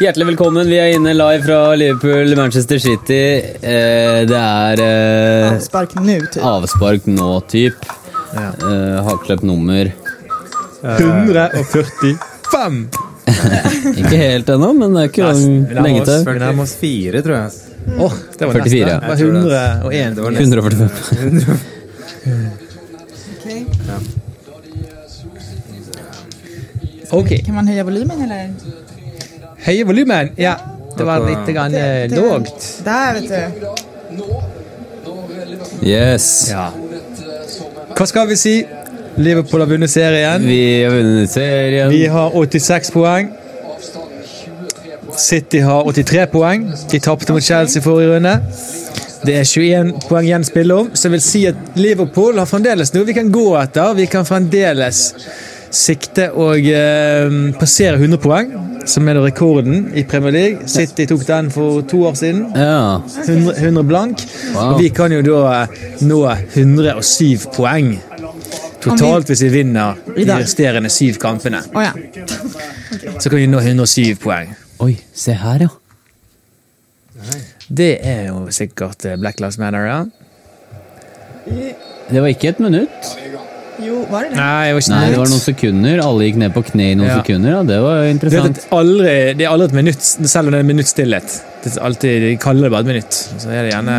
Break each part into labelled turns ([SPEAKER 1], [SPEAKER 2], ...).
[SPEAKER 1] Hjertelig velkommen. Vi er inne live fra Liverpool, Manchester City. Eh, det er eh,
[SPEAKER 2] Spark nå, typ.
[SPEAKER 1] avspark nå, typ. Eh, Hakkløpt nummer.
[SPEAKER 3] 145!
[SPEAKER 1] Ikke helt ennå, men det er ikke lenge til.
[SPEAKER 3] Vi nærmer oss fire, tror jeg.
[SPEAKER 1] Åh,
[SPEAKER 3] Det var
[SPEAKER 1] 44, ja.
[SPEAKER 3] nesten. Det var 101. Det var nesten.
[SPEAKER 1] 145.
[SPEAKER 2] Okej.
[SPEAKER 4] Ok.
[SPEAKER 2] Kan man höja volymen eller?
[SPEAKER 4] Høye volumen. Ja, det var litt grann, eh,
[SPEAKER 2] Det-
[SPEAKER 4] lågt.
[SPEAKER 2] Där vet du.
[SPEAKER 1] Yes.
[SPEAKER 4] Ja. Hva skal vi si? Liverpool har vunnet serien.
[SPEAKER 1] Vi har vunnet serien.
[SPEAKER 4] Vi har 86 poeng. City har 83 poeng. De tapte mot Chelsea forrige runde. Det er 21 poeng igjen å spille om, så jeg vil si at Liverpool har fremdeles noe vi kan gå etter. Vi kan fremdeles sikte og eh, passere 100 poeng, som er da rekorden i Premier League. City tok den for to år siden.
[SPEAKER 1] Ja.
[SPEAKER 4] 100, 100 blank.
[SPEAKER 1] Wow.
[SPEAKER 4] Og vi kan jo da eh, nå 107 poeng totalt hvis vi vinner de
[SPEAKER 2] dag.
[SPEAKER 4] resterende syv kampene.
[SPEAKER 2] Oh, ja.
[SPEAKER 4] Så kan vi nå 107 poeng.
[SPEAKER 1] Oi, se her, ja.
[SPEAKER 4] Det er jo sikkert eh, Black Lives Matter, ja.
[SPEAKER 1] Det var ikke et minutt.
[SPEAKER 2] Jo, var det det?
[SPEAKER 4] Nei, det var ikke
[SPEAKER 1] Nei, det var noen
[SPEAKER 4] minutt.
[SPEAKER 1] sekunder. Alle gikk ned på kne i noen
[SPEAKER 4] Ja.
[SPEAKER 1] sekunder. Ja, det var
[SPEAKER 4] Du vet
[SPEAKER 1] interessant.
[SPEAKER 4] at aldri, det er aldri et minutt, selv om det er en minutts stillhet. Det er alltid, de kaller det bare et minutt, så er det gjerne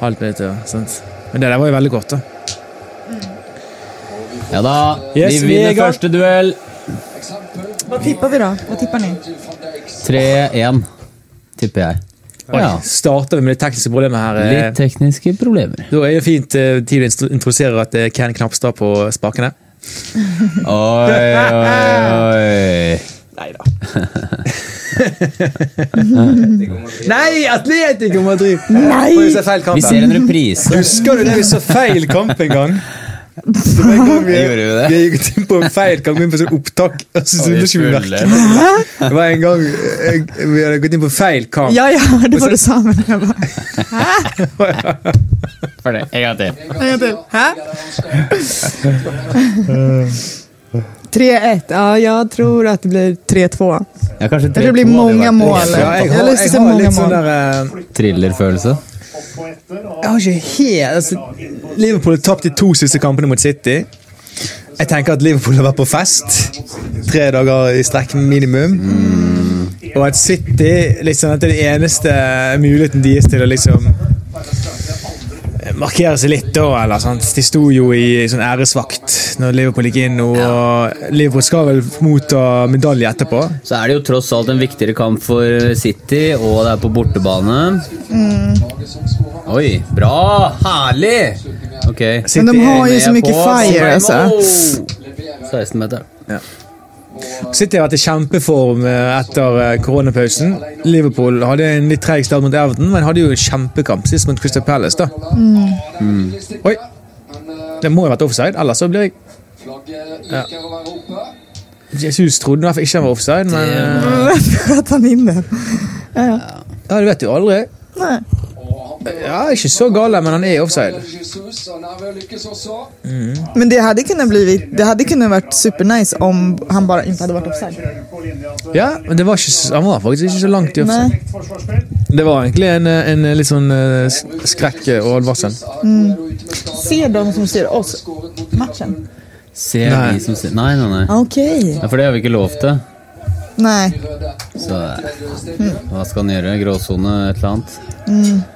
[SPEAKER 4] halvt minutt. Ja, sant? Men det der var jo veldig kort, da.
[SPEAKER 1] Ja da,
[SPEAKER 4] Yes,
[SPEAKER 1] vi
[SPEAKER 4] vi er i
[SPEAKER 1] vinner
[SPEAKER 4] gang.
[SPEAKER 1] første duell.
[SPEAKER 2] Vad tippar vi då? Vad tippar ni?
[SPEAKER 1] 3-1, tipper jeg. Ja.
[SPEAKER 4] Starter vi med det tekniske problemet her. eh,
[SPEAKER 1] Litt tekniske problemer.
[SPEAKER 4] Da er det fint eh, tidlig å instru- introdusere at det er Ken Knapstad på spakene.
[SPEAKER 1] Oi, oi, oi.
[SPEAKER 4] Nei, Atletico Madrid!
[SPEAKER 2] Nei!
[SPEAKER 1] Vi ser en reprise.
[SPEAKER 4] Husker du det vi så feil kamp en gang? Det var en gang vi,
[SPEAKER 1] Gjorde vi det?
[SPEAKER 4] vi gikk inn på en feil kamp, inn på sånn opptak. og så
[SPEAKER 1] vi
[SPEAKER 4] syntes ikke vi
[SPEAKER 1] fulle.
[SPEAKER 4] merket det. Det var en gang eh, vi hadde gått inn på feil kamp.
[SPEAKER 2] Ja, jag hörde vad du sa men jag bara...
[SPEAKER 1] Ferdig. En gang til.
[SPEAKER 2] En gång till. Hä? 3-1. Ja, jag tror att det blir 3-2.
[SPEAKER 1] Ja, kanskje
[SPEAKER 2] Det blir
[SPEAKER 1] 3-2,
[SPEAKER 2] mange
[SPEAKER 1] hadde vært
[SPEAKER 2] mål.
[SPEAKER 4] Ja, jeg,
[SPEAKER 2] Jeg har
[SPEAKER 4] har,
[SPEAKER 2] lyst til å
[SPEAKER 4] jeg
[SPEAKER 2] se
[SPEAKER 4] har
[SPEAKER 2] mange
[SPEAKER 4] litt sånn
[SPEAKER 2] mål.
[SPEAKER 4] der eh,
[SPEAKER 1] Thrillerfølelse.
[SPEAKER 4] Jeg har ikke helt altså, Liverpool har tapt de to siste kampene mot City. Jeg tenker at Liverpool har vært på fest. Tre dager i strekk minimum. Og at City liksom, at det er den eneste muligheten deres til å liksom markere seg litt da, eller sant. De sto jo i sånn æresvakt når Liverpool gikk inn, og Liverpool skal vel motta medalje etterpå.
[SPEAKER 1] Så er det jo tross alt en viktigere kamp for City, og det er på bortebane.
[SPEAKER 2] Mm.
[SPEAKER 1] Oi, bra! Herlig! Ok.
[SPEAKER 4] City
[SPEAKER 2] de har
[SPEAKER 4] er
[SPEAKER 2] jo
[SPEAKER 4] med
[SPEAKER 2] så mye
[SPEAKER 4] på-
[SPEAKER 2] fire, altså.
[SPEAKER 1] altså. 16 meter.
[SPEAKER 4] City har vært i kjempeform eh, etter eh, koronapausen. Liverpool hadde en litt treg start mot Everton, men hadde jo en kjempekamp sist mot Crystal Palace. da. Oi! Det må jo ha vært offside, ellers så blir jeg Jesus trodde i hvert fall ikke han var offside, men eh,
[SPEAKER 2] Varför sköt han in den?
[SPEAKER 4] Ja, det vet du aldri.
[SPEAKER 2] Nej.
[SPEAKER 4] Ja, Ikke så gale, men han er offside.
[SPEAKER 2] Men det hade kunnat blivit... Det hade kunnat varit supernice om han bara inte hade varit offside.
[SPEAKER 4] Ja, men det var ikke, s- Han var faktisk ikke så langt i offside.
[SPEAKER 2] Nej.
[SPEAKER 4] Det var egentlig en, eh, en litt sånn eh, sk- skrekk og advarsel.
[SPEAKER 2] Ser de som ser oss matchen?
[SPEAKER 1] Ser
[SPEAKER 4] Nei.
[SPEAKER 1] de som ser Nei, nei, nei.
[SPEAKER 2] Okej.
[SPEAKER 1] Ja, for det har vi ikke lov til.
[SPEAKER 2] Nej.
[SPEAKER 1] Så hm, hva skal han gjøre? Gråsone, et eller annet?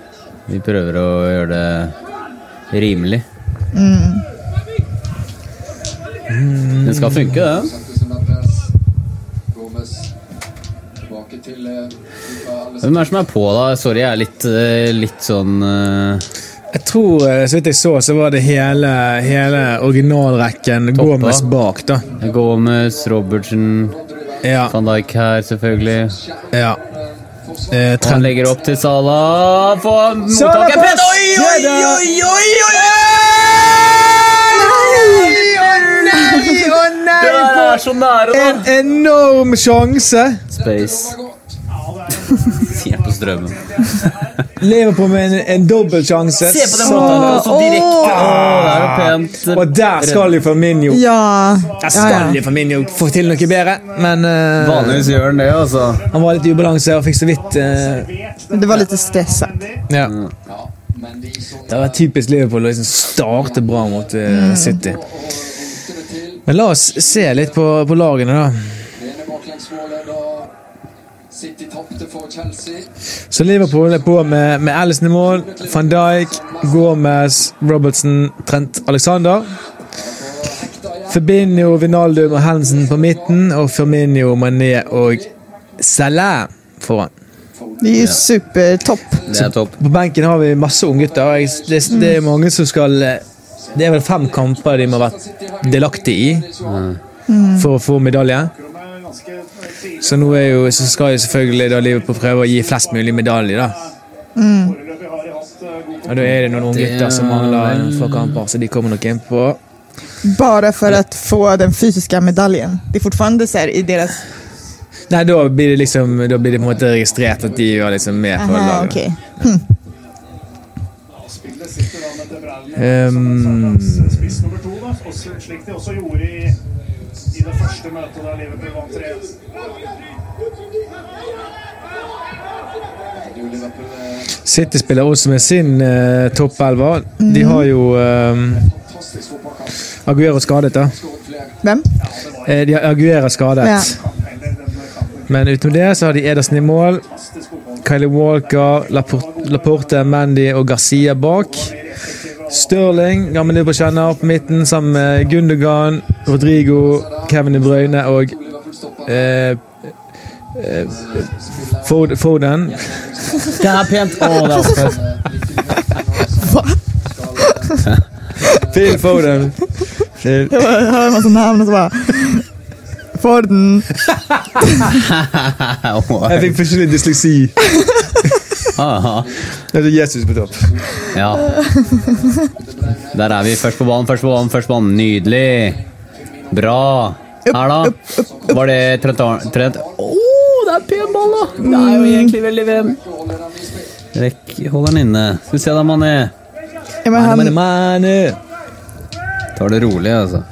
[SPEAKER 1] Vi prøver å gjøre det rimelig. Det skal funke, det.
[SPEAKER 5] eh,
[SPEAKER 1] Hvem er det som er på, da? Sorry, jeg er litt, eh, litt sånn eh,
[SPEAKER 4] Jeg tror, eh, så vidt jeg så, så var det hele, hele originalrekken
[SPEAKER 1] Toppa.
[SPEAKER 4] Gomez bak, da.
[SPEAKER 1] Gomez, Robertsen,
[SPEAKER 4] Ja.
[SPEAKER 1] van Dijk her, selvfølgelig.
[SPEAKER 4] ja. Eh,
[SPEAKER 1] Han
[SPEAKER 4] Trent.
[SPEAKER 1] legger opp til Salah på
[SPEAKER 4] Salah
[SPEAKER 1] mottaket.
[SPEAKER 4] på
[SPEAKER 1] Pedro! Oi, oi,
[SPEAKER 4] skuddet!
[SPEAKER 1] oi, oi, oi,
[SPEAKER 4] Nei, å nei!
[SPEAKER 1] Det er så nære, da!
[SPEAKER 4] En enorm sjanse!
[SPEAKER 1] Space. Sier på strømmen.
[SPEAKER 4] Liverpool med en, en dobbeltsjanse.
[SPEAKER 1] Se på den
[SPEAKER 4] Så-
[SPEAKER 1] måten! det er Så direkte!
[SPEAKER 2] Åh!
[SPEAKER 1] Åh, det er jo pent.
[SPEAKER 4] Og der skal jo Firmino
[SPEAKER 2] Ja.
[SPEAKER 4] Der
[SPEAKER 2] ja,
[SPEAKER 4] skal
[SPEAKER 2] ja.
[SPEAKER 4] jo Firmino få til noe bedre, men eh,
[SPEAKER 1] Vanligvis gjør den det, altså.
[SPEAKER 4] han var litt i ubalanse og fikk så vidt eh,
[SPEAKER 2] Det var lite stresset.
[SPEAKER 4] ja. Det var typisk Liverpool å liksom starte bra mot eh, City. Men la oss se litt på, på lagene, da.
[SPEAKER 5] City tapte for Chelsea.
[SPEAKER 4] Så Liverpool er på med, med Alison i mål, van Dijk, Gomez, Robertson, Trent Alexander. Fabinho, Vinaldum og Hansen på midten, og Firmino, Mané og Salah foran.
[SPEAKER 2] Det er jo supertopp.
[SPEAKER 1] Det er topp.
[SPEAKER 4] På benken har vi masse unggutter. og jeg- Det, det er mange som skal eh, Det er vel fem kamper de må ha vært delaktige i for å få medalje. Så nå er jo, så skal jo selvfølgelig da Liverpool prøve å gi flest mulig medaljer, da. Og da er det noen unggutter som mangler få kamper, så de kommer nok inn på
[SPEAKER 2] Bara för att få den fysiska medaljen. Det är fortfarande så här i deras...
[SPEAKER 4] Nei, da blir det liksom Da blir det på en måte registrert at de var liksom med på
[SPEAKER 2] Aha,
[SPEAKER 4] laget.
[SPEAKER 2] okej.
[SPEAKER 5] Spillet sitter da med De Bruyne
[SPEAKER 4] Ehm.
[SPEAKER 5] som eh, spiss nummer to, da. Også, slik de også gjorde i, i det første møtet da Liverpool vant 3-1.
[SPEAKER 4] City spiller også med sin uh, toppelver. De har jo ehm, Aguero skadet, da.
[SPEAKER 2] Vem?
[SPEAKER 4] Eh, de har Aguero skadet.
[SPEAKER 2] Ja.
[SPEAKER 4] Men utenom det så har de Ederson i mål. Kylie Walker, Lapor- Laporte, Mandy og Garcia bak. Stirling, gammel Liverpool-kjenner, på midten sammen med Gundogan, Rodrigo, Kevin De Bruyne og eh, eh, Fod- Foden.
[SPEAKER 1] Det er pent! Å, det er oppfett.
[SPEAKER 4] Phil Foden. Phil.
[SPEAKER 2] Jag bara hör en massa namn och så bara... Forden.
[SPEAKER 4] Jeg fikk plutselig dysleksi.
[SPEAKER 1] Aha.
[SPEAKER 4] Det er Jesus på topp.
[SPEAKER 1] Ja. Der er vi. Først på banen, først på banen, først på banen. Nydelig. Bra. Her, da. Var det Trent Arn- Trent Å, det er pen ball, da!
[SPEAKER 2] Mm.
[SPEAKER 1] Det er jo egentlig veldig pen. Rekk, hold den inne. Skal vi se, da, Mané.
[SPEAKER 2] Ja, men
[SPEAKER 4] Manu,
[SPEAKER 2] han,
[SPEAKER 4] manu.
[SPEAKER 1] Tar det rolig, altså.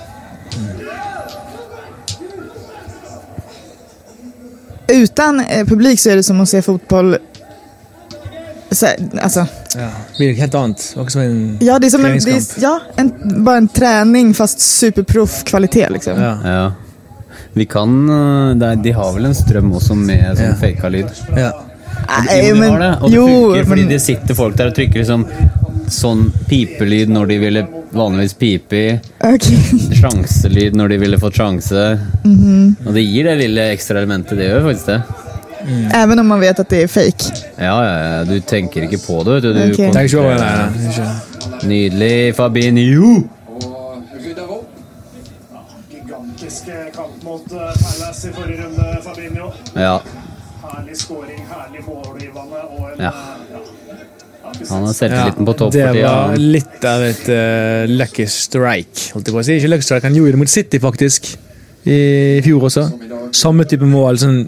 [SPEAKER 2] utan eh, publik så är det som att se fotboll... Så här, alltså,
[SPEAKER 4] Ja, det blir helt annet. Akkurat som en
[SPEAKER 2] ja, det är som en, det
[SPEAKER 4] treningskamp.
[SPEAKER 2] är, ja, en, bara en träning fast superproffkvalitet. Liksom.
[SPEAKER 4] Ja.
[SPEAKER 1] Ja. Vi kan eh, det er- De har vel en strøm også med sånn faka lyd?
[SPEAKER 4] Ja.
[SPEAKER 2] Nej,
[SPEAKER 1] Jo, de
[SPEAKER 2] men-
[SPEAKER 1] har det, og det
[SPEAKER 2] jo,
[SPEAKER 1] funker fordi
[SPEAKER 2] men-
[SPEAKER 1] det sitter folk der og trykker liksom sånn pipelyd når de ville vanligvis pipe i.
[SPEAKER 2] Okej.
[SPEAKER 1] Sjanselyd når de ville fått sjanse.
[SPEAKER 2] Mhm.
[SPEAKER 1] Og det gir det lille ekstra elementet. Det gjør faktisk det.
[SPEAKER 2] Även om man vet att det är fake.
[SPEAKER 1] Ja, ja, ja. Du tenker ikke på det, vet du. du
[SPEAKER 2] Ok.
[SPEAKER 1] konsentrerer
[SPEAKER 4] Tenk ikke over det.
[SPEAKER 1] deg.
[SPEAKER 4] nei, nei, ikke.
[SPEAKER 1] Nydelig, Fabinho!
[SPEAKER 5] Og rydder opp. Gigantisk eh, kamp mot eh, Palace i forrige runde, Fabinho.
[SPEAKER 1] Ja,
[SPEAKER 5] Herlig scoring, herlig målgivende og en
[SPEAKER 1] Ja.
[SPEAKER 5] eh, ja. Ja, vi
[SPEAKER 1] han har
[SPEAKER 5] syns-
[SPEAKER 1] selvtilliten på topp
[SPEAKER 4] det
[SPEAKER 1] for tida.
[SPEAKER 4] var litt av et eh, lucky strike. Holdt jeg på å si. Ikke lucky strike, han gjorde det mot City, faktisk. I fjor også. Samme type mål. Sånn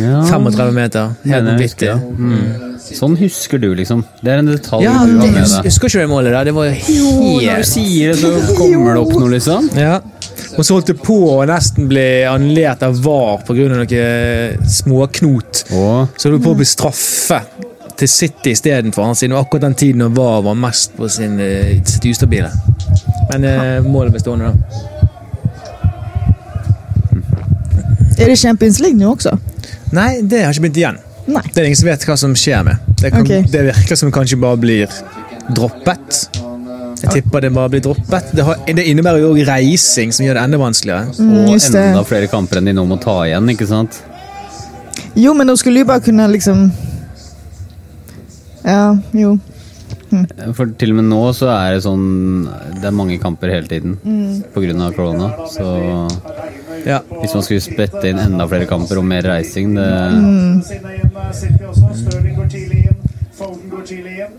[SPEAKER 1] Ja,
[SPEAKER 4] 35 meter. Helt
[SPEAKER 1] mener jeg
[SPEAKER 4] vanvittig.
[SPEAKER 1] husker, ja. Mm. Sånn husker du, liksom. Det er en detalj
[SPEAKER 4] Ja,
[SPEAKER 1] du har
[SPEAKER 4] det-
[SPEAKER 1] med
[SPEAKER 4] hus-
[SPEAKER 1] deg.
[SPEAKER 4] husker ikke det målet der? Det var
[SPEAKER 1] Når du
[SPEAKER 4] helt
[SPEAKER 1] sier det, så kommer det opp noe, liksom.
[SPEAKER 4] ja. Og så holdt det på å nesten bli annullert av VAR pga. noe småknot.
[SPEAKER 1] Og
[SPEAKER 4] Så holdt det på å bli straffet til City istedenfor, han, siden det var akkurat den tiden han var, var mest på sin, eh, sitt ustabile. Men eh, målet ble stående, da.
[SPEAKER 2] Är det Champions League nu också?
[SPEAKER 4] Nei, det har ikke begynt igjen.
[SPEAKER 2] Nej.
[SPEAKER 4] Det er ingen som vet hva som skjer med. Det, kan,
[SPEAKER 2] Ok.
[SPEAKER 4] det virker som det kanskje bare blir droppet. Jeg tipper det bare blir droppet. Det, har, det innebærer jo også reising, som gjør det enda vanskeligere.
[SPEAKER 2] Mm,
[SPEAKER 1] Og
[SPEAKER 2] just det.
[SPEAKER 1] enda flere kamper enn de nå må ta igjen, ikke sant?
[SPEAKER 2] Jo, men de skulle ju bara kunna liksom... Ja, jo.
[SPEAKER 1] For til og med nå så er det sånn Det er mange kamper hele tiden på grunn av korona. Så
[SPEAKER 4] Ja.
[SPEAKER 1] hvis man skulle spette inn enda flere kamper og mer reising, det
[SPEAKER 5] Sinne inn, eh, City også. Stirling går tidlig inn. Foden går tidlig inn.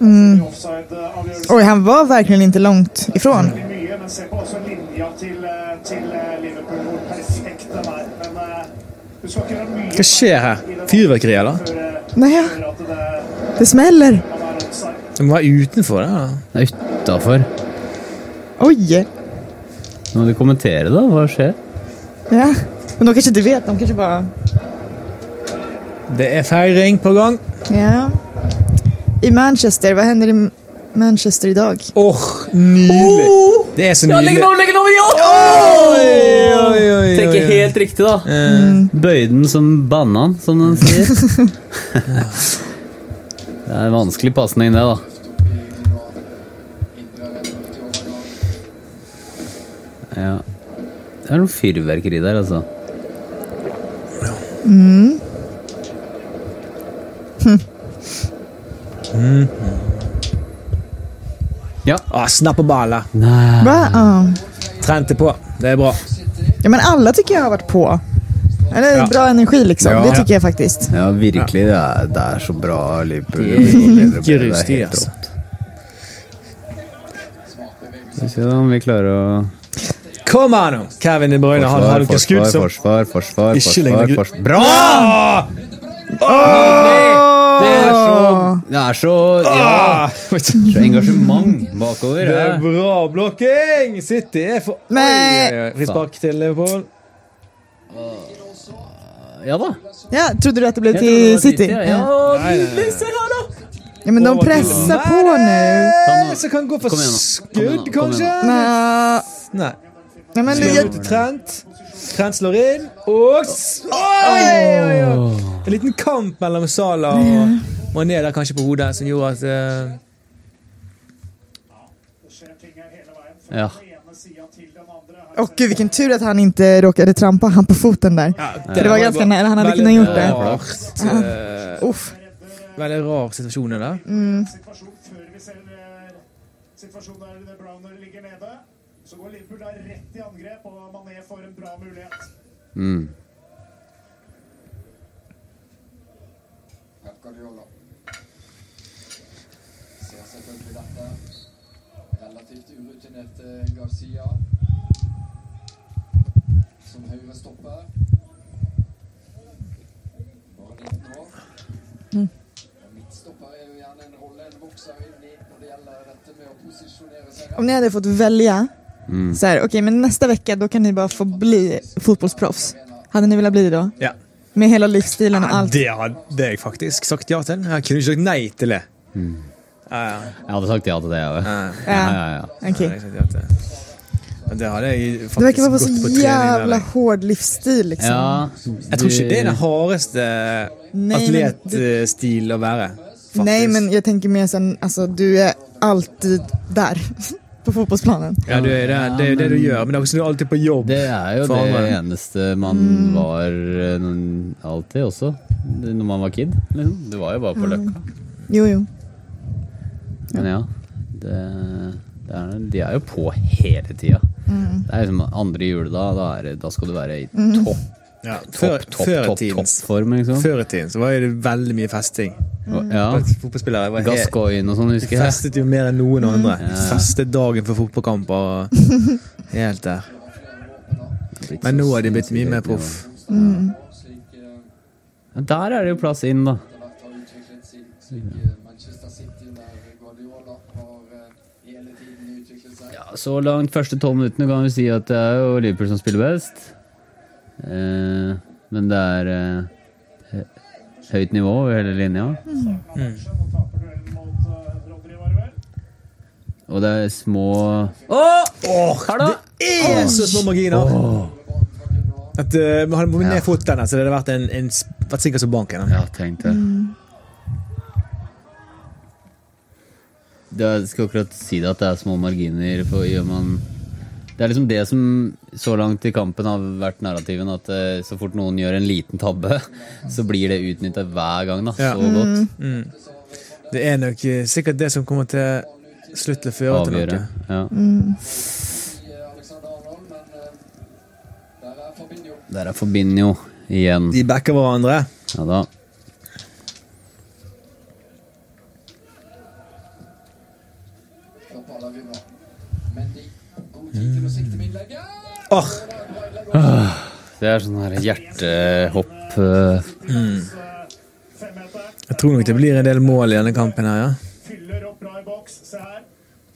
[SPEAKER 5] Mm. Offside-avgjørelse
[SPEAKER 2] Oj, han var verkligen inte långt ifrån.
[SPEAKER 5] blir mye, men se på også linja til, eh, til eh, Liverpool, hvor perfekt den er. Men eh, Du skal ikke gjøre mye
[SPEAKER 4] Hva skjer her? Fyrverkeri, eller?
[SPEAKER 5] før eh,
[SPEAKER 2] Nei, ja.
[SPEAKER 5] før at det
[SPEAKER 2] Det smeller.
[SPEAKER 5] han er offside.
[SPEAKER 4] Det må være utenfor, det. da.
[SPEAKER 1] Det er utafor.
[SPEAKER 2] Oi.
[SPEAKER 1] Nå må du kommentere, da. Hva skjer?
[SPEAKER 2] Ja. Men de kanske inte vet. De kanske bara...
[SPEAKER 4] Det er feiring på gang.
[SPEAKER 2] Ja. I Manchester, vad händer i Manchester idag?
[SPEAKER 4] Åh, nydelig! Det er så nydelig.
[SPEAKER 1] legg den over! Ja!
[SPEAKER 4] Oi, oi, oi,
[SPEAKER 1] Tenker
[SPEAKER 4] oi.
[SPEAKER 1] helt riktig, da. Bøy den som banan, som den sier. det er en vanskelig pasning, det, da. Ja. Det er noe fyrverkeri der, altså.
[SPEAKER 4] Ah, snapp på ballen.
[SPEAKER 1] Nei
[SPEAKER 2] Va? Ja.
[SPEAKER 4] Trente på. Det er bra.
[SPEAKER 2] Ja, men alla tycker jag har varit på. Eller
[SPEAKER 4] Ja.
[SPEAKER 2] bra energi liksom.
[SPEAKER 4] Ja.
[SPEAKER 2] Det tycker jag faktiskt.
[SPEAKER 6] Ja, virkelig. Det er, det er så bra Liverpool.
[SPEAKER 4] Det er
[SPEAKER 6] Det er
[SPEAKER 4] ikke
[SPEAKER 6] helt
[SPEAKER 4] rustig,
[SPEAKER 6] rått.
[SPEAKER 4] altså.
[SPEAKER 1] Skal vi se da om vi klarer å
[SPEAKER 4] Kom her nå! Kevin De Bruyne han har
[SPEAKER 6] Forsvar,
[SPEAKER 4] noen skudd
[SPEAKER 6] forsvar,
[SPEAKER 4] som
[SPEAKER 6] forsvar, forsvar,
[SPEAKER 4] Ikke
[SPEAKER 6] forsvar,
[SPEAKER 4] lenger-
[SPEAKER 6] forsvar. Bra!
[SPEAKER 4] Ah!
[SPEAKER 1] Det er så Det er så, ja,
[SPEAKER 4] Ah!
[SPEAKER 1] så engasjement bakover.
[SPEAKER 4] Det er
[SPEAKER 1] ja.
[SPEAKER 4] bra blokking! City er for Oi,
[SPEAKER 2] Men-
[SPEAKER 4] oi, oi. Frispark til Liverpool.
[SPEAKER 1] Ja da.
[SPEAKER 2] Ja, trodde du att det blev
[SPEAKER 1] Jeg tror det var
[SPEAKER 2] till City?
[SPEAKER 1] Ja,
[SPEAKER 2] Ja.
[SPEAKER 1] ja.
[SPEAKER 2] Ja, men de
[SPEAKER 4] Åh,
[SPEAKER 2] pressar på nu.
[SPEAKER 1] Kom nå.
[SPEAKER 4] Så kan han gå for
[SPEAKER 1] Kom igjen nå. Kom igjen nå.
[SPEAKER 4] skudd,
[SPEAKER 1] Kom igjen nå.
[SPEAKER 4] kanskje?
[SPEAKER 2] Nja,
[SPEAKER 4] Nei.
[SPEAKER 2] Nej, men
[SPEAKER 4] Skal
[SPEAKER 2] det,
[SPEAKER 4] ut til Trent. Trent slår inn, og s- Oi, oi, oi. En liten kamp mellom Sala og Mané der kanskje på hodet, som gjorde at eh,
[SPEAKER 5] Det skjer ting her hele veien. Fra
[SPEAKER 1] Ja.
[SPEAKER 5] den ene siden til den andre. Her
[SPEAKER 2] Åh gud vilken tur att han inte råkade trampa han på foten där.
[SPEAKER 4] Det
[SPEAKER 2] var ganske nære, han hadde kunnat gjort det.
[SPEAKER 4] Rart, eh,
[SPEAKER 2] Uff.
[SPEAKER 4] veldig rar situasjon det der.
[SPEAKER 5] situasjon før vi ser eh, situasjonen der eh, det Browner ligger nede. Så går Liverpool da rett i angrep, og Mané får en bra mulighet.
[SPEAKER 1] Mm.
[SPEAKER 7] Ser selvfølgelig dette. Relativt urutinerte Garcia. Som høyre stopper. Bare 19 år. Og Midtstopper er jo gjerne en rolle en vokser inn i når det gjelder dette med å posisjonere seg.
[SPEAKER 2] Om ni hade fått välja,
[SPEAKER 1] Mm.
[SPEAKER 2] så här, okej men nästa vecka då kan ni bara få bli fotbollsproffs. Hade ni velat bli det då?
[SPEAKER 4] Ja.
[SPEAKER 2] Med hela livsstilen och allt?
[SPEAKER 4] Det hadde jeg faktisk sagt ja til. Jeg kunne ikke sagt nei til det. Ja, ja.
[SPEAKER 1] Jeg hadde sagt ja til det, jeg òg. Ja,
[SPEAKER 2] Ja,
[SPEAKER 1] ja, ja.
[SPEAKER 2] okej.
[SPEAKER 4] Jeg hadde sagt ja til det. Men det hadde jeg
[SPEAKER 2] Det verkar
[SPEAKER 4] faktisk
[SPEAKER 2] vara
[SPEAKER 4] gått på
[SPEAKER 2] så
[SPEAKER 4] trening.
[SPEAKER 2] jävla
[SPEAKER 4] eller?
[SPEAKER 2] hård livsstil liksom.
[SPEAKER 1] Ja,
[SPEAKER 4] Jeg tror ikke
[SPEAKER 1] du-
[SPEAKER 4] det er den hardeste
[SPEAKER 2] men
[SPEAKER 1] eh,
[SPEAKER 4] atletstil å være. Faktisk.
[SPEAKER 2] Nej men jag tänker mer sen, alltså du är alltid där. På fotbollsplanen.
[SPEAKER 4] Ja, du er det. Det er jo det du gjør, men det er også du er alltid på jobb.
[SPEAKER 1] Det er jo
[SPEAKER 4] Faen,
[SPEAKER 1] det
[SPEAKER 4] ja.
[SPEAKER 1] eneste man
[SPEAKER 4] Mm.
[SPEAKER 1] var eh, n- alltid også, det- når man var kid. Liksom. Du var jo bare på løkka.
[SPEAKER 2] Jo, jo.
[SPEAKER 1] Men ja, det, det er, de er jo på hele tida.
[SPEAKER 4] Mm.
[SPEAKER 1] Det er liksom andre juledag, da, er, det- da skal du være i topp,
[SPEAKER 4] Ja, Mm. før,
[SPEAKER 1] topp, topp,
[SPEAKER 4] før i
[SPEAKER 1] topp,
[SPEAKER 4] tiden-
[SPEAKER 1] toppform, liksom.
[SPEAKER 4] Før i tiden så var jo det veldig mye festing.
[SPEAKER 1] Og- Ja.
[SPEAKER 4] Mm. Fotballspillere var helt
[SPEAKER 1] Gascoigne og sånn, husker jeg.
[SPEAKER 4] Festet jo mer enn noen andre. Festet dagen for fotballkamper. og- Helt der. Men nå har de blitt mye mer proff.
[SPEAKER 1] Ja, Der er det jo plass inn, da.
[SPEAKER 7] Dette eh, har utviklet siden slik eh, Manchester City der Guardiola har eh, hele tiden utviklet seg.
[SPEAKER 1] Ja, så langt første tolv minuttene kan vi si at det er jo Liverpool som spiller best. Eh, men det er eh, hø- høyt nivå over hele linja.
[SPEAKER 5] Skjønner, nå taper duellen mot eh, Rodri, var det vel?
[SPEAKER 1] Og det er små
[SPEAKER 4] Det er så små marginer! At uh, Hadde vi ned foten, så det hadde vært en, en sp- vært sikkert som banken.
[SPEAKER 1] Ja, tenk det. det er, jeg skal akkurat si det at det er små marginer, for gjør man Det er liksom det som så langt i kampen har vært narrativen, at eh, så fort noen gjør en liten tabbe, så blir det utnytta hver gang, da.
[SPEAKER 4] Ja.
[SPEAKER 1] Så godt.
[SPEAKER 4] Det er nok eh, sikkert det som kommer til slutt til å føre til
[SPEAKER 1] Avgjøre.
[SPEAKER 4] noe.
[SPEAKER 1] Ja.
[SPEAKER 7] Alexander Arnold, men eh, der er Fabinho.
[SPEAKER 1] Der er Fabinho igjen.
[SPEAKER 4] De backer hverandre.
[SPEAKER 1] Ja da.
[SPEAKER 7] Kampala vinner. Mendy, god tid til å sikte med innlegget.
[SPEAKER 4] Åh,
[SPEAKER 1] Det er sånn her hjertehopp eh,
[SPEAKER 5] eh, Femmeter.
[SPEAKER 4] Mm. Jeg tror nok det blir en del mål i denne kampen her, ja.
[SPEAKER 5] Fyller opp bra i boks. Se her.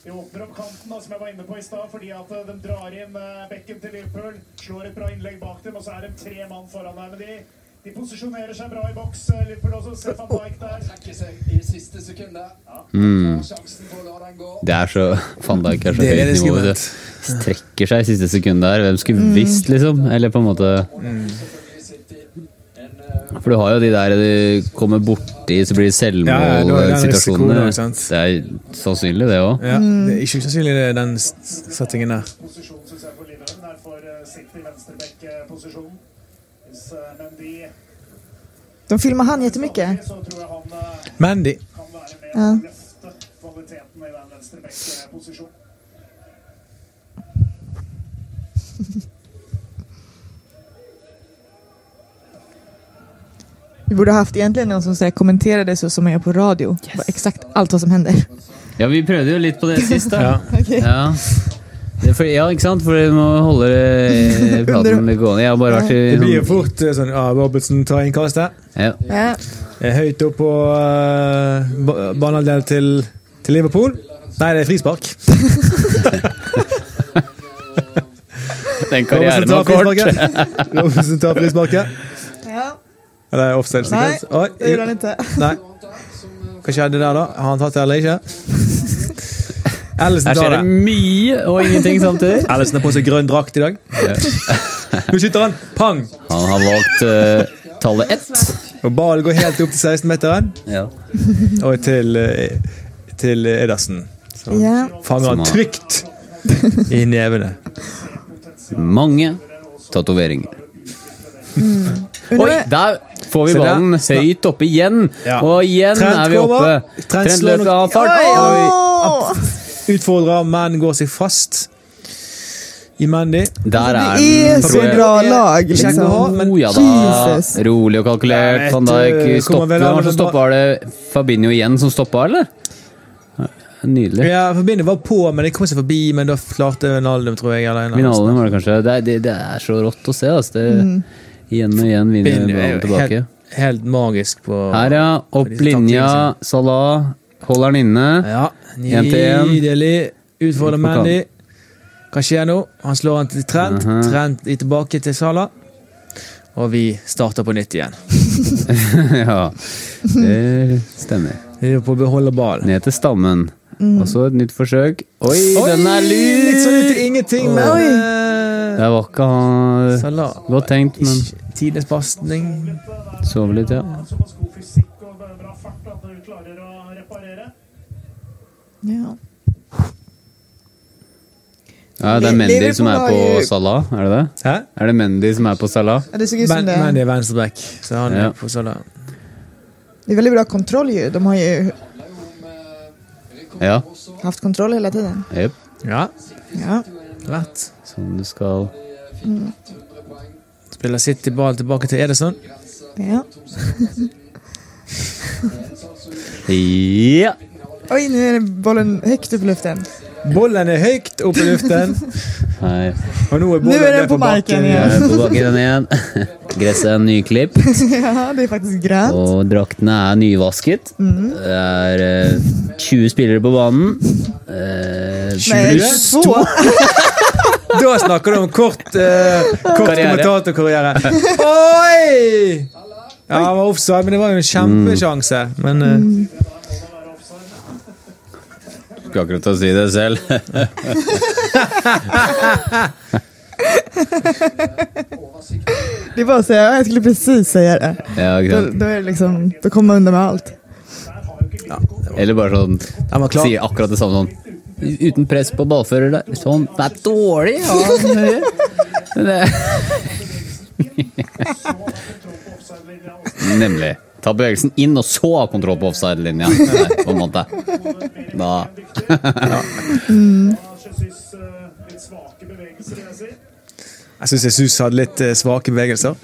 [SPEAKER 5] De åpner opp kanten, da, som jeg var inne på i stad, fordi at eh, de drar inn eh, bekken til Liverpool. Slår et bra innlegg bak dem, og så er de tre mann foran der. Men de, de posisjonerer seg bra i boks, eh, Liverpool også. Se van Dijk der.
[SPEAKER 7] Trekker seg i siste sekundet. Mm. Sjansen på å la den gå.
[SPEAKER 1] Det er så Faen, det er ikke så
[SPEAKER 4] Det er
[SPEAKER 1] høyt
[SPEAKER 4] det
[SPEAKER 1] nivå.
[SPEAKER 4] skummelt.
[SPEAKER 1] Det trekker seg i siste sekund der. Hvem skulle visst, liksom? Eller på en måte For du har jo de der du kommer borti, så blir det
[SPEAKER 4] Ja, ja, det var jo den risikoen
[SPEAKER 1] selvmålsituasjoner.
[SPEAKER 4] også, sant?
[SPEAKER 1] Det er sannsynlig, det òg.
[SPEAKER 4] ja. Det er ikke usannsynlig det, den s- settingen der.
[SPEAKER 5] Posisjonen synes jeg for Lindholm er for eh, City venstreback-posisjon. Hvis eh, Mendy
[SPEAKER 2] De filmar han jättemycket.
[SPEAKER 5] så tror jeg han eh,
[SPEAKER 4] Mandy.
[SPEAKER 5] kan være med
[SPEAKER 2] Ja.
[SPEAKER 5] å løfte kvaliteten i den venstreback-posisjonen.
[SPEAKER 2] Vi borde ha haft egentligen någon som så här, kommenterade så som man gör på radio. Bara Exakt allt vad som händer.
[SPEAKER 1] Ja, vi prøvde jo litt på det sist, da.
[SPEAKER 4] Ja.
[SPEAKER 2] Okej.
[SPEAKER 1] Ja. Det er for, ja, ikke sant? For vi må holde eh, praten gående. Jeg har bare vært i
[SPEAKER 4] Det blir jo fort eh, sånn ah, Robertsen tar innkastet.
[SPEAKER 1] ja.
[SPEAKER 2] Ja.
[SPEAKER 4] Eh, Høyt opp på uh, banehalvdel til, til Liverpool. Nei, det er frispark.
[SPEAKER 1] Den
[SPEAKER 4] Robertsen
[SPEAKER 1] karrieren
[SPEAKER 4] tar
[SPEAKER 1] var kort.
[SPEAKER 4] frisparket. Robertsen tar frisparket.
[SPEAKER 2] Ja.
[SPEAKER 4] Eller offside,
[SPEAKER 2] Nej,
[SPEAKER 4] sikkert.
[SPEAKER 2] det gjorde han
[SPEAKER 4] Oi,
[SPEAKER 2] inte.
[SPEAKER 4] nei. Hva skjedde der, da? Har han tatt det eller ikke? Ellison
[SPEAKER 1] Her skjer
[SPEAKER 4] tar
[SPEAKER 1] det
[SPEAKER 4] det.
[SPEAKER 1] mye og ingenting samtidig.
[SPEAKER 4] Ellison har på seg grønn drakt i dag. Nå skyter han! Pang!
[SPEAKER 1] Han har valgt eh, tallet ett.
[SPEAKER 4] Og ballen går helt opp til 16-meteren.
[SPEAKER 1] Ja.
[SPEAKER 4] Og til, eh, til Edersen. Som
[SPEAKER 2] Ja.
[SPEAKER 4] fanger
[SPEAKER 1] Som
[SPEAKER 4] han
[SPEAKER 1] har-
[SPEAKER 4] trygt i nevene.
[SPEAKER 1] Mange tatoveringer. Oi,
[SPEAKER 2] Undrar,
[SPEAKER 1] der får vi
[SPEAKER 4] Se der.
[SPEAKER 1] ballen høyt oppe igjen.
[SPEAKER 4] Ja.
[SPEAKER 1] Og igjen
[SPEAKER 4] Trent
[SPEAKER 1] er vi oppe.
[SPEAKER 4] kommer. Trent
[SPEAKER 1] Trent
[SPEAKER 4] slår
[SPEAKER 1] løper
[SPEAKER 4] nok-
[SPEAKER 1] av fart.
[SPEAKER 4] Oi.
[SPEAKER 2] Åh!
[SPEAKER 4] Utfordrer, men går seg fast. I Mandy.
[SPEAKER 1] Der er
[SPEAKER 2] Det är
[SPEAKER 1] den,
[SPEAKER 2] så
[SPEAKER 1] tror jeg.
[SPEAKER 2] bra lag
[SPEAKER 4] Kjekk å ha,
[SPEAKER 2] liksom.
[SPEAKER 4] men
[SPEAKER 1] Oh, ja da.
[SPEAKER 2] Jesus.
[SPEAKER 1] Rolig og kalkulert.
[SPEAKER 4] Jeg
[SPEAKER 1] Van
[SPEAKER 4] vet,
[SPEAKER 1] Dijk
[SPEAKER 4] eh, kommer
[SPEAKER 1] stopper.
[SPEAKER 4] vel
[SPEAKER 1] Hvem
[SPEAKER 4] av
[SPEAKER 1] var det som
[SPEAKER 4] den
[SPEAKER 1] stoppa? Var det Fabinho igjen som stoppa, eller? Nydelig.
[SPEAKER 4] Ja, Forbindet var på, men det kom seg forbi. Men da klarte Vinaldum, tror jeg. Eller en eller annen.
[SPEAKER 1] Vinalen var det kanskje. Det er, det, det er så rått å se. Altså. Det, igjen og igjen vinner
[SPEAKER 4] Forbindet er
[SPEAKER 1] ballen
[SPEAKER 4] jo
[SPEAKER 1] tilbake.
[SPEAKER 4] helt, helt magisk på
[SPEAKER 1] Her, ja.
[SPEAKER 4] Fordi
[SPEAKER 1] Opp
[SPEAKER 4] så
[SPEAKER 1] linja.
[SPEAKER 4] taktikken
[SPEAKER 1] Salah holder den inne.
[SPEAKER 4] Ja,
[SPEAKER 1] En til en.
[SPEAKER 4] Nydelig.
[SPEAKER 1] Ut
[SPEAKER 4] Utfordrer
[SPEAKER 1] på
[SPEAKER 4] Mandy. Hva skjer nå? Han slår han til Trent.
[SPEAKER 1] Mhm.
[SPEAKER 4] Trent er tilbake til Sala. Og vi starter på nytt igjen.
[SPEAKER 1] ja, det stemmer.
[SPEAKER 4] Vi er på å beholde ballen.
[SPEAKER 1] Ned til stammen. Og så et nytt forsøk. Oi, den er lur!
[SPEAKER 4] Litt sånn ut til ingenting, men eh,
[SPEAKER 1] Det var ikke han
[SPEAKER 4] Salah
[SPEAKER 1] Godt tenkt, men
[SPEAKER 4] Tidenes pasning.
[SPEAKER 1] sov litt, ja.
[SPEAKER 5] Såpass god fysikk og bra fart at du klarer å reparere.
[SPEAKER 2] Ja.
[SPEAKER 1] ja det er Mendy som er
[SPEAKER 2] Liverpool har
[SPEAKER 1] på
[SPEAKER 2] jo-
[SPEAKER 1] Salah, er det det?
[SPEAKER 4] Hæ?
[SPEAKER 1] Er det Mendy som er på Salah?
[SPEAKER 2] Ja, Det såg ut som
[SPEAKER 4] Men, men
[SPEAKER 2] det.
[SPEAKER 4] det er venstreback, så han
[SPEAKER 1] Ja.
[SPEAKER 4] er på Salah.
[SPEAKER 2] Det är väldigt bra kontroll ju. De har ju
[SPEAKER 1] Ja.
[SPEAKER 2] haft kontroll hela tiden.
[SPEAKER 1] Jep.
[SPEAKER 4] Ja,
[SPEAKER 2] Ja.
[SPEAKER 4] rett.
[SPEAKER 1] Sånn du skal
[SPEAKER 4] Spiller City ball tilbake til Edison.
[SPEAKER 2] ja.
[SPEAKER 1] Ja!
[SPEAKER 2] Oj, nu är bollen högt upp i luften.
[SPEAKER 4] Bollen er høyt oppe i luften,
[SPEAKER 1] Her
[SPEAKER 4] og nå
[SPEAKER 2] Nu
[SPEAKER 4] er bollen
[SPEAKER 2] är
[SPEAKER 4] ned
[SPEAKER 2] den på marken
[SPEAKER 1] er
[SPEAKER 2] igen.
[SPEAKER 1] jeg på bakken igjen. Gresset er nyklipt,
[SPEAKER 2] Ja, det är faktiskt grönt.
[SPEAKER 1] og draktene er nyvasket.
[SPEAKER 2] Mhm.
[SPEAKER 1] Det er eh, 20 spillere på banen. Eh,
[SPEAKER 2] Nej, två.
[SPEAKER 4] Da snakker du om kort, eh, kort
[SPEAKER 1] Karriere.
[SPEAKER 4] kommentatorkarriere. Oi! Ja, han var offside, men det var jo en kjempesjanse. Men eh,
[SPEAKER 1] Skulle akkurat til å si det selv.
[SPEAKER 2] Det är bara att säga, "Ja, jag skulle precis säga det.
[SPEAKER 1] ja, ikke
[SPEAKER 2] Då,
[SPEAKER 1] sant?
[SPEAKER 2] då är det liksom, då kommer man undan med allt.
[SPEAKER 1] Eller bare sånn
[SPEAKER 4] han var klar.
[SPEAKER 1] Sier akkurat det samme sånn. Uten press på ballfører der. Sånn. Det er dårlig! Ja. Men det- Nemlig. Ta bevegelsen inn, og så ha kontroll på offside-linja. Nei, På en måte. Da.
[SPEAKER 5] Jeg synes jeg, eh, litt svake bevegelser, vil jeg si.
[SPEAKER 4] Jeg syns Jesus hadde litt eh, svake bevegelser.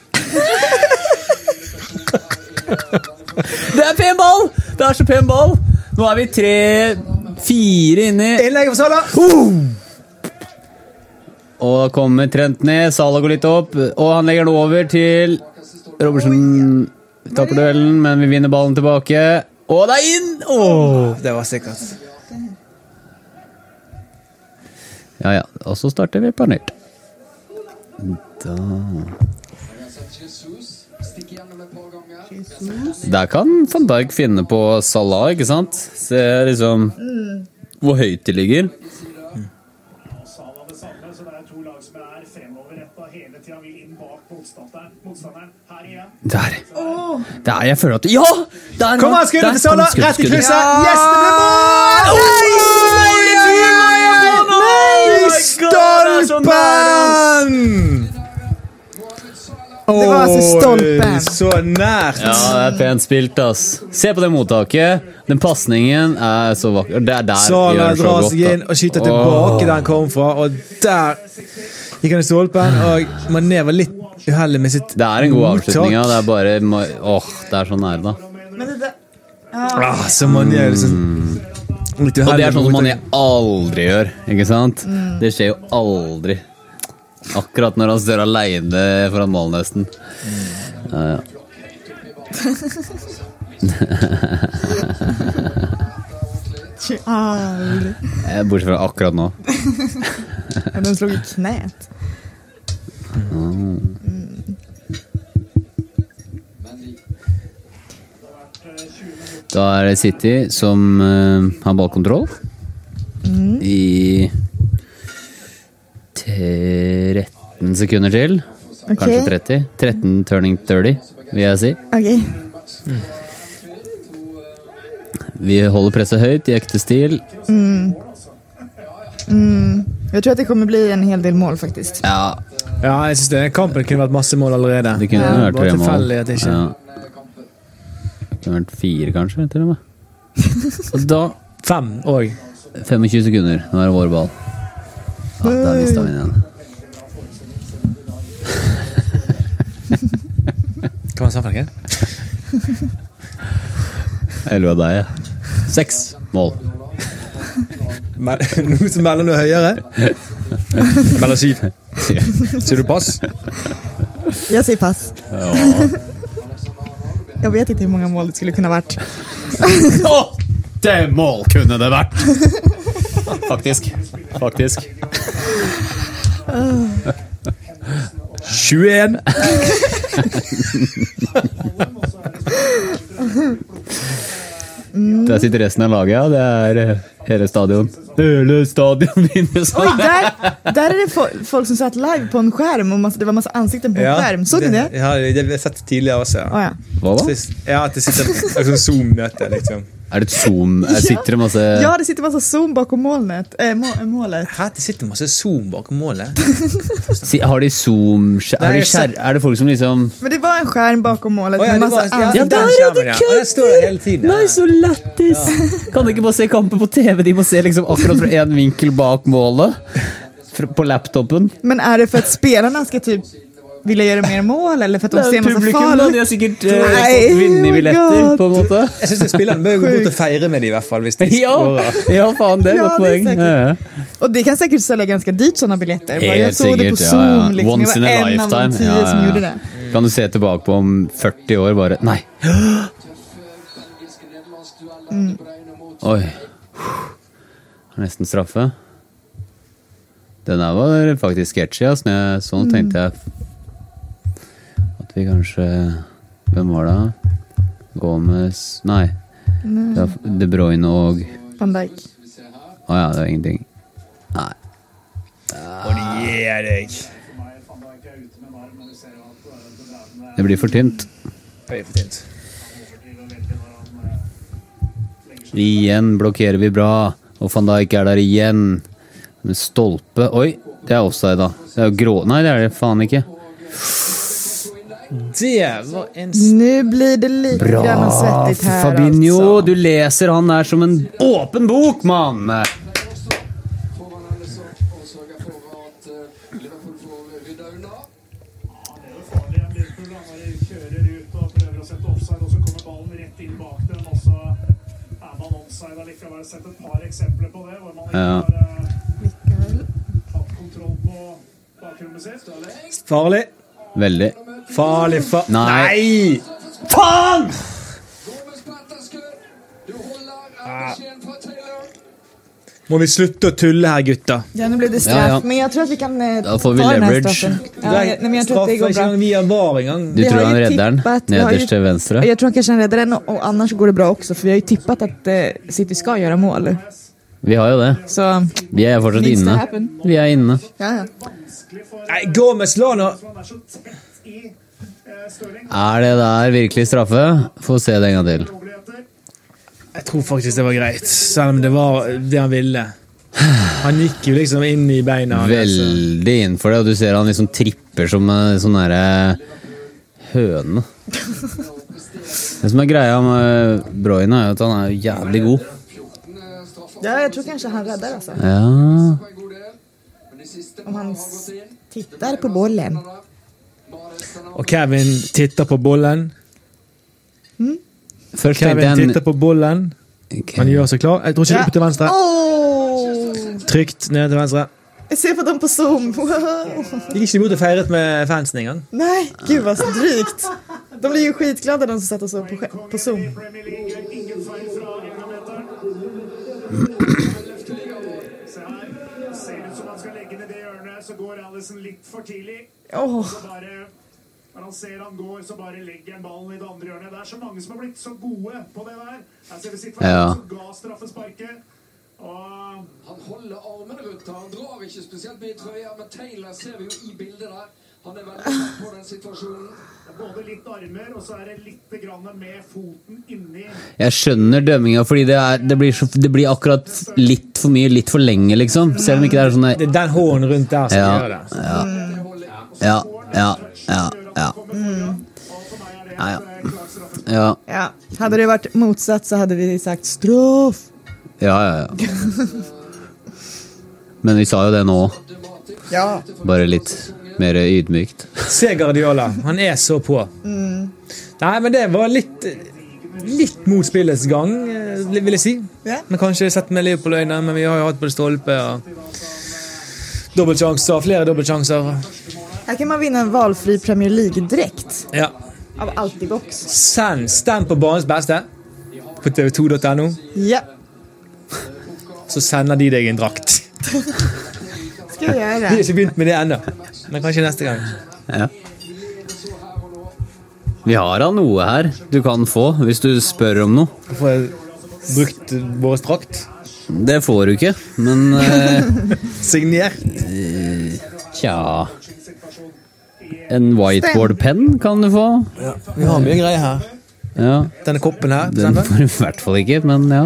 [SPEAKER 1] Det er pen ball! Det er så pen ball! Nå er vi tre, fire inni.
[SPEAKER 4] Innlegget for Sala!
[SPEAKER 1] Og da kommer Trent ned, Salah går litt opp, og han legger den over til Robertsen. Taper duellen, men vi vinner ballen tilbake. Og det er inn! Åh!
[SPEAKER 3] Det var sikkert.
[SPEAKER 1] Ja, ja. Og så starter vi på nytt. Da
[SPEAKER 7] Stikker gjennom et par ganger.
[SPEAKER 1] Der kan van Dijk finne på Salah, ikke sant? Se liksom hvor høyt de ligger.
[SPEAKER 5] Sala det samme, så det er to lag som er fremoverretta hele tida. Vil inn bak motstanderen. Motstanderen her igjen.
[SPEAKER 1] Der. Der, jeg føler at Ja! Der,
[SPEAKER 4] Kom an, skuddet til Salah! Rett i krysset! Yes, det blir mål! Nei, stolpen!
[SPEAKER 2] Det var altså
[SPEAKER 4] Oi,
[SPEAKER 2] stolpen.
[SPEAKER 4] Så nært.
[SPEAKER 1] Ja, det er pent spilt, ass. Se på det mottaket. Den pasningen er så vakker. Det er der vi
[SPEAKER 4] Salah
[SPEAKER 1] gjør det så
[SPEAKER 4] drar
[SPEAKER 1] godt.
[SPEAKER 4] seg inn
[SPEAKER 1] da.
[SPEAKER 4] og skyter
[SPEAKER 1] Åh.
[SPEAKER 4] tilbake der han kom fra, og der gikk han i stolpen. Og Mané var litt uheldig med sitt
[SPEAKER 1] Det er en god avslutning, ja.
[SPEAKER 4] mottak.
[SPEAKER 1] Det er bare ma- Åh, det er så nære, da.
[SPEAKER 4] Ah, så Mané er liksom litt uheldig.
[SPEAKER 1] Og det er sånn
[SPEAKER 4] med
[SPEAKER 1] som Mané
[SPEAKER 4] mottaket.
[SPEAKER 1] aldri gjør, ikke sant? Det skjer jo aldri. Akkurat når han står aleine foran mål, nesten. Ja, ja.
[SPEAKER 2] Aldri.
[SPEAKER 1] Eh, Bortsett fra akkurat nå.
[SPEAKER 2] Ja, Den slog i knät.
[SPEAKER 1] Da er det City som eh, har ballkontroll.
[SPEAKER 4] Mm.
[SPEAKER 1] I 13 sekunder til. Kanskje 30. 13 turning 30, vil jeg si.
[SPEAKER 2] Okej.
[SPEAKER 1] Vi holder presset høyt i ekte stil.
[SPEAKER 2] Mm. Jag tror att det kommer bli en hel del mål faktiskt.
[SPEAKER 1] Ja,
[SPEAKER 4] Ja, jeg synes det. Kampen kunne vært masse mål allerede.
[SPEAKER 1] det kunne
[SPEAKER 4] Ja,
[SPEAKER 1] vært
[SPEAKER 4] bare
[SPEAKER 1] tre mål.
[SPEAKER 4] tilfeldig at det ikke
[SPEAKER 1] Ja. Det kunne vært fire, kanskje, til og med. Og da
[SPEAKER 4] Fem òg.
[SPEAKER 1] 25 sekunder. Nå er det vår ball. Ja, da mista vi den igjen.
[SPEAKER 4] Hva var det han sa for noe?
[SPEAKER 1] Elleve av deg, ja. Seks mål.
[SPEAKER 4] Mel- Noen som melder noe høyere? Melder syv. Sier du pass?
[SPEAKER 2] Jag säger pass. Jag vet inte hur många mål det skulle kunna varit.
[SPEAKER 1] Åtte mål kunne det vært! Faktisk. Faktisk.
[SPEAKER 4] 21!
[SPEAKER 1] Der sitter resten av laget, ja. Det er eh, hele stadion. Hele stadion vinner
[SPEAKER 2] Oj,
[SPEAKER 1] sånn!
[SPEAKER 2] där, där är det fo- folk som satt live på en skärm och massa, det var massa ansikten på en skärm. Såg ni det?
[SPEAKER 4] Ja, det har jeg sett tidligere også.
[SPEAKER 2] Ah, ja.
[SPEAKER 1] Hva da?
[SPEAKER 4] Sist- Ja, at det sitter et sånt Zoom-møte, liksom.
[SPEAKER 1] Er det et zoom? Jeg sitter det masse
[SPEAKER 4] Eh.
[SPEAKER 2] ja, det sitter massa zoom bakom molnet. Eh, må, målet.
[SPEAKER 4] Hæ, det sitter masse Zoom bak målet?
[SPEAKER 1] Si- Har de zoom er,
[SPEAKER 4] Nei,
[SPEAKER 1] de
[SPEAKER 4] jeg ser-
[SPEAKER 1] skjer- er det folk som liksom
[SPEAKER 2] Men det var en skärm bakom målet
[SPEAKER 4] Å ja,
[SPEAKER 2] med
[SPEAKER 4] det
[SPEAKER 2] massa
[SPEAKER 4] var, ja,
[SPEAKER 2] ansikten.
[SPEAKER 4] den skjermen, ja. Og den står der hele tiden. ja.
[SPEAKER 1] så lættis! Kan de ikke bare se kampen på TV? De må se liksom akkurat fra én vinkel bak målet. Fra- På laptopen.
[SPEAKER 2] Men är det för att spelarna ska typ vilja göra mer mål eller för att de ser massa
[SPEAKER 1] da.
[SPEAKER 2] fall?
[SPEAKER 1] De har sikkert
[SPEAKER 2] Nei, oh
[SPEAKER 1] eh, fått vinnerbilletter, på en måte.
[SPEAKER 4] Jeg syns spillerne bør gå bort og feire med dem, i hvert fall. Hvis de
[SPEAKER 1] Ja,
[SPEAKER 4] scorer.
[SPEAKER 1] ja faen, det er
[SPEAKER 2] Ja,
[SPEAKER 1] godt
[SPEAKER 2] det er
[SPEAKER 1] poeng.
[SPEAKER 2] sikkert.
[SPEAKER 1] Ja, ja.
[SPEAKER 2] Och det kan säkert sälja ganska dyrt sådana biljetter. Bara,
[SPEAKER 1] Helt
[SPEAKER 2] jag såg det på
[SPEAKER 1] sikkert, ja,
[SPEAKER 2] Zoom.
[SPEAKER 1] ja.
[SPEAKER 2] Liksom.
[SPEAKER 1] Once
[SPEAKER 2] jag
[SPEAKER 1] in
[SPEAKER 2] var
[SPEAKER 1] a
[SPEAKER 2] en av de
[SPEAKER 1] lifetime.
[SPEAKER 2] tio
[SPEAKER 1] Ja, ja,
[SPEAKER 2] som
[SPEAKER 1] ja.
[SPEAKER 2] gjorde det.
[SPEAKER 1] Kan du se tilbake på om 40 år bare Nei!
[SPEAKER 2] Mm.
[SPEAKER 1] Oi. Det er nesten straffe. Den der var faktisk sketchy. ass. Når jeg så den,
[SPEAKER 2] Mm.
[SPEAKER 1] tenkte jeg at vi kanskje Hvem var det? Gomez Nei. Det var De Bruyne og
[SPEAKER 2] Van Dijk.
[SPEAKER 1] Å ja, det var ingenting. Nei.
[SPEAKER 4] Og de gir deg.
[SPEAKER 5] eh,
[SPEAKER 1] Det blir for tynt.
[SPEAKER 4] Oi, for tynt.
[SPEAKER 5] eh,
[SPEAKER 1] Igjen blokkerer vi bra, og van Dijk er der igjen. Med stolpe Oi, det er offside, da. Det er jo grå... Nei, det er det faen ikke.
[SPEAKER 4] Det var en s-
[SPEAKER 2] Nu blir det lite grann svettigt här
[SPEAKER 1] Fabinho,
[SPEAKER 2] alltså.
[SPEAKER 1] du leser han der som en åpen bok, mann!
[SPEAKER 7] Får man Alisson og sørger for at eh, Liverpool får rydda unna.
[SPEAKER 5] Det er jo farlig. Liverpool da, når de kjører ut og prøver å sette offside, og så kommer ballen rett inn bak dem, og så er man onside allikevel. Jeg har sett et par eksempler på det, hvor man ikke
[SPEAKER 1] Ja.
[SPEAKER 5] har eh, hatt kontroll på Bakrommet sitt.
[SPEAKER 4] Farlig.
[SPEAKER 1] Veldig.
[SPEAKER 4] Farlig, fa...
[SPEAKER 1] Nei!
[SPEAKER 4] Faen!
[SPEAKER 7] Gomez på etterskudd. Du holder er beskjeden fra Taylor.
[SPEAKER 4] Ah. Må vi slutte å tulle her, gutter?
[SPEAKER 2] Ja, nu blev det straff,
[SPEAKER 1] Ja, ja.
[SPEAKER 2] men jag tror att vi kan eh,
[SPEAKER 1] Då får vi
[SPEAKER 2] ta den här
[SPEAKER 1] leverage.
[SPEAKER 2] straffen. Ja, nej, men jag tror att det går
[SPEAKER 4] Straff er ikke
[SPEAKER 2] bra.
[SPEAKER 4] engang via VAR engang.
[SPEAKER 1] Du
[SPEAKER 2] Vi
[SPEAKER 1] tror
[SPEAKER 2] har
[SPEAKER 1] han
[SPEAKER 2] ju
[SPEAKER 1] redder den?
[SPEAKER 2] tippat- vi har ju-
[SPEAKER 1] Nederst til venstre?
[SPEAKER 2] Jag tror han kanske räddar den och, och annars går det bra också för vi har ju tippat att eh, City ska göra mål.
[SPEAKER 1] Vi har jo det.
[SPEAKER 2] Så
[SPEAKER 1] Vi er fortsatt
[SPEAKER 2] Needs to
[SPEAKER 1] inne.
[SPEAKER 2] happen.
[SPEAKER 1] Vi er inne.
[SPEAKER 2] ja, ja.
[SPEAKER 4] Nei, Gomez la nå
[SPEAKER 5] Så han er så tett i eh, Stirling.
[SPEAKER 1] Er det der virkelig straffe? Få se det en gang til.
[SPEAKER 5] Muligheter.
[SPEAKER 4] Jeg tror faktisk det var greit, selv om det var det han ville. Han gikk jo liksom inn i beina. hans, altså.
[SPEAKER 1] Veldig innenfor det, og du ser han liksom tripper som en sånn derre høne. Det som er greia med Broyne, er jo at han er jo jævlig god.
[SPEAKER 2] ja, jag tror kanske han räddar alltså.
[SPEAKER 1] Ja
[SPEAKER 7] En god del. Men de siste
[SPEAKER 2] Om han
[SPEAKER 7] har gått inn.
[SPEAKER 2] tittar på bollen.
[SPEAKER 7] Mares kan ha
[SPEAKER 4] Og Kevin titter på bollen.
[SPEAKER 1] Først tenkte
[SPEAKER 4] Kevin
[SPEAKER 1] jeg
[SPEAKER 4] titter på bollen. Han gjør seg klar. Jeg tror ikke opp til venstre.
[SPEAKER 2] Åh!
[SPEAKER 4] Trygt ned til venstre.
[SPEAKER 2] Jag ser på dem på Zoom. Wow.
[SPEAKER 4] Gikk ikke imot og feiret med fansen engang.
[SPEAKER 2] Nej, gud vad drygt. De blir ju skitglada de som satt och såg på, sk- på Zoom.
[SPEAKER 1] Mm.
[SPEAKER 5] Premier League gjør ingen feil fra engameteren. Se her. Ser ut som han skal legge ned det hjørnet, så går Alison litt for tidlig.
[SPEAKER 2] Åh,
[SPEAKER 5] Så bare når han ser han går, så bare legger han ballen i det andre hjørnet. Det er så mange som har blitt så gode på det der. Her ser vi situasjonen
[SPEAKER 1] Ja.
[SPEAKER 5] som ga straffesparket. Og
[SPEAKER 7] Han holder armene rundt her. Han drar ikke spesielt mye i trøya, men Taylor ser vi jo i bildet der. Han er veldig tett på den situasjonen.
[SPEAKER 5] det er både litt armer, og så er det litt grann med foten inni.
[SPEAKER 1] Jeg skjønner dømminga, fordi det, er, det, blir så, det blir akkurat litt for mye, litt for lenge, liksom. Selv om ikke det er sånn der
[SPEAKER 4] Det er den hånden rundt der som gjør
[SPEAKER 1] Ja,
[SPEAKER 4] det.
[SPEAKER 1] ja, ja, ja, ja. Ja, ja. Ja,
[SPEAKER 2] ja. Hade det varit motsatt så hade vi sagt straff.
[SPEAKER 1] ja, ja. ja. Men vi sa jo det nå,
[SPEAKER 2] Ja.
[SPEAKER 1] bare litt mer ydmykt.
[SPEAKER 4] Se Guardiola. Han er så på. Nei, men det var litt Litt mot spillets gang, eh, vil jeg si.
[SPEAKER 2] Ja.
[SPEAKER 4] Men kanskje sett med Liverpool-øyne, men vi har jo hatt både stolpe og dobbeltsjanser. Flere dobbeltsjanser.
[SPEAKER 2] Här kan man vinna en valfri Premier League direkt.
[SPEAKER 4] Ja.
[SPEAKER 2] Av allt i box.
[SPEAKER 4] Send stem på banens beste på tv2.no,
[SPEAKER 2] Ja,
[SPEAKER 4] så sender de deg en drakt.
[SPEAKER 2] ska jag göra.
[SPEAKER 4] Vi har ikke begynt med det ennå, men kanskje neste gang.
[SPEAKER 1] Vi har da noe her du kan få hvis du spør om noe.
[SPEAKER 4] Får jeg brukt vår drakt?
[SPEAKER 1] Det får du ikke, men eh,
[SPEAKER 4] Signert?
[SPEAKER 1] tja En whiteboard-penn kan du få.
[SPEAKER 4] Vi har mye greier her.
[SPEAKER 1] Ja,
[SPEAKER 4] Denne koppen her. for
[SPEAKER 1] Den
[SPEAKER 4] eksempel.
[SPEAKER 1] får du i hvert fall ikke, men ja.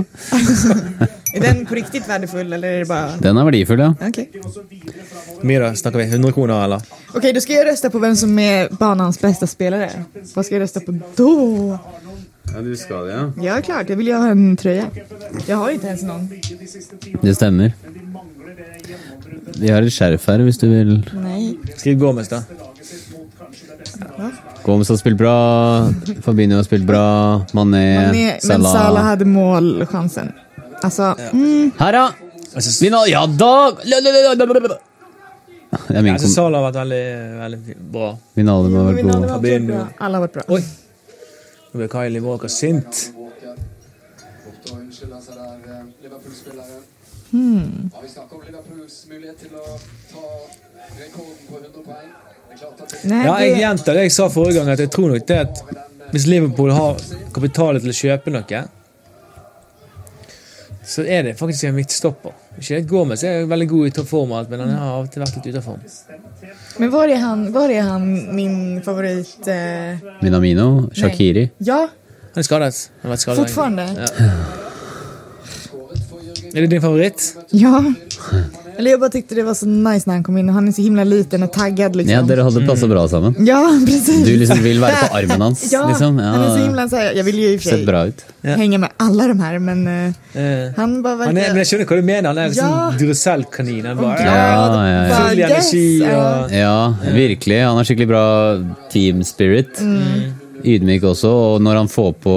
[SPEAKER 2] Är den på riktigt värdefull eller är det bara...
[SPEAKER 1] Den er verdifull, ja.
[SPEAKER 2] Okej.
[SPEAKER 4] Hvor mye da? Snakker vi 100 kroner, eller?
[SPEAKER 2] Okej, då ska jag rösta på vem som är banans bästa spelare. Vad ska jag rösta på då?
[SPEAKER 1] ja du skal det, ja.
[SPEAKER 2] Ja, klart. Jag vill ju ha en tröja. Jag har inte ens någon.
[SPEAKER 1] Det stemmer. Vi har et skjerf her hvis du vil.
[SPEAKER 2] Nej.
[SPEAKER 4] Skriv Gomez, da.
[SPEAKER 1] Gomes har spilt bra, Fabinho har spilt bra, Mané,
[SPEAKER 2] Nej, men Salah
[SPEAKER 1] Salah
[SPEAKER 2] hade målchansen. Alltså, mm,
[SPEAKER 1] Her, ja!
[SPEAKER 4] Jeg
[SPEAKER 1] Vinner! Ja da! La, la, la, la, la, la, la. Det er min kom...
[SPEAKER 4] syns altså, Salah har vært veldig, veldig bra.
[SPEAKER 1] Vinaldo må ha vært
[SPEAKER 2] Wijnaldum
[SPEAKER 1] god.
[SPEAKER 2] har varit bra. Alla har varit bra.
[SPEAKER 4] Oi! Nå ble Kylie Walker sint.
[SPEAKER 7] Bort og unnskylder seg der, eh, Liverpool-spilleren. Ja, vi snakker om Liverpools mulighet til å ta rekorden på 100 poeng. Det er klart at det
[SPEAKER 2] Nej,
[SPEAKER 4] Ja, jeg
[SPEAKER 2] det,
[SPEAKER 4] gjentar det jeg sa forrige gang, at jeg tror nok det at hvis Liverpool har kapitalen til å kjøpe noe, så er det faktisk en midtstopper. Ikke at Gomez er veldig god i topp form, og alt, men han har av og til vært litt ute av form.
[SPEAKER 2] men var är han, var är han min favorit? Eh,
[SPEAKER 1] Minamino, Shakiri.
[SPEAKER 2] ja,
[SPEAKER 4] Han er skadet. Han har vært skadet
[SPEAKER 2] fortfarande.
[SPEAKER 4] lenge. Er det din favoritt?
[SPEAKER 2] Ja. Eller jag bara tyckte det var så nice när han kom in och han är så himla liten och taggad liksom.
[SPEAKER 1] Ja, dere hadde passa bra sammen.
[SPEAKER 2] Ja, precis.
[SPEAKER 1] Du liksom vil være på armen hans,
[SPEAKER 2] Ja,
[SPEAKER 1] liksom?
[SPEAKER 2] han är så
[SPEAKER 1] Ja,
[SPEAKER 2] himla så här, jag vill ju i och för
[SPEAKER 1] sett
[SPEAKER 2] sig
[SPEAKER 1] bra ut.
[SPEAKER 4] Ja.
[SPEAKER 2] hänga med alla de här men eh,
[SPEAKER 4] Eh,
[SPEAKER 2] han bara
[SPEAKER 4] han er, men
[SPEAKER 2] verkar...
[SPEAKER 4] jeg skjønner hva du mener. Han er en
[SPEAKER 2] Ja.
[SPEAKER 4] sånn Duracell-kanin. Han bare
[SPEAKER 1] Ja, ja, ja.
[SPEAKER 2] bara,
[SPEAKER 4] Full energi
[SPEAKER 2] yes, ja.
[SPEAKER 4] og
[SPEAKER 1] Ja, virkelig. Han har skikkelig bra team spirit. ydmyk også, og når han får på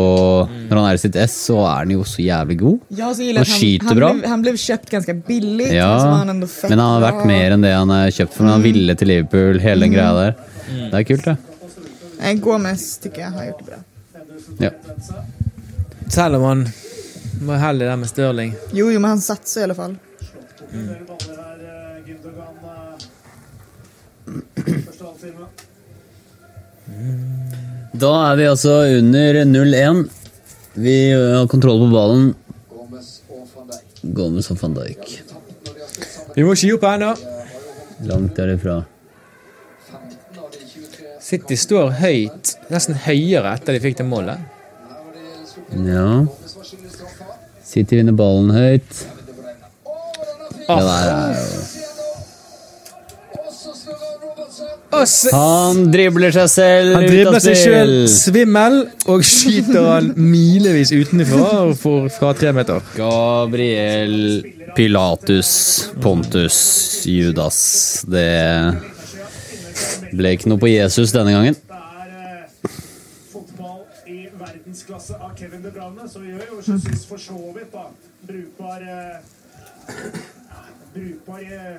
[SPEAKER 1] Når han er i sitt ess, så er han jo så jævlig god.
[SPEAKER 2] Jag så gillar att
[SPEAKER 1] Han
[SPEAKER 2] han,
[SPEAKER 1] skiter
[SPEAKER 2] han,
[SPEAKER 1] bra.
[SPEAKER 2] blev, han blev köpt ganska billigt, men så var
[SPEAKER 1] Ja,
[SPEAKER 2] han ändå fett Mm.
[SPEAKER 1] men han har vært
[SPEAKER 2] bra.
[SPEAKER 1] mer enn det han er kjøpt for. Men han ville til Liverpool, hele den
[SPEAKER 2] Mm.
[SPEAKER 1] greia der. Det er kult, det.
[SPEAKER 2] Nej, Gomez tycker jag har gjort det bra.
[SPEAKER 1] Ja.
[SPEAKER 4] Selv om han var heldig der med Stirling.
[SPEAKER 2] Jo, jo, men han satsar i alla fall.
[SPEAKER 5] Flere baller her, eh, Gündogan. eh, Første halvtime.
[SPEAKER 1] Da er vi altså under 0-1. Vi har kontroll på ballen.
[SPEAKER 7] Gomez og van Dijk.
[SPEAKER 1] Gomez og van Dijk.
[SPEAKER 7] Tapt når de har spilt sammen
[SPEAKER 4] Vi må ikke gi opp ennå.
[SPEAKER 1] Langt derifra.
[SPEAKER 7] 15 av de 23.
[SPEAKER 4] City står høyt, nesten høyere etter de fikk det målet.
[SPEAKER 7] Her var det stort
[SPEAKER 1] Ja.
[SPEAKER 7] Gomez var skyldig i straffa.
[SPEAKER 1] City vinner ballen høyt.
[SPEAKER 7] Det var regnet. Å, den er fin!
[SPEAKER 1] Det der er jo
[SPEAKER 7] Og så snurrer Robertsen.
[SPEAKER 4] Og se-
[SPEAKER 1] Han dribler seg selv
[SPEAKER 4] Han dribler seg sjøl svimmel og skyter han milevis utenfra og får fra tre meter.
[SPEAKER 1] Gabriel Pilatus Pontus Judas. Det ble ikke noe på Jesus denne gangen.
[SPEAKER 5] Det er eh, fotball i verdensklasse av Kevin De Bruyne, så vi gjør jo Jesus for så vidt da. Brukbar eh, ja, Brukbar eh,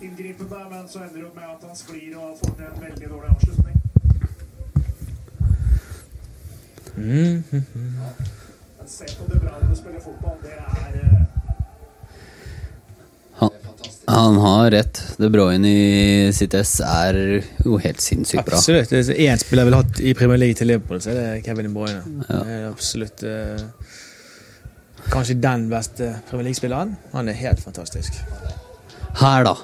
[SPEAKER 5] inngripen der, men så ender det jo med at han sklir og får til en veldig dårlig avslutning. Men se på De Bruyne spille fotball, det er eh,
[SPEAKER 1] Han har rett. De Bruyne i sitt ess er jo helt sinnssykt bra.
[SPEAKER 4] Absolutt. Det er én spiller jeg ville hatt i Premier League til Liverpool, så er det Kevin De Bruyne. Det er absolutt eh, Kanskje den beste Premier League-spilleren. Han er helt fantastisk.
[SPEAKER 1] Her, da.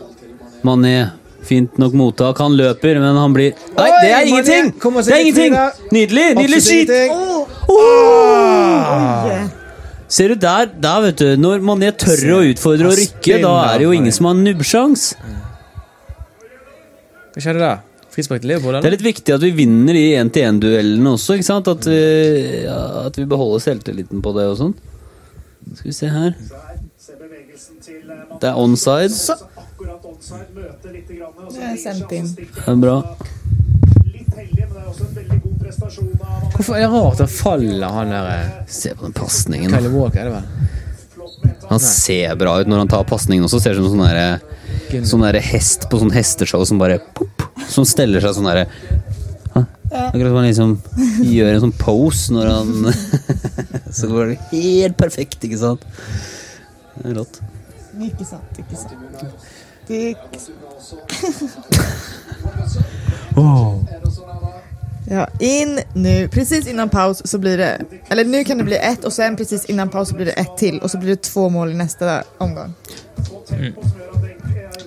[SPEAKER 1] Mané. Fint nok mottak. Han løper, men han blir Nei, det
[SPEAKER 4] Oi,
[SPEAKER 1] er ingenting!
[SPEAKER 4] Mané kommer seg
[SPEAKER 1] Det er
[SPEAKER 4] litt
[SPEAKER 1] ingenting!
[SPEAKER 4] videre.
[SPEAKER 1] Nydelig! Nydelig
[SPEAKER 4] Absolutt
[SPEAKER 1] skyt!
[SPEAKER 4] ingenting.
[SPEAKER 2] Yeah.
[SPEAKER 1] Ser du der, der vet du, når Mané tør å utfordre og rykke, da er det jo ingen som har nubbsjans.
[SPEAKER 4] Hva skjedde der? Frispark til Liverpool,
[SPEAKER 1] Det
[SPEAKER 4] eller?
[SPEAKER 1] er litt viktig at vi vinner i 1-til-1-duellene også, ikke sant? At vi, ja, at vi beholder selvtilliten på det og sånn. Skal vi se her.
[SPEAKER 5] Se bevegelsen til eh, Mané,
[SPEAKER 1] Det er onside.
[SPEAKER 5] så akkurat onside, møter litt, grann, og så
[SPEAKER 2] Det er
[SPEAKER 5] vrir seg,
[SPEAKER 2] sendt
[SPEAKER 5] og så
[SPEAKER 2] inn.
[SPEAKER 5] stikker
[SPEAKER 1] Det er bra.
[SPEAKER 5] Litt heldig, men det er også en veldig god prestasjon av Mané.
[SPEAKER 4] Hvorfor er det rart at faller han der eh,
[SPEAKER 1] Se på den pasningen. da.
[SPEAKER 4] Kylie Walker, er det vel?
[SPEAKER 1] Han ser bra ut når han tar pasningen også. Ser ut som sånn derre sånn derre hest på sånn hesteshow som bare pop, Som steller seg sånn derre Hæ? Akkurat som han liksom gjør en sånn pose når han Så går det helt perfekt, ikke sant? Det er rått.
[SPEAKER 2] Mycket sant, mycket sant. Det är... Ja, in nu. Precis innan paus så blir det... Eller nu kan det bli ett och sen precis innan paus så blir det ett till och så blir det två mål i nästa omgång.
[SPEAKER 1] Mm.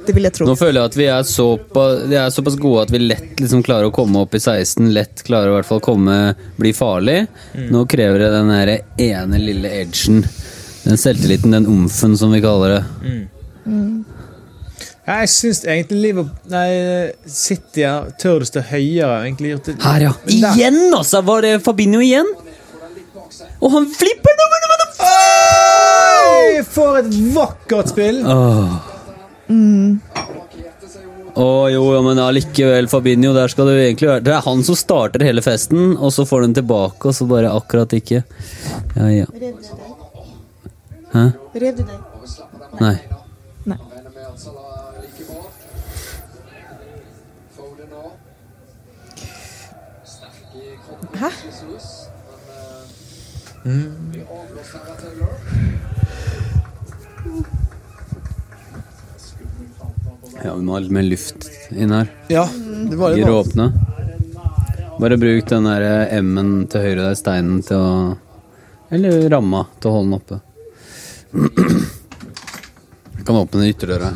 [SPEAKER 2] Det vill jag tro.
[SPEAKER 1] Nå føler jeg at vi er såpass, de er såpass gode at vi lett liksom klarer å komme opp i 16. Lett klarer å i hvert fall komme, bli farlig.
[SPEAKER 4] Mm.
[SPEAKER 1] Nå krever det den der ene lille edgen. Den selvtilliten, den omfen som vi kaller
[SPEAKER 4] Mm.
[SPEAKER 1] det.
[SPEAKER 4] Ja, Jeg syns egentlig Liverpool Nei, City er tør å stå høyere. Egentlig gjort det
[SPEAKER 1] Her, ja.
[SPEAKER 4] Men der-
[SPEAKER 1] Igjen, altså! Var det Fabinho igjen? Og han flipper den over! over den-
[SPEAKER 4] Oi! For et vakkert spill!
[SPEAKER 1] Å Mm. jo, ja, men allikevel, Fabinho. Der skal det jo egentlig være Det er han som starter hele festen, og så får den tilbake, og så bare akkurat ikke. Ja, ja.
[SPEAKER 2] Rev du dig?
[SPEAKER 1] Nei.
[SPEAKER 7] Regner med at Salah er like bra. Foden nå. Sterk i kroppen.
[SPEAKER 2] Hæ?
[SPEAKER 7] Jesus. Men eh, vi avblåser her av Taylor.
[SPEAKER 1] Ja, vi må ha litt mer luft inn her.
[SPEAKER 4] Ja, det var det.
[SPEAKER 1] Gir
[SPEAKER 4] bra.
[SPEAKER 1] åpne. Bare bruk den der eh, M-en til høyre der, steinen til å Eller ramma til å holde den oppe. Jeg kan åpne den ytterdøra.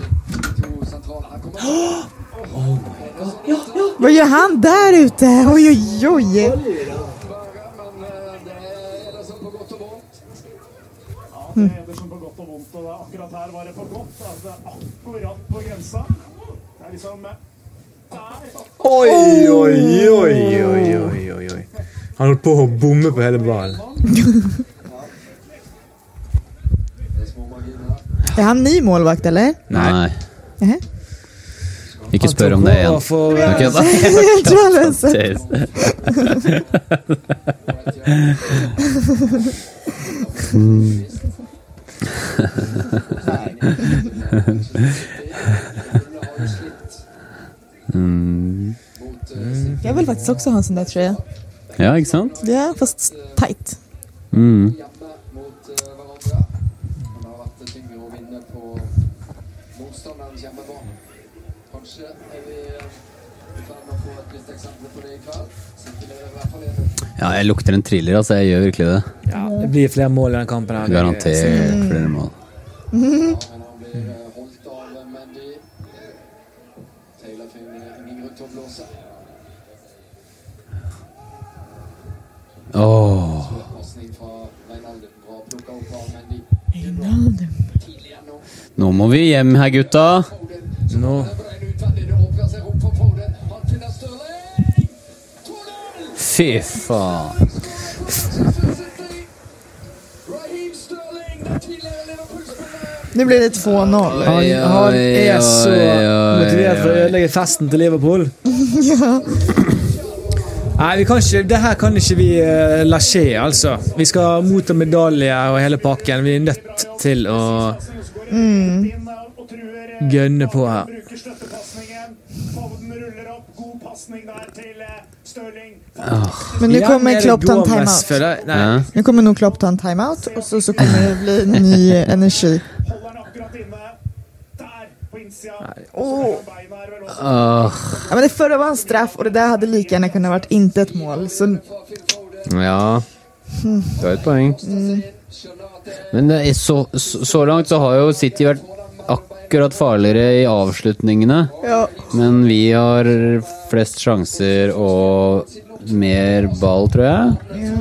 [SPEAKER 2] Vad gör han där ute? Oj, oj, oj.
[SPEAKER 7] eh,
[SPEAKER 5] Det er Ederson på godt og vondt, og det er akkurat her var det for godt. Altså, det er akkurat på grensa. Det er liksom eh, der.
[SPEAKER 4] Oi, oi, oi, oi, oi, oi, oi. Han holdt på å bomme på hele ballen.
[SPEAKER 2] Är han ny målvakt eller?
[SPEAKER 1] Nei.
[SPEAKER 2] Nej.
[SPEAKER 1] Ikke spør om det igjen.
[SPEAKER 4] For,
[SPEAKER 1] Ok, da.
[SPEAKER 2] Jeg tror jeg har sett
[SPEAKER 1] Seriøst. Mm.
[SPEAKER 2] Jeg vil faktisk også ha en sånn der trøye.
[SPEAKER 1] Ja, ikke sant?
[SPEAKER 2] Ja, fast teit.
[SPEAKER 1] Mm.
[SPEAKER 7] hjemme mot eh, hverandre. Men det har vært tyngre å vinne på motstanderens hjemmebane. Kanskje er vi eh, i ferd med å få et nytt eksempel på det i kveld. Så ikke leverer i hvert fall en
[SPEAKER 1] Ja, jeg lukter en thriller, altså. Jeg gjør virkelig det.
[SPEAKER 4] ja, det blir flere mål i den kampen. her.
[SPEAKER 1] Garantert flere mål.
[SPEAKER 7] men han blir eh, holdt av eh, Mendy. Taylor finner ingen grunn til å blåse.
[SPEAKER 1] Åh.
[SPEAKER 7] Pasning fra Reinaldum. Bra plukka opp av Mendy. Tidlig gjennom.
[SPEAKER 1] Nå må vi hjem her, gutta.
[SPEAKER 7] Foden.
[SPEAKER 4] Nå.
[SPEAKER 7] Brein utvendig. Det åpner seg opp for Foden. Han finner Stirling. Foden!
[SPEAKER 1] Fy faen.
[SPEAKER 7] Raheem Sterling, den tidligere Liverpool-spilleren.
[SPEAKER 2] Nu blir det 2-0.
[SPEAKER 4] Han,
[SPEAKER 1] Oi,
[SPEAKER 4] han
[SPEAKER 1] oi,
[SPEAKER 4] er så
[SPEAKER 1] oi, oi,
[SPEAKER 4] motivert for å
[SPEAKER 1] oi.
[SPEAKER 4] ødelegge festen til Liverpool. Nei, vi kan ikke, det her kan ikke vi eh, la skje, altså. Vi skal motta medalje og hele pakken. Vi er nødt til å
[SPEAKER 5] Mm. Og truer, eh,
[SPEAKER 4] Gønne på her.
[SPEAKER 5] Bruker støttepasningen. Foden ruller opp. God pasning der til eh, Stirling.
[SPEAKER 2] Men nu kommer
[SPEAKER 4] Jan-Erik
[SPEAKER 2] Klopp ta en
[SPEAKER 4] Gomez,
[SPEAKER 2] timeout.
[SPEAKER 4] føler jeg. Nei.
[SPEAKER 1] Ja.
[SPEAKER 2] Nu kommer nog Klopp ta en timeout och så, så kommer det bli ny energi.
[SPEAKER 5] Holder han akkurat inne. Der, på innsida.
[SPEAKER 2] Åh.
[SPEAKER 5] Beina er vel også
[SPEAKER 1] Åh.
[SPEAKER 2] Oh. Ja, men det förra var en straff och det där hade lika gärna kunnat varit inte ett mål. Så
[SPEAKER 1] Ja. Du har et poeng. Men eh, så, så så langt så har jo City vært akkurat farligere i avslutningene.
[SPEAKER 2] ja,
[SPEAKER 1] Men vi har flest sjanser og mer ball, tror jeg.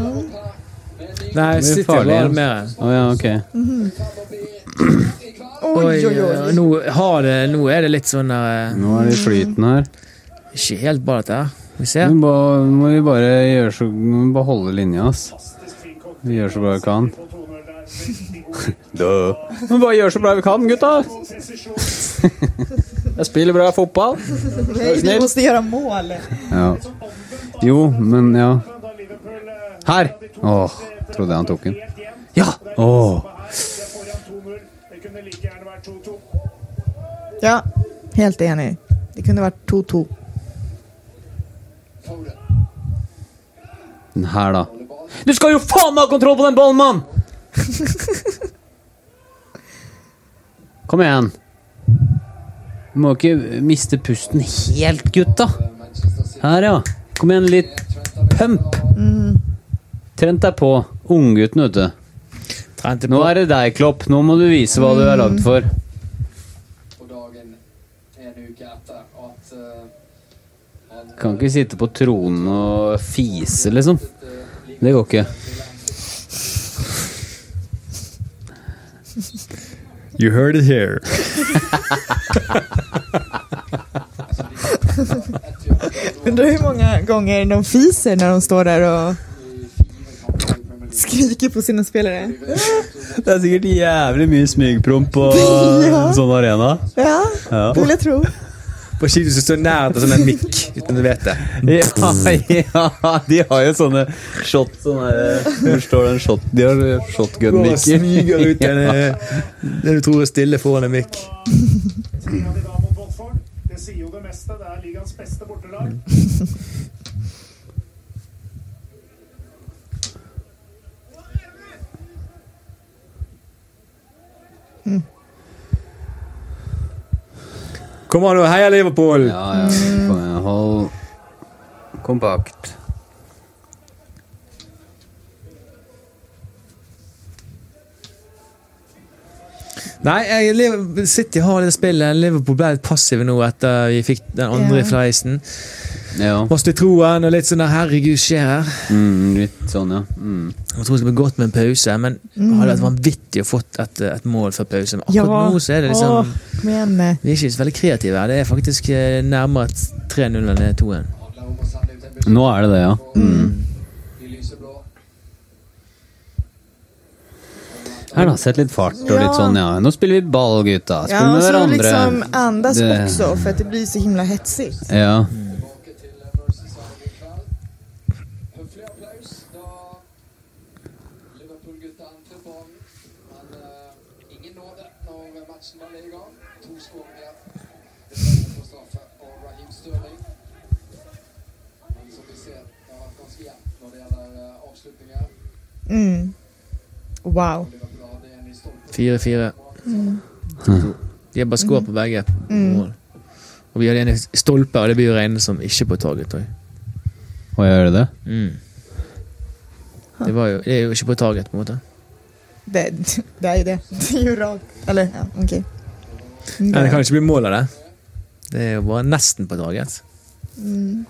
[SPEAKER 4] Nei,
[SPEAKER 1] Det blir
[SPEAKER 4] City
[SPEAKER 1] farlig,
[SPEAKER 4] var
[SPEAKER 1] ja.
[SPEAKER 4] det mer.
[SPEAKER 1] Å ja, ok.
[SPEAKER 2] oj, oj, oj.
[SPEAKER 4] eh, Nå, har det, nå er det litt sånn eh,
[SPEAKER 1] Nå er det i flyten her.
[SPEAKER 4] Ikke helt bra, dette her.
[SPEAKER 1] Nå
[SPEAKER 4] Vi
[SPEAKER 3] Mm.
[SPEAKER 4] ser.
[SPEAKER 1] må, må vi bare gjøre så må vi bare holde linja, ass. Vi gjør så bra vi kan.
[SPEAKER 5] på 2-0 der. Veldig god
[SPEAKER 1] Vi bare gjør så bra vi kan, gutta.
[SPEAKER 5] presisjon.
[SPEAKER 1] Jeg spiller bra fotball.
[SPEAKER 2] Nej, vi måste göra mål.
[SPEAKER 1] Ja. Jo, men ja.
[SPEAKER 5] Da Liverpool eh,
[SPEAKER 1] Her! Åh, trodde jeg han tok den.
[SPEAKER 5] helt jevn.
[SPEAKER 1] Ja! Åh.
[SPEAKER 5] Her, de er foran 2-0. Det kunne like gjerne vært 2-2.
[SPEAKER 2] Ja, helt enig. Det kunde varit 2-2.
[SPEAKER 1] Den her, da. Du skal jo faen meg ha kontroll på den ballen, mann! Kom igjen. Du må ikke miste pusten helt, gutta. Her, ja. Kom igjen, litt pump. Trent deg på. Unggutten, vet du.
[SPEAKER 4] Trente
[SPEAKER 1] Nå
[SPEAKER 4] på.
[SPEAKER 1] er det deg, Klopp. Nå må du vise hva du er lagd for.
[SPEAKER 7] På dagen en uke etter at eh, han
[SPEAKER 1] Kan ikke sitte på tronen og fise, liksom. Det går ikke.
[SPEAKER 3] You heard it here.
[SPEAKER 2] Undrar hur många gånger de fiser när de står där och skriker på sina spelare.
[SPEAKER 1] Det er sikkert jævlig mye smygpromp på
[SPEAKER 2] Ja.
[SPEAKER 1] sånn arena.
[SPEAKER 2] Ja, det vill jag tro.
[SPEAKER 4] På ski som står nær til sånn en mikk, uten du vet det.
[SPEAKER 1] Ja, ja, de har jo sånne shot sånne, Hvor står den shot? De har
[SPEAKER 4] Går og
[SPEAKER 1] shotgun-mikker.
[SPEAKER 4] smyger ut en, eh, det du tror er stille foran en mikk.
[SPEAKER 5] Tre av de da mot Watford. Det sier jo det meste. Det er ligaens beste bortelag.
[SPEAKER 4] Kom an, nå, heia Liverpool!
[SPEAKER 1] Ja, ja. Kom igjen, hold kompakt.
[SPEAKER 4] Nei, jeg, Liv- City har det spillet. Liverpool ble litt passive nå etter vi fikk den andre
[SPEAKER 2] Ja.
[SPEAKER 4] fleisen.
[SPEAKER 1] Ja.
[SPEAKER 4] Måste troen og litt sånn der, 'herregud, skjer her'?
[SPEAKER 1] Mm, litt sånn, ja. Mm.
[SPEAKER 4] Jeg tror det blir godt med en pause, men det hadde vært vanvittig å fått et, et mål før pause. Men akkurat
[SPEAKER 2] Mm. Ja.
[SPEAKER 4] nå så er det liksom
[SPEAKER 2] Åh, eh, kom igen med.
[SPEAKER 4] Vi er ikke så veldig kreative her. Det er faktisk eh, nærmere et 3-0 enn det er 2-1.
[SPEAKER 7] handler om å sende ut en beskjed
[SPEAKER 1] Nå er det det, ja. Mm.
[SPEAKER 7] i lyseblå.
[SPEAKER 1] Her da, sett litt fart og
[SPEAKER 2] Ja.
[SPEAKER 1] litt sånn, ja. Nå spiller vi ball, gutta. Spill
[SPEAKER 2] Ja,
[SPEAKER 1] med
[SPEAKER 2] så
[SPEAKER 1] hverandre.
[SPEAKER 2] liksom andas
[SPEAKER 1] Det-
[SPEAKER 2] också för att det blir så himla hetsigt.
[SPEAKER 1] Ja.
[SPEAKER 7] Tilbake til Merseyside i kveld. Høflig applaus da Liverpool-gutta entrer banen. Men eh, ingen nåde når matchen var i gang. To skåringer. Det ble på straffe av Raheem Sterling. Men som vi ser, det har vært ganske jevnt når det gjelder eh, avslutninger.
[SPEAKER 2] Mm. Wow.
[SPEAKER 7] Liverpool hadde en i stolpen.
[SPEAKER 4] 4-4. Mm. De har bare skår på begge. mål. Og vi hadde en i stolpe, og det blir jo regnet som ikke på target. tror jeg.
[SPEAKER 1] Å gjøre det?
[SPEAKER 4] Mm. Det, var jo, det er jo ikke på target, på en måte.
[SPEAKER 2] Det, det är ju det. Det är ju rakt. Eller ja, okej. Mm.
[SPEAKER 4] Nei, det kan ikke bli mål av det. Det er jo bare nesten på target.
[SPEAKER 2] Mm.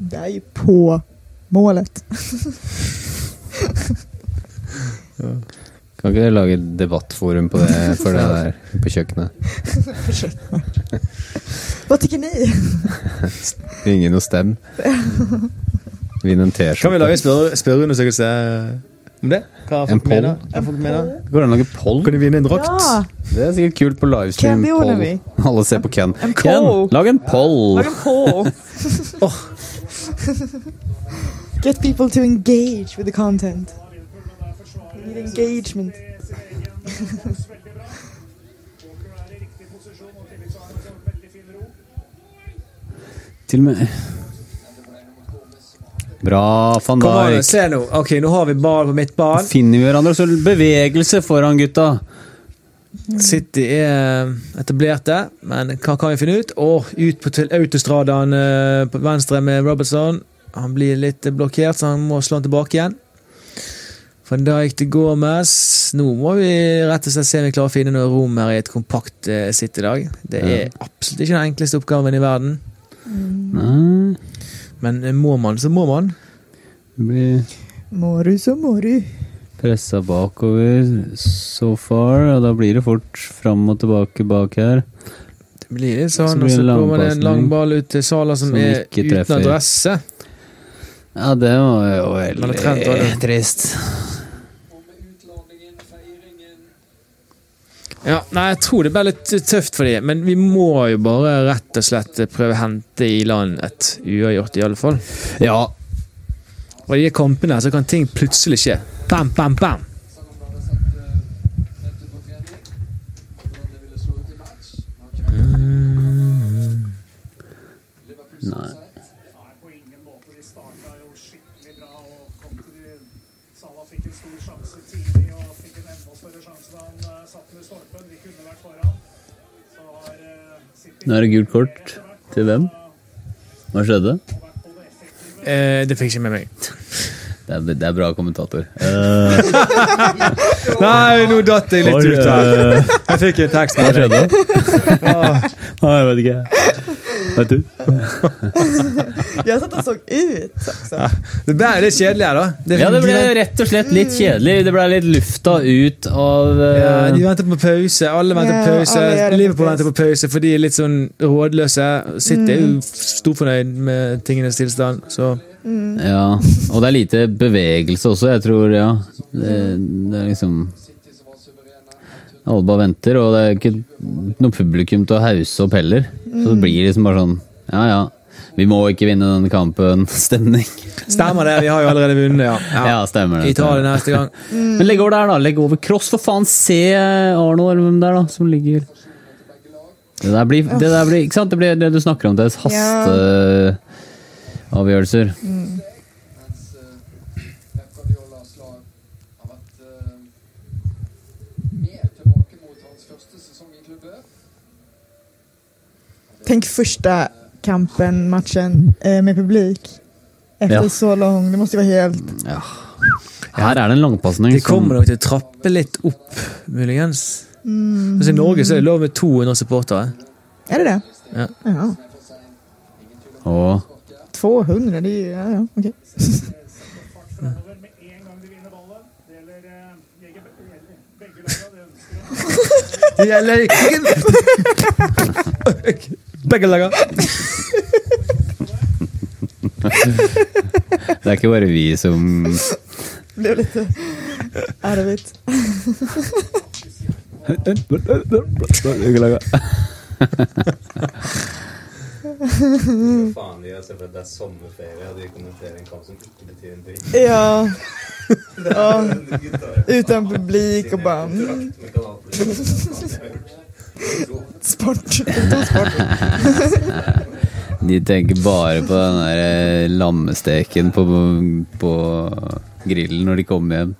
[SPEAKER 2] Det är ju på målet.
[SPEAKER 1] Kan ikke dere lage et debattforum på det for det der på kjøkkenet?
[SPEAKER 2] Vad tycker ni?
[SPEAKER 6] Ingen å stemme.
[SPEAKER 1] Vinn en
[SPEAKER 4] Kan vi
[SPEAKER 1] T-skjorte.
[SPEAKER 4] lage en spørre- spørreundersøkelse eh, om det? Hva
[SPEAKER 1] En
[SPEAKER 4] folk
[SPEAKER 1] poll?
[SPEAKER 4] mener? Hva folk mener?
[SPEAKER 1] Går det an å lage poll?
[SPEAKER 4] Kan de vinne en drakt?
[SPEAKER 2] Ja,
[SPEAKER 1] Det er sikkert kult på livestream.
[SPEAKER 2] Ken, det
[SPEAKER 1] poll.
[SPEAKER 2] ordner vi.
[SPEAKER 1] Alle ser på Ken.
[SPEAKER 2] En
[SPEAKER 1] Ken,
[SPEAKER 2] poll.
[SPEAKER 1] lag en poll!
[SPEAKER 2] var den på? Get people to engage with the content. We need engagement.
[SPEAKER 5] eh,
[SPEAKER 1] Til og med Bra, van
[SPEAKER 4] Kom an,
[SPEAKER 1] Dijk.
[SPEAKER 4] se nå. Ok, nå har vi ball på midtbanen.
[SPEAKER 1] Finner vi hverandre, så bevegelse foran gutta.
[SPEAKER 4] City er etablerte, men hva kan vi finne ut? Og ut på til autostradaen eh, på venstre med Robertson. Han blir litt eh, blokkert, så han må slå han tilbake igjen. Van Dijk til Gomez. Nå må vi rett og slett se om vi klarer å finne noe rom her i et kompakt eh, City i dag. Det er absolutt ikke den enkleste oppgaven i verden,
[SPEAKER 2] Mm.
[SPEAKER 1] Nei,
[SPEAKER 4] men eh, må man, så må man.
[SPEAKER 1] blir
[SPEAKER 2] Mår du så mår du.
[SPEAKER 1] pressa bakover so far, og da blir det fort fram og tilbake bak her.
[SPEAKER 4] Det blir litt sånn,
[SPEAKER 1] Så blir
[SPEAKER 4] og
[SPEAKER 1] det
[SPEAKER 4] så
[SPEAKER 1] en
[SPEAKER 4] kommer det en
[SPEAKER 1] langpasning
[SPEAKER 4] lang ball ut til Sala som,
[SPEAKER 1] som
[SPEAKER 4] er
[SPEAKER 1] ikke
[SPEAKER 4] uten
[SPEAKER 1] treffer.
[SPEAKER 4] adresse.
[SPEAKER 1] Ja, det var jo
[SPEAKER 4] Men det trent var
[SPEAKER 1] veldig
[SPEAKER 4] det.
[SPEAKER 1] trist.
[SPEAKER 7] Og med utladningen, feiringen
[SPEAKER 4] Ja, nei, jeg tror det blir litt tøft for dem, men vi må jo bare rett og slett prøve å hente i land et uavgjort, i alle fall.
[SPEAKER 1] Ja,
[SPEAKER 4] Og i de kampene her så kan ting plutselig skje. Bam, bam, bam!
[SPEAKER 7] Selv om det hadde sett eh, helt ut på trening hvordan det ville slå ut i match. Men han kjørte Liverpool sånn
[SPEAKER 1] Nei.
[SPEAKER 7] sett.
[SPEAKER 5] Nei, på ingen måte. De starta jo skikkelig bra og kom til de Salah fikk en stor sjanse tidlig og fikk en enda større sjanse da han eh, satt den i stolpen. De kunne vært foran. Så har eh, City
[SPEAKER 1] nå er det gult kort til hvem? Hva skjedde?
[SPEAKER 4] Eh, det fikk ikke med meg.
[SPEAKER 1] Det er, det er bra kommentator.
[SPEAKER 4] Nei, nå datt jeg litt ut her. Jeg fikk en tekst.
[SPEAKER 1] Hva skjedde? Nei, jeg vet ikke. Vet du?
[SPEAKER 2] Jag satt och såg ut också.
[SPEAKER 4] Det ble litt kjedelig her, da. Det-
[SPEAKER 1] Ja, det ble rett og slett litt kjedelig. Det ble litt lufta ut av
[SPEAKER 4] Ja, de
[SPEAKER 1] eh,
[SPEAKER 4] venter på pause, alle venter
[SPEAKER 2] Ja,
[SPEAKER 4] på pause.
[SPEAKER 2] alle gjør det
[SPEAKER 4] Liverpool
[SPEAKER 2] faktisk.
[SPEAKER 4] venter på pause, Mm. for de er litt sånn rådløse. City er jo storfornøyd med tingenes tilstand, så
[SPEAKER 1] Ja, og det er lite bevegelse også, jeg tror, ja. Det, det er liksom Alle bare venter, og det er ikke noe publikum til å hause opp heller. Så det blir liksom bare sånn Ja, ja. Vi må ikke vinne denne kampen. Stemning.
[SPEAKER 4] Stemmer det, vi har jo allerede vunnet, ja.
[SPEAKER 1] Ja, stemmer det.
[SPEAKER 4] Italia neste gang.
[SPEAKER 1] Men legg over der, da. Legg over cross, for faen. Se Arno, eller hvem det er, da, som ligger Det der blir, det der blir Ikke sant? Det blir det du snakker om, det er hasteavgjørelser.
[SPEAKER 7] Mens eh, Pep Guardiolas lag har vært eh, mer tilbake mot hans første sesong i klubben.
[SPEAKER 2] Tänk första kampen, matchen eh, med publik. Efter
[SPEAKER 1] Ja.
[SPEAKER 2] så lång, det måste ju vara helt...
[SPEAKER 1] Her er det en langpasning.
[SPEAKER 4] De
[SPEAKER 1] som-
[SPEAKER 4] kommer nok til å trappe litt opp, muligens. Altså, I Norge så er det lov med 200 supportere.
[SPEAKER 2] Mm. Är det det?
[SPEAKER 4] Ja.
[SPEAKER 2] Ja.
[SPEAKER 1] Åh.
[SPEAKER 2] 200, det är ju... Ja, ja, okej.
[SPEAKER 5] fart framover med en gang de vinner ballen. Det gjelder eh, begge, begge lagene. Det ønsker å
[SPEAKER 4] Det gjelder ikke- Begge lager.
[SPEAKER 1] Det er ikke bare vi som
[SPEAKER 2] Det blev lite... Out of it.
[SPEAKER 8] Faen, de har sett for at det er sommerferie, og de kommenterer en kamp som ikke betyr en dritt.
[SPEAKER 2] Ja. ja. Utan publik og bara... Mm.
[SPEAKER 8] Men kan alltid
[SPEAKER 2] Sport. Utan sport.
[SPEAKER 1] De tenker bare på den der eh, lammesteken på, på grillen når de kommer hjem.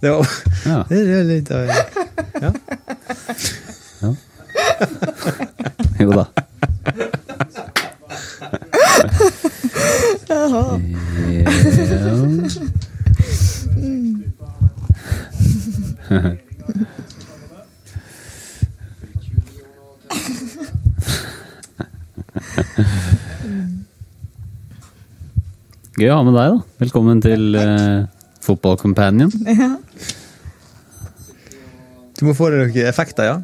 [SPEAKER 4] Det var,
[SPEAKER 1] Ja.
[SPEAKER 4] det er litt av
[SPEAKER 1] Jo da.
[SPEAKER 2] Jaha.
[SPEAKER 1] Ja. Gøy å ha med deg, da. Velkommen til eh, Football Companion.
[SPEAKER 4] Du må få deg noen effekter, ja?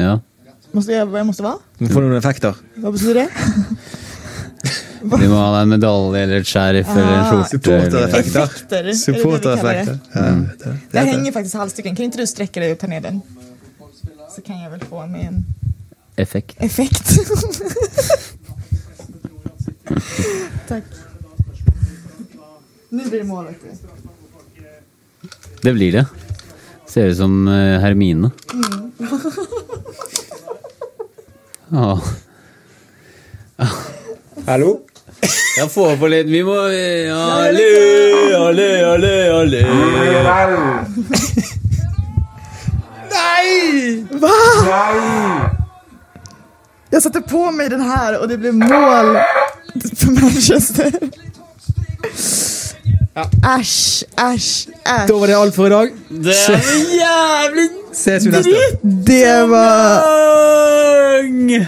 [SPEAKER 1] Ja.
[SPEAKER 2] Måste jag, vad jag måste vara?
[SPEAKER 4] Du må få deg noen effekter.
[SPEAKER 2] Vad betyder det?
[SPEAKER 1] Vi må ha deg en medalje eller et skjerf eller en
[SPEAKER 2] Ah.
[SPEAKER 1] skjorte. Eller...
[SPEAKER 2] Effekter. är
[SPEAKER 4] Supportereffekter.
[SPEAKER 2] det det vi kallar
[SPEAKER 4] Supportereffekter.
[SPEAKER 2] det?
[SPEAKER 4] Ja, vet du.
[SPEAKER 2] Där
[SPEAKER 4] Det heter-
[SPEAKER 2] hänger faktiskt halsduken. Kan inte du sträcka dig och ta ner den? Så kan jag väl få med en
[SPEAKER 1] Effekt.
[SPEAKER 2] effekt. Tack. Nu blir det målvakt.
[SPEAKER 1] Det blir det. Ser ut som eh, Hermine.
[SPEAKER 4] Mm.
[SPEAKER 1] Ja.
[SPEAKER 4] Hallo?
[SPEAKER 1] Jeg får på litt Vi må eh, Alle, alle, alle, alle.
[SPEAKER 2] Va? Jag satte på mig den här och det blev mål för Manchester. Äsch, äsch, äsch.
[SPEAKER 4] Da var det alt for i dag.
[SPEAKER 1] Det er for jævlig
[SPEAKER 4] Ses vi neste.
[SPEAKER 2] Det var...
[SPEAKER 1] bang!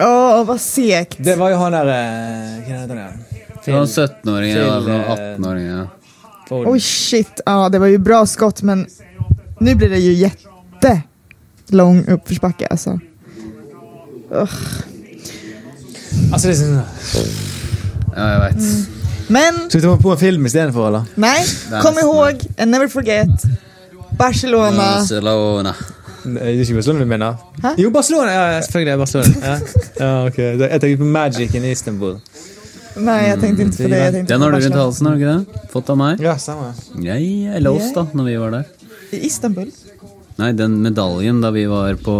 [SPEAKER 2] Åh, vad segt.
[SPEAKER 4] Det var jo han der eh, Hva heter han igjen?
[SPEAKER 1] Det var 17-åringen
[SPEAKER 4] Til,
[SPEAKER 1] eller
[SPEAKER 4] eh,
[SPEAKER 1] 18-åringen. ja.
[SPEAKER 4] Foden.
[SPEAKER 2] Oj shit, ja det var ju bra skott men nu blir det ju jättelång uppförsbacke alltså.
[SPEAKER 4] Altså, det er sånn
[SPEAKER 1] Ja, jeg veit.
[SPEAKER 2] Men
[SPEAKER 4] Skal vi ta på en film istedenfor, eller?
[SPEAKER 2] nej, kom ihåg and never forget
[SPEAKER 4] Mm.
[SPEAKER 2] Barcelona.
[SPEAKER 1] Barcelona.
[SPEAKER 4] Nei, Eh, det er ikke Barcelona du mener?
[SPEAKER 2] Hæ?
[SPEAKER 4] Jo, Barcelona! Ja, ja, selvfølgelig er det Barcelona. Ja. Ja, ok. Da- Jeg tenker på Magic in Istanbul.
[SPEAKER 2] Nej jag tänkte inte på det. Jag tänkte
[SPEAKER 1] Den har
[SPEAKER 2] på
[SPEAKER 1] du rundt
[SPEAKER 2] Barcelona.
[SPEAKER 1] halsen, har du ikke det? Fått av meg?
[SPEAKER 4] Ja, samme.
[SPEAKER 1] Jeg, eller oss, da, når vi var der.
[SPEAKER 2] I Istanbul?
[SPEAKER 1] Nei, den medaljen da vi var på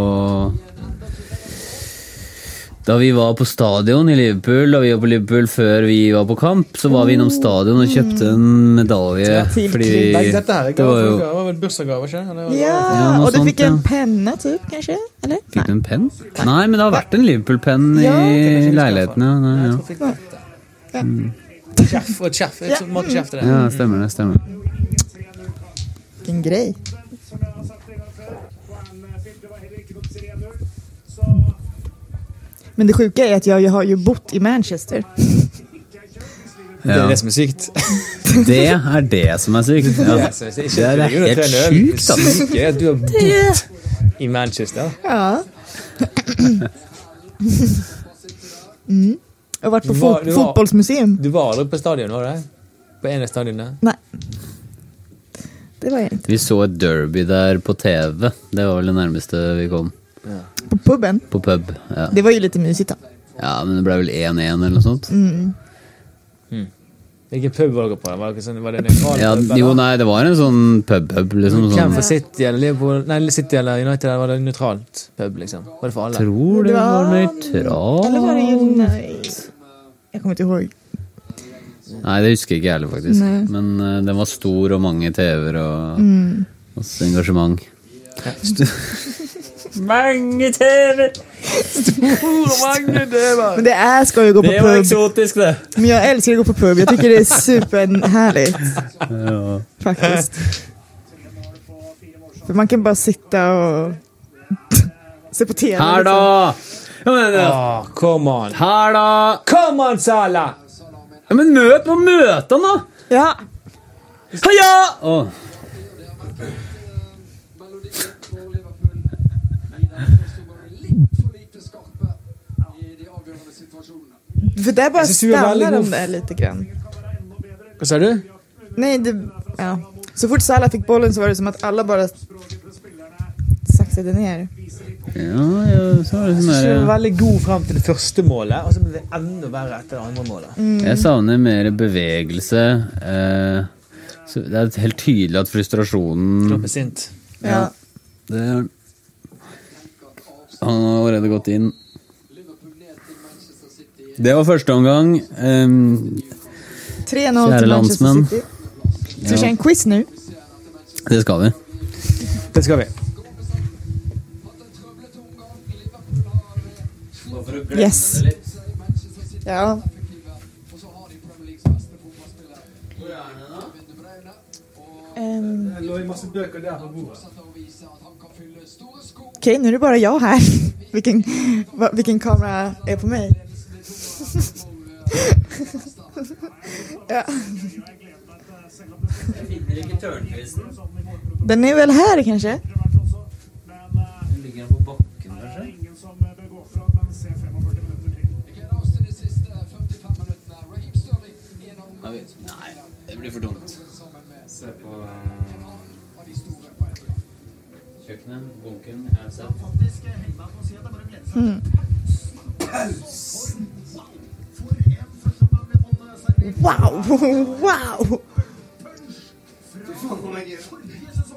[SPEAKER 1] Da vi var på stadion i Liverpool, da vi var på Liverpool før vi var på kamp, så var vi innom stadion og kjøpte en medalje
[SPEAKER 2] til
[SPEAKER 1] fordi
[SPEAKER 4] Nei, dette her
[SPEAKER 1] det var jo
[SPEAKER 4] var vel bursdagsgave, ikke sant?
[SPEAKER 1] Ja,
[SPEAKER 2] Ja,
[SPEAKER 1] något
[SPEAKER 2] och du
[SPEAKER 1] sånt,
[SPEAKER 2] fick en
[SPEAKER 1] ja.
[SPEAKER 2] penna typ kanske? Eller?
[SPEAKER 1] Fikk du en penn? Nei, men det har vært en Liverpool-penn i
[SPEAKER 2] Ja, det
[SPEAKER 4] kanskje vi skal sånn.
[SPEAKER 1] leiligheten, ja. Mm. Nei, ja.
[SPEAKER 4] Kjeff og kjeff. Jeg tror- måtte kjefte det.
[SPEAKER 1] ja, stemmer det. stemmer
[SPEAKER 2] Vilken grej.
[SPEAKER 5] Som jeg har sagt en gang før, Brann-filmen var heller ikke noe 3-0. Så
[SPEAKER 2] Men det sjuka är att jag, jag har ju bott i Manchester.
[SPEAKER 4] Det er
[SPEAKER 1] Ja.
[SPEAKER 4] det som er sykt.
[SPEAKER 1] Det er det som er sykt. Ja.
[SPEAKER 4] Altså, hvis
[SPEAKER 1] Det er
[SPEAKER 4] ikke-
[SPEAKER 1] helt
[SPEAKER 4] det er
[SPEAKER 1] sjukt, altså. da.
[SPEAKER 4] Sykt er at du har bodd i Manchester.
[SPEAKER 2] Ja. Mm. Jag har varit på
[SPEAKER 4] Du var-
[SPEAKER 2] fot-
[SPEAKER 4] du var-
[SPEAKER 2] fotbollsmuseum.
[SPEAKER 4] Du var aldri på stadion, var du det? På en av stadionene?
[SPEAKER 2] Nej. Det var jag inte.
[SPEAKER 1] Vi så et derby der på TV. Det var vel det nærmeste vi kom.
[SPEAKER 2] På puben.
[SPEAKER 1] På pub. Ja,
[SPEAKER 2] Det var ju lite mysigt då.
[SPEAKER 1] ja men det ble vel 1-1 eller noe sånt.
[SPEAKER 4] Hvilken pub var dere på? da? Var dere sånn, var det nøytral
[SPEAKER 1] Ja,
[SPEAKER 4] pub?
[SPEAKER 1] jo,
[SPEAKER 4] eller?
[SPEAKER 1] nei, det var en sånn pub-pub, liksom.
[SPEAKER 4] Hvem
[SPEAKER 1] Sånn,
[SPEAKER 4] for City eller Liverpool? Nei, City eller United? Eller var det nøytralt pub, liksom? Var det for alle?
[SPEAKER 1] tror det var
[SPEAKER 2] Eller var det
[SPEAKER 1] nøytral
[SPEAKER 2] United? Jag kommer inte ihåg.
[SPEAKER 1] Nei, det husker jeg ikke jeg heller, faktisk.
[SPEAKER 2] Nei.
[SPEAKER 1] Men eh, den var stor og mange TV-er og masse engasjement. mange TV-er!
[SPEAKER 2] Men det är ska ju gå på pub.
[SPEAKER 1] eksotisk, det!
[SPEAKER 2] Men jag älskar att gå på pub. Jag tycker det är superhärligt.
[SPEAKER 1] Ja.
[SPEAKER 2] Faktiskt. För man kan bara sitta och se på liksom. TV.
[SPEAKER 1] Her, da! Ja, men, eh,
[SPEAKER 4] Ah, come on!
[SPEAKER 1] her, da!
[SPEAKER 4] Come on, Salah!
[SPEAKER 1] Ja, men møt på møtene, da!
[SPEAKER 2] Ja.
[SPEAKER 1] Heia! Åh.
[SPEAKER 7] Melodikken på Liverpool i den første omgangen litt for lite skarpe i de avgjørende situasjonene.
[SPEAKER 2] För där bara
[SPEAKER 4] Jag ser Sura
[SPEAKER 2] stannar
[SPEAKER 4] Valley
[SPEAKER 2] de
[SPEAKER 4] gå-
[SPEAKER 2] där lite grann.
[SPEAKER 4] Hva sa du?
[SPEAKER 2] Nej, det, ja. Så fort Salah fick bollen så var det som att alla bara saxade ner.
[SPEAKER 1] Ja, ja, så var det sånn
[SPEAKER 4] Ikke
[SPEAKER 1] der,
[SPEAKER 4] veldig god frem til det første målet, og så ble det enda verre etter det andre målet.
[SPEAKER 1] Jeg savner mer bevegelse. Eh, så det er helt tydelig at frustrasjonen
[SPEAKER 4] Klopp er sint.
[SPEAKER 2] Ja.
[SPEAKER 1] det er, Han har allerede gått inn. Det var første omgang. Em,
[SPEAKER 2] 3-0
[SPEAKER 1] Kära
[SPEAKER 2] till Manchester
[SPEAKER 1] landsmän.
[SPEAKER 2] City. Ska vi köra en quiz nu?
[SPEAKER 1] det skal vi.
[SPEAKER 4] Det skal vi.
[SPEAKER 2] Yes. Ja. Ehm,
[SPEAKER 4] Det lå masse bøker der på bordet.
[SPEAKER 2] Okej, nu är det bara jag här. Vilken, va, vilken kamera är på mig? ja.
[SPEAKER 5] Sånn
[SPEAKER 2] Den är väl här kanske?
[SPEAKER 5] eh,
[SPEAKER 1] Det blir for dumt. Se på eh, Kjøkkenet, bunken,
[SPEAKER 2] Wow! Wow!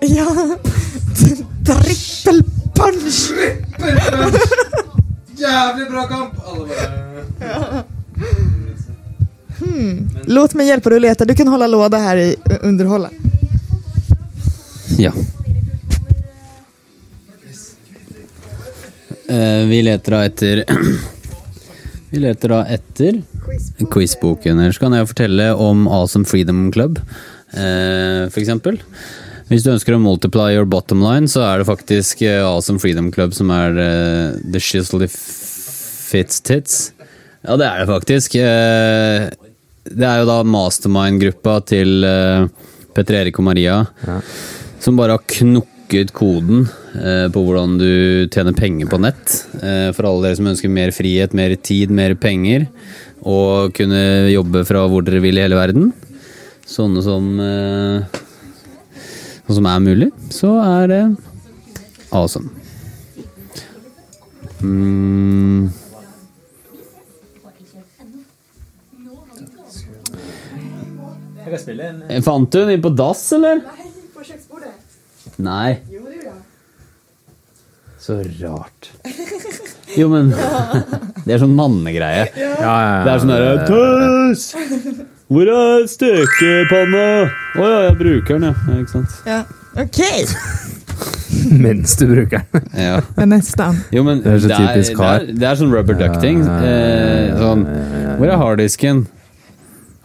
[SPEAKER 2] Ja, triple punch!
[SPEAKER 8] Jævlig bra kamp! Alle bare
[SPEAKER 2] Hmm. Låt mig hjälpa dig att leta. Du kan hålla låda här i underhålla.
[SPEAKER 1] Ja. Eh, vi leter da etter Vi leter da etter quizboken. Ellers kan jeg fortelle om Awesome Freedom Club, eh, for eksempel. Hvis du ønsker å multiply your bottom line, så er det faktisk eh, Awesome Freedom Club som er eh, the shizzly fits tits. Ja, det er det faktisk. Eh, det er jo da mastermind-gruppa til eh, Petter Erik og Maria som bare har knukket koden eh, på hvordan du tjener penger på nett. Eh, for alle dere som ønsker mer frihet, mer tid, mer penger, og kunne jobbe fra hvor dere vil i hele verden. Sånne som eh, Sånn som er mulig, så er det awesome. Mm.
[SPEAKER 4] Jeg kan spille en eh,
[SPEAKER 1] Fant du den inn på dass, eller? Nei. Så rart. Jo, men Det er sånn mannegreie. Det er sånn derre Tøs! Hvor er stekepanna? Å ja, jeg bruker den, ja. ja. Ikke sant.
[SPEAKER 2] Ja. Okej,
[SPEAKER 6] Mens du bruker den.
[SPEAKER 1] Ja.
[SPEAKER 2] men nästan.
[SPEAKER 1] Jo, men
[SPEAKER 6] Det er så typisk kar.
[SPEAKER 1] Det er, det er sånn rubber ducting. Eh, sånn Hvor er harddisken?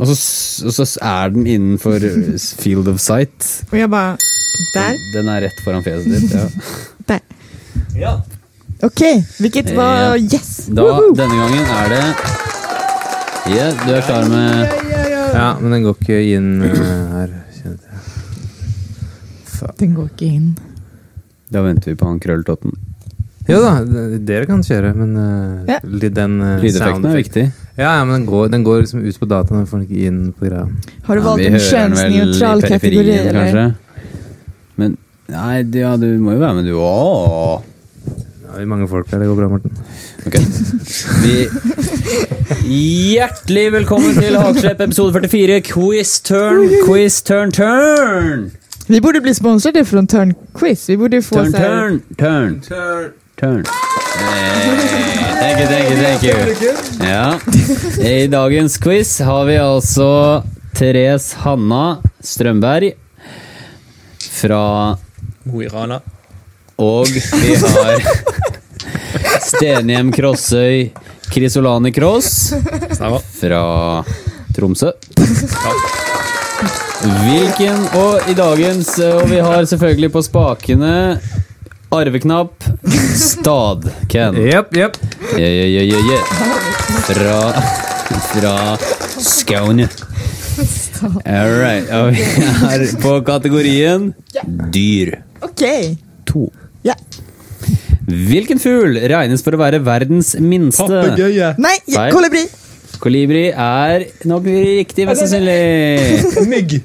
[SPEAKER 1] Og så, s- og så er den innenfor field of sight.
[SPEAKER 2] Och jag bara, där,
[SPEAKER 1] Den er rett foran fjeset ditt. ja
[SPEAKER 2] där.
[SPEAKER 4] Ja.
[SPEAKER 2] Okej, vilket var
[SPEAKER 1] Ja.
[SPEAKER 2] yes!
[SPEAKER 1] Da,
[SPEAKER 2] Woho!
[SPEAKER 1] denne gangen er det Ja, du er klar med
[SPEAKER 6] Ja, men den går ikke inn eh, her, kjente jeg.
[SPEAKER 2] Den går ikke inn.
[SPEAKER 1] Da venter vi på han krølltotten.
[SPEAKER 6] Jo da, d- dere kan kjøre, men eh,
[SPEAKER 2] Ja.
[SPEAKER 6] li- den eh,
[SPEAKER 1] Lydeffekten er
[SPEAKER 6] sound-
[SPEAKER 1] viktig.
[SPEAKER 6] Ja, ja, men den går, den går liksom ut på dataen, den får den ikke inn på greia.
[SPEAKER 2] Har du
[SPEAKER 1] Ja,
[SPEAKER 2] valt
[SPEAKER 1] vi
[SPEAKER 2] en
[SPEAKER 1] hører den vel i
[SPEAKER 2] könsneutral kategori
[SPEAKER 1] periferien,
[SPEAKER 2] eller?
[SPEAKER 1] kanskje. Men Nei, du- ja, du må jo være med, du òg.
[SPEAKER 6] Ja, vi er mange folk der, det går bra, Morten.
[SPEAKER 1] Ok. Vi Hjertelig velkommen til Hagslepp episode 44. Quiz, turn, quiz, turn, turn!
[SPEAKER 2] Vi borde bli sponsrade från Turn Quiz. Vi borde få
[SPEAKER 1] Turn,
[SPEAKER 2] så här...
[SPEAKER 1] turn, turn, turn. Eh, Thank you, thank you, thank you. Ja. I dagens quiz har vi altså Therese Hanna Strømberg fra
[SPEAKER 4] Mo i Rana.
[SPEAKER 1] Og vi har Stenhjem Krossøy Krisolani Kross fra Tromsø. Hvilken Og i dagens Og vi har selvfølgelig på spakene Arveknapp Stadken.
[SPEAKER 6] Jepp, jepp.
[SPEAKER 1] Ja, ja, ja, ja, ja. Fra Fra Skåne. All right. Og vi er på kategorien dyr
[SPEAKER 2] Okej!
[SPEAKER 1] to.
[SPEAKER 2] Ja.
[SPEAKER 1] Hvilken fugl regnes for å være verdens minste?
[SPEAKER 4] Papegøye.
[SPEAKER 2] Nei, ja,
[SPEAKER 1] Feil.
[SPEAKER 2] kolibri!
[SPEAKER 1] Kolibri er nok riktig, mest sannsynlig.
[SPEAKER 4] Mygg.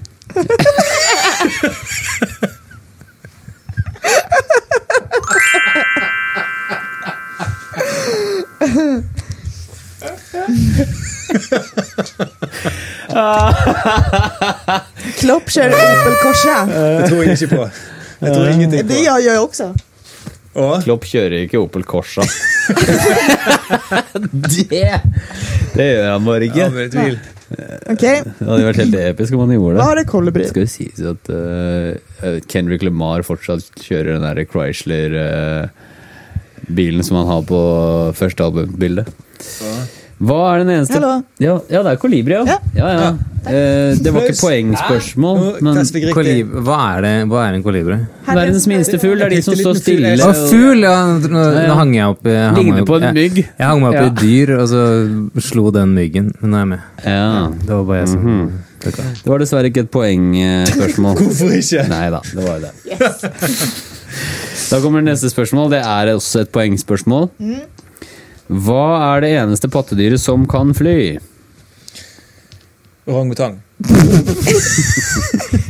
[SPEAKER 2] Klopp kör Opel Corsa.
[SPEAKER 4] Eh, Det tror jeg ikke på. Jeg
[SPEAKER 1] Eh.
[SPEAKER 4] tror
[SPEAKER 2] Det
[SPEAKER 4] ingenting på.
[SPEAKER 2] gör jag också.
[SPEAKER 4] Og
[SPEAKER 1] Klopp kjører ikke Opel Corsa. det Det gjør han bare ikke.
[SPEAKER 4] Ja, men i tvil.
[SPEAKER 2] Okej,
[SPEAKER 1] Det hadde vært helt episk om han gjorde
[SPEAKER 2] vad
[SPEAKER 1] det.
[SPEAKER 2] har det kolibri?
[SPEAKER 1] Skal det sies at eh, jeg vet, Kendrick Lamar fortsatt kjører den der Chrysler-bilen som han har på første albumbildet? Hva er den eneste
[SPEAKER 2] Hallo.
[SPEAKER 1] Ja, ja, det er kolibri, ja.
[SPEAKER 2] Ja.
[SPEAKER 1] ja, ja. Eh, det var ikke
[SPEAKER 4] Klaus.
[SPEAKER 1] poengspørsmål,
[SPEAKER 4] Nå
[SPEAKER 1] men
[SPEAKER 4] tester vi riktig.
[SPEAKER 6] Kolib hva, er det, hva er en kolibri?
[SPEAKER 1] verdens minste fugl er de som står stille.
[SPEAKER 6] Å,
[SPEAKER 7] sånn-
[SPEAKER 6] fugl! Ja, nå,
[SPEAKER 1] ja.
[SPEAKER 6] nå hang jeg opp jeg hang
[SPEAKER 1] Ligner
[SPEAKER 6] meg opp-
[SPEAKER 1] på en
[SPEAKER 6] jeg-
[SPEAKER 1] mygg.
[SPEAKER 6] Jeg hang meg opp i et dyr, og så slo den myggen. Men nå er jeg med.
[SPEAKER 1] Ja.
[SPEAKER 6] Det var bare jeg
[SPEAKER 1] Mhm.
[SPEAKER 6] som
[SPEAKER 1] Det var dessverre ikke et poengspørsmål.
[SPEAKER 4] Hvorfor ikke?
[SPEAKER 1] Nei da, det var jo det. da kommer neste spørsmål. Det er også et poengspørsmål. Hva er det eneste pattedyret som kan fly?
[SPEAKER 4] Orangutang.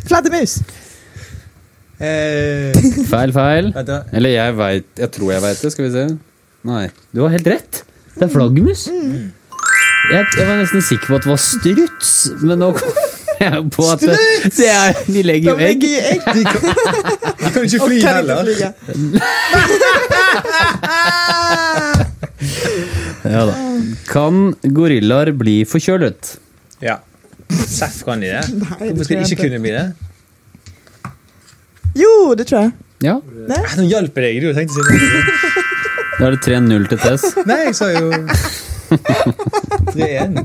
[SPEAKER 2] Fladdermus.
[SPEAKER 4] Eh,
[SPEAKER 1] Feil, feil.
[SPEAKER 4] vent da.
[SPEAKER 1] Eller jeg veit Jeg tror jeg veit det. Skal vi se. Nei. Du har helt rett. Det er flaggermus. Jeg, jeg var nesten sikker på at det var struts, men nå kom jeg på at det, det er, de legger jo egg.
[SPEAKER 4] De kan, de kan ikke fly
[SPEAKER 2] Kan inte
[SPEAKER 4] heller.
[SPEAKER 2] flyga.
[SPEAKER 1] Ja da. Kan gorillaer bli forkjølet?
[SPEAKER 4] Ja. Seff kan de det.
[SPEAKER 2] det tror
[SPEAKER 4] Hvorfor skal de
[SPEAKER 2] jeg
[SPEAKER 4] ikke
[SPEAKER 2] ikke.
[SPEAKER 4] kunne bli det?
[SPEAKER 2] Jo, det tror jag.
[SPEAKER 1] Ja.
[SPEAKER 4] Eh, Nå hjalp jeg deg, du tenkte å si det.
[SPEAKER 1] Da er det 3-0 til Tess.
[SPEAKER 4] Nei, jeg sa jo 3-1.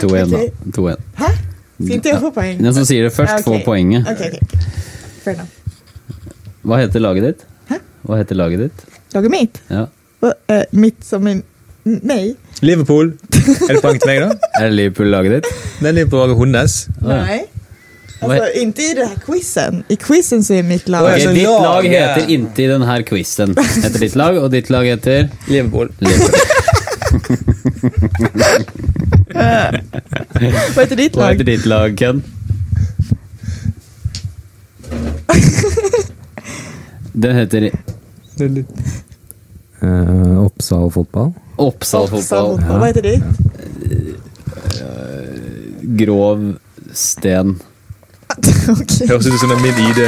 [SPEAKER 1] 2-1,
[SPEAKER 2] Ok.
[SPEAKER 1] da. 2-1.
[SPEAKER 2] Ska inte jag få poäng?
[SPEAKER 1] Den som sier det først,
[SPEAKER 2] Ja, ok.
[SPEAKER 1] får poenget.
[SPEAKER 2] Okej, okej, okej. Fair enough.
[SPEAKER 1] Hva heter laget ditt?
[SPEAKER 2] Hæ?
[SPEAKER 1] Hva heter laget ditt?
[SPEAKER 2] Jag är mitt.
[SPEAKER 1] Ja.
[SPEAKER 2] Va- eh, mitt som min... m- Mig?
[SPEAKER 4] Liverpool. Er det poeng til meg, da?
[SPEAKER 1] Er det Liverpool-laget ditt?
[SPEAKER 4] Den Liverpool var hundes.
[SPEAKER 2] Nej. Alltså,
[SPEAKER 1] Vad-
[SPEAKER 2] inte i det här quizen. I quizen så är mitt lag...
[SPEAKER 4] Oj.
[SPEAKER 1] Ok,
[SPEAKER 4] Altså,
[SPEAKER 1] ditt
[SPEAKER 4] laget-
[SPEAKER 1] lag heter inntil denne quizen. Heter ditt lag, og ditt lag heter
[SPEAKER 4] Liverpool.
[SPEAKER 1] Liverpool.
[SPEAKER 2] Vad heter ditt
[SPEAKER 1] Hva
[SPEAKER 2] lag?
[SPEAKER 1] heter ditt lag, Ken? Den heter
[SPEAKER 6] med. Eh, Oppsal fotball.
[SPEAKER 1] Oppsal
[SPEAKER 2] Fotboll.
[SPEAKER 1] fotball.
[SPEAKER 2] Vad heter ditt?
[SPEAKER 1] Grov sten.
[SPEAKER 2] Okej.
[SPEAKER 4] Høres ut som en min ID.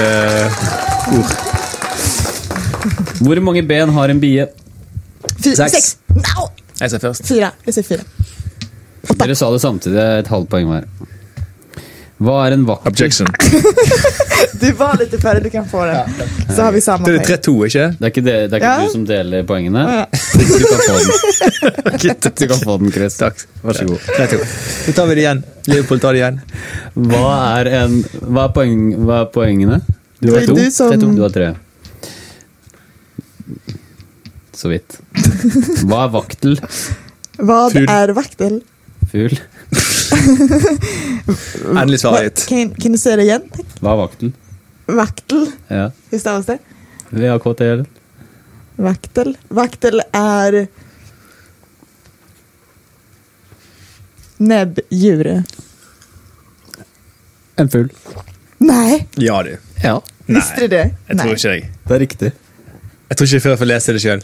[SPEAKER 1] Hvor mange ben har en bie?
[SPEAKER 2] Fy-
[SPEAKER 4] Sex.
[SPEAKER 2] Sex! No!
[SPEAKER 4] Jeg sa først.
[SPEAKER 2] Fyra. Jag säger fyra.
[SPEAKER 1] Dere sa det samtidig. det er Et halvt poeng hver. Hva er en vakker
[SPEAKER 4] Objection.
[SPEAKER 2] Du var lite före, du kan få den. Så har vi samma
[SPEAKER 4] Da er det
[SPEAKER 2] poäng.
[SPEAKER 4] 3-2,
[SPEAKER 1] Det
[SPEAKER 4] ikke?
[SPEAKER 1] er ikke, det, det er ikke
[SPEAKER 2] Ja.
[SPEAKER 1] du som deler poengene.
[SPEAKER 2] Ja.
[SPEAKER 1] Du kan få den. Du kan få den, Chris.
[SPEAKER 4] Takk.
[SPEAKER 1] Vær så god.
[SPEAKER 4] 3-2. Da tar vi det igjen. Liverpool tar det igjen.
[SPEAKER 1] Hva er, en, hva er, poeng, hva er poengene? Du har
[SPEAKER 2] Det er
[SPEAKER 1] to.
[SPEAKER 2] du som-
[SPEAKER 1] Det er to. Du har tre. Så vidt. Hva er vaktel?
[SPEAKER 2] Vad
[SPEAKER 4] Ful.
[SPEAKER 2] är vaktel?
[SPEAKER 1] Fugl?
[SPEAKER 4] Endelig
[SPEAKER 2] Vad-
[SPEAKER 4] svaret gitt.
[SPEAKER 2] Kan, kan du säga det igen? tack?
[SPEAKER 1] Hva er vaktel?
[SPEAKER 2] Vaktel.
[SPEAKER 1] Ja.
[SPEAKER 2] Hur stavas det?
[SPEAKER 1] VAKTL.
[SPEAKER 2] Vaktel. Vaktel är... Näbbdjur.
[SPEAKER 1] En fugl.
[SPEAKER 2] Nej,
[SPEAKER 4] Ja, du.
[SPEAKER 1] Ja.
[SPEAKER 2] visste du det?
[SPEAKER 4] Jeg tror
[SPEAKER 2] Nej.
[SPEAKER 4] ikke deg.
[SPEAKER 1] Det er riktig.
[SPEAKER 4] Jeg tror ikke før jeg får lese det sjøl.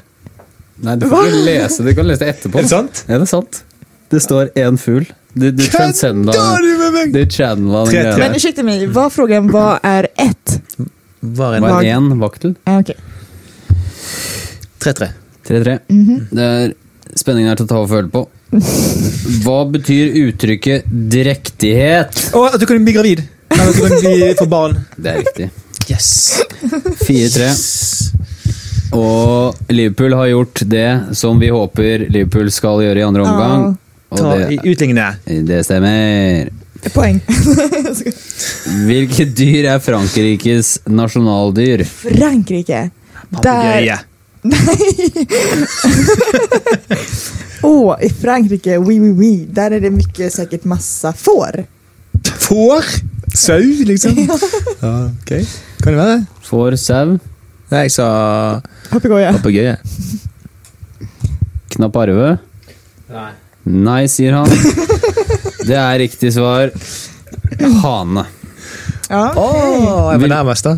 [SPEAKER 1] Nei, du får ikke lese det. Du kan lese det etterpå.
[SPEAKER 4] Er det sant?
[SPEAKER 1] Ja, det er sant. Det står én fugl. Du, du transcenda
[SPEAKER 4] du med meg?
[SPEAKER 1] Du channela den
[SPEAKER 4] Tre,
[SPEAKER 1] greia
[SPEAKER 4] tre.
[SPEAKER 1] der.
[SPEAKER 2] Men ursäkta mig, var frågan vad är ett?
[SPEAKER 4] Var
[SPEAKER 1] Hva er én vaktel?
[SPEAKER 2] Ah, okej.
[SPEAKER 4] 3-3.
[SPEAKER 1] 3-3. Det er spenningen her til å ta og føle på. Hva betyr uttrykket 'drektighet'?
[SPEAKER 4] Å, at du kan bli gravid! Nei, at du kan bli få barn.
[SPEAKER 1] Det er riktig.
[SPEAKER 4] Yes.
[SPEAKER 1] 4-3. Og Liverpool har gjort det som vi håper Liverpool skal gjøre i andre omgang.
[SPEAKER 4] Ta,
[SPEAKER 1] Og det,
[SPEAKER 4] utligne.
[SPEAKER 1] det stemmer.
[SPEAKER 2] Poäng.
[SPEAKER 1] Hvilket dyr er Frankrikes nasjonaldyr?
[SPEAKER 2] Frankrike. Där...
[SPEAKER 4] Papegøye.
[SPEAKER 2] Åh, i Frankrike, oui, oui, oui. Där är det mycket, säkert massa får.
[SPEAKER 4] Får? Sau, liksom? Ja, ok. Kan det være?
[SPEAKER 1] Får sau?
[SPEAKER 4] Nei, jeg sa
[SPEAKER 2] Papegoie.
[SPEAKER 4] papegøye.
[SPEAKER 1] Knapp Arve?
[SPEAKER 6] Nei.
[SPEAKER 1] Nei, sier han. Det er riktig svar. Hane.
[SPEAKER 2] Ja.
[SPEAKER 4] Åh, jeg var nærmest, da.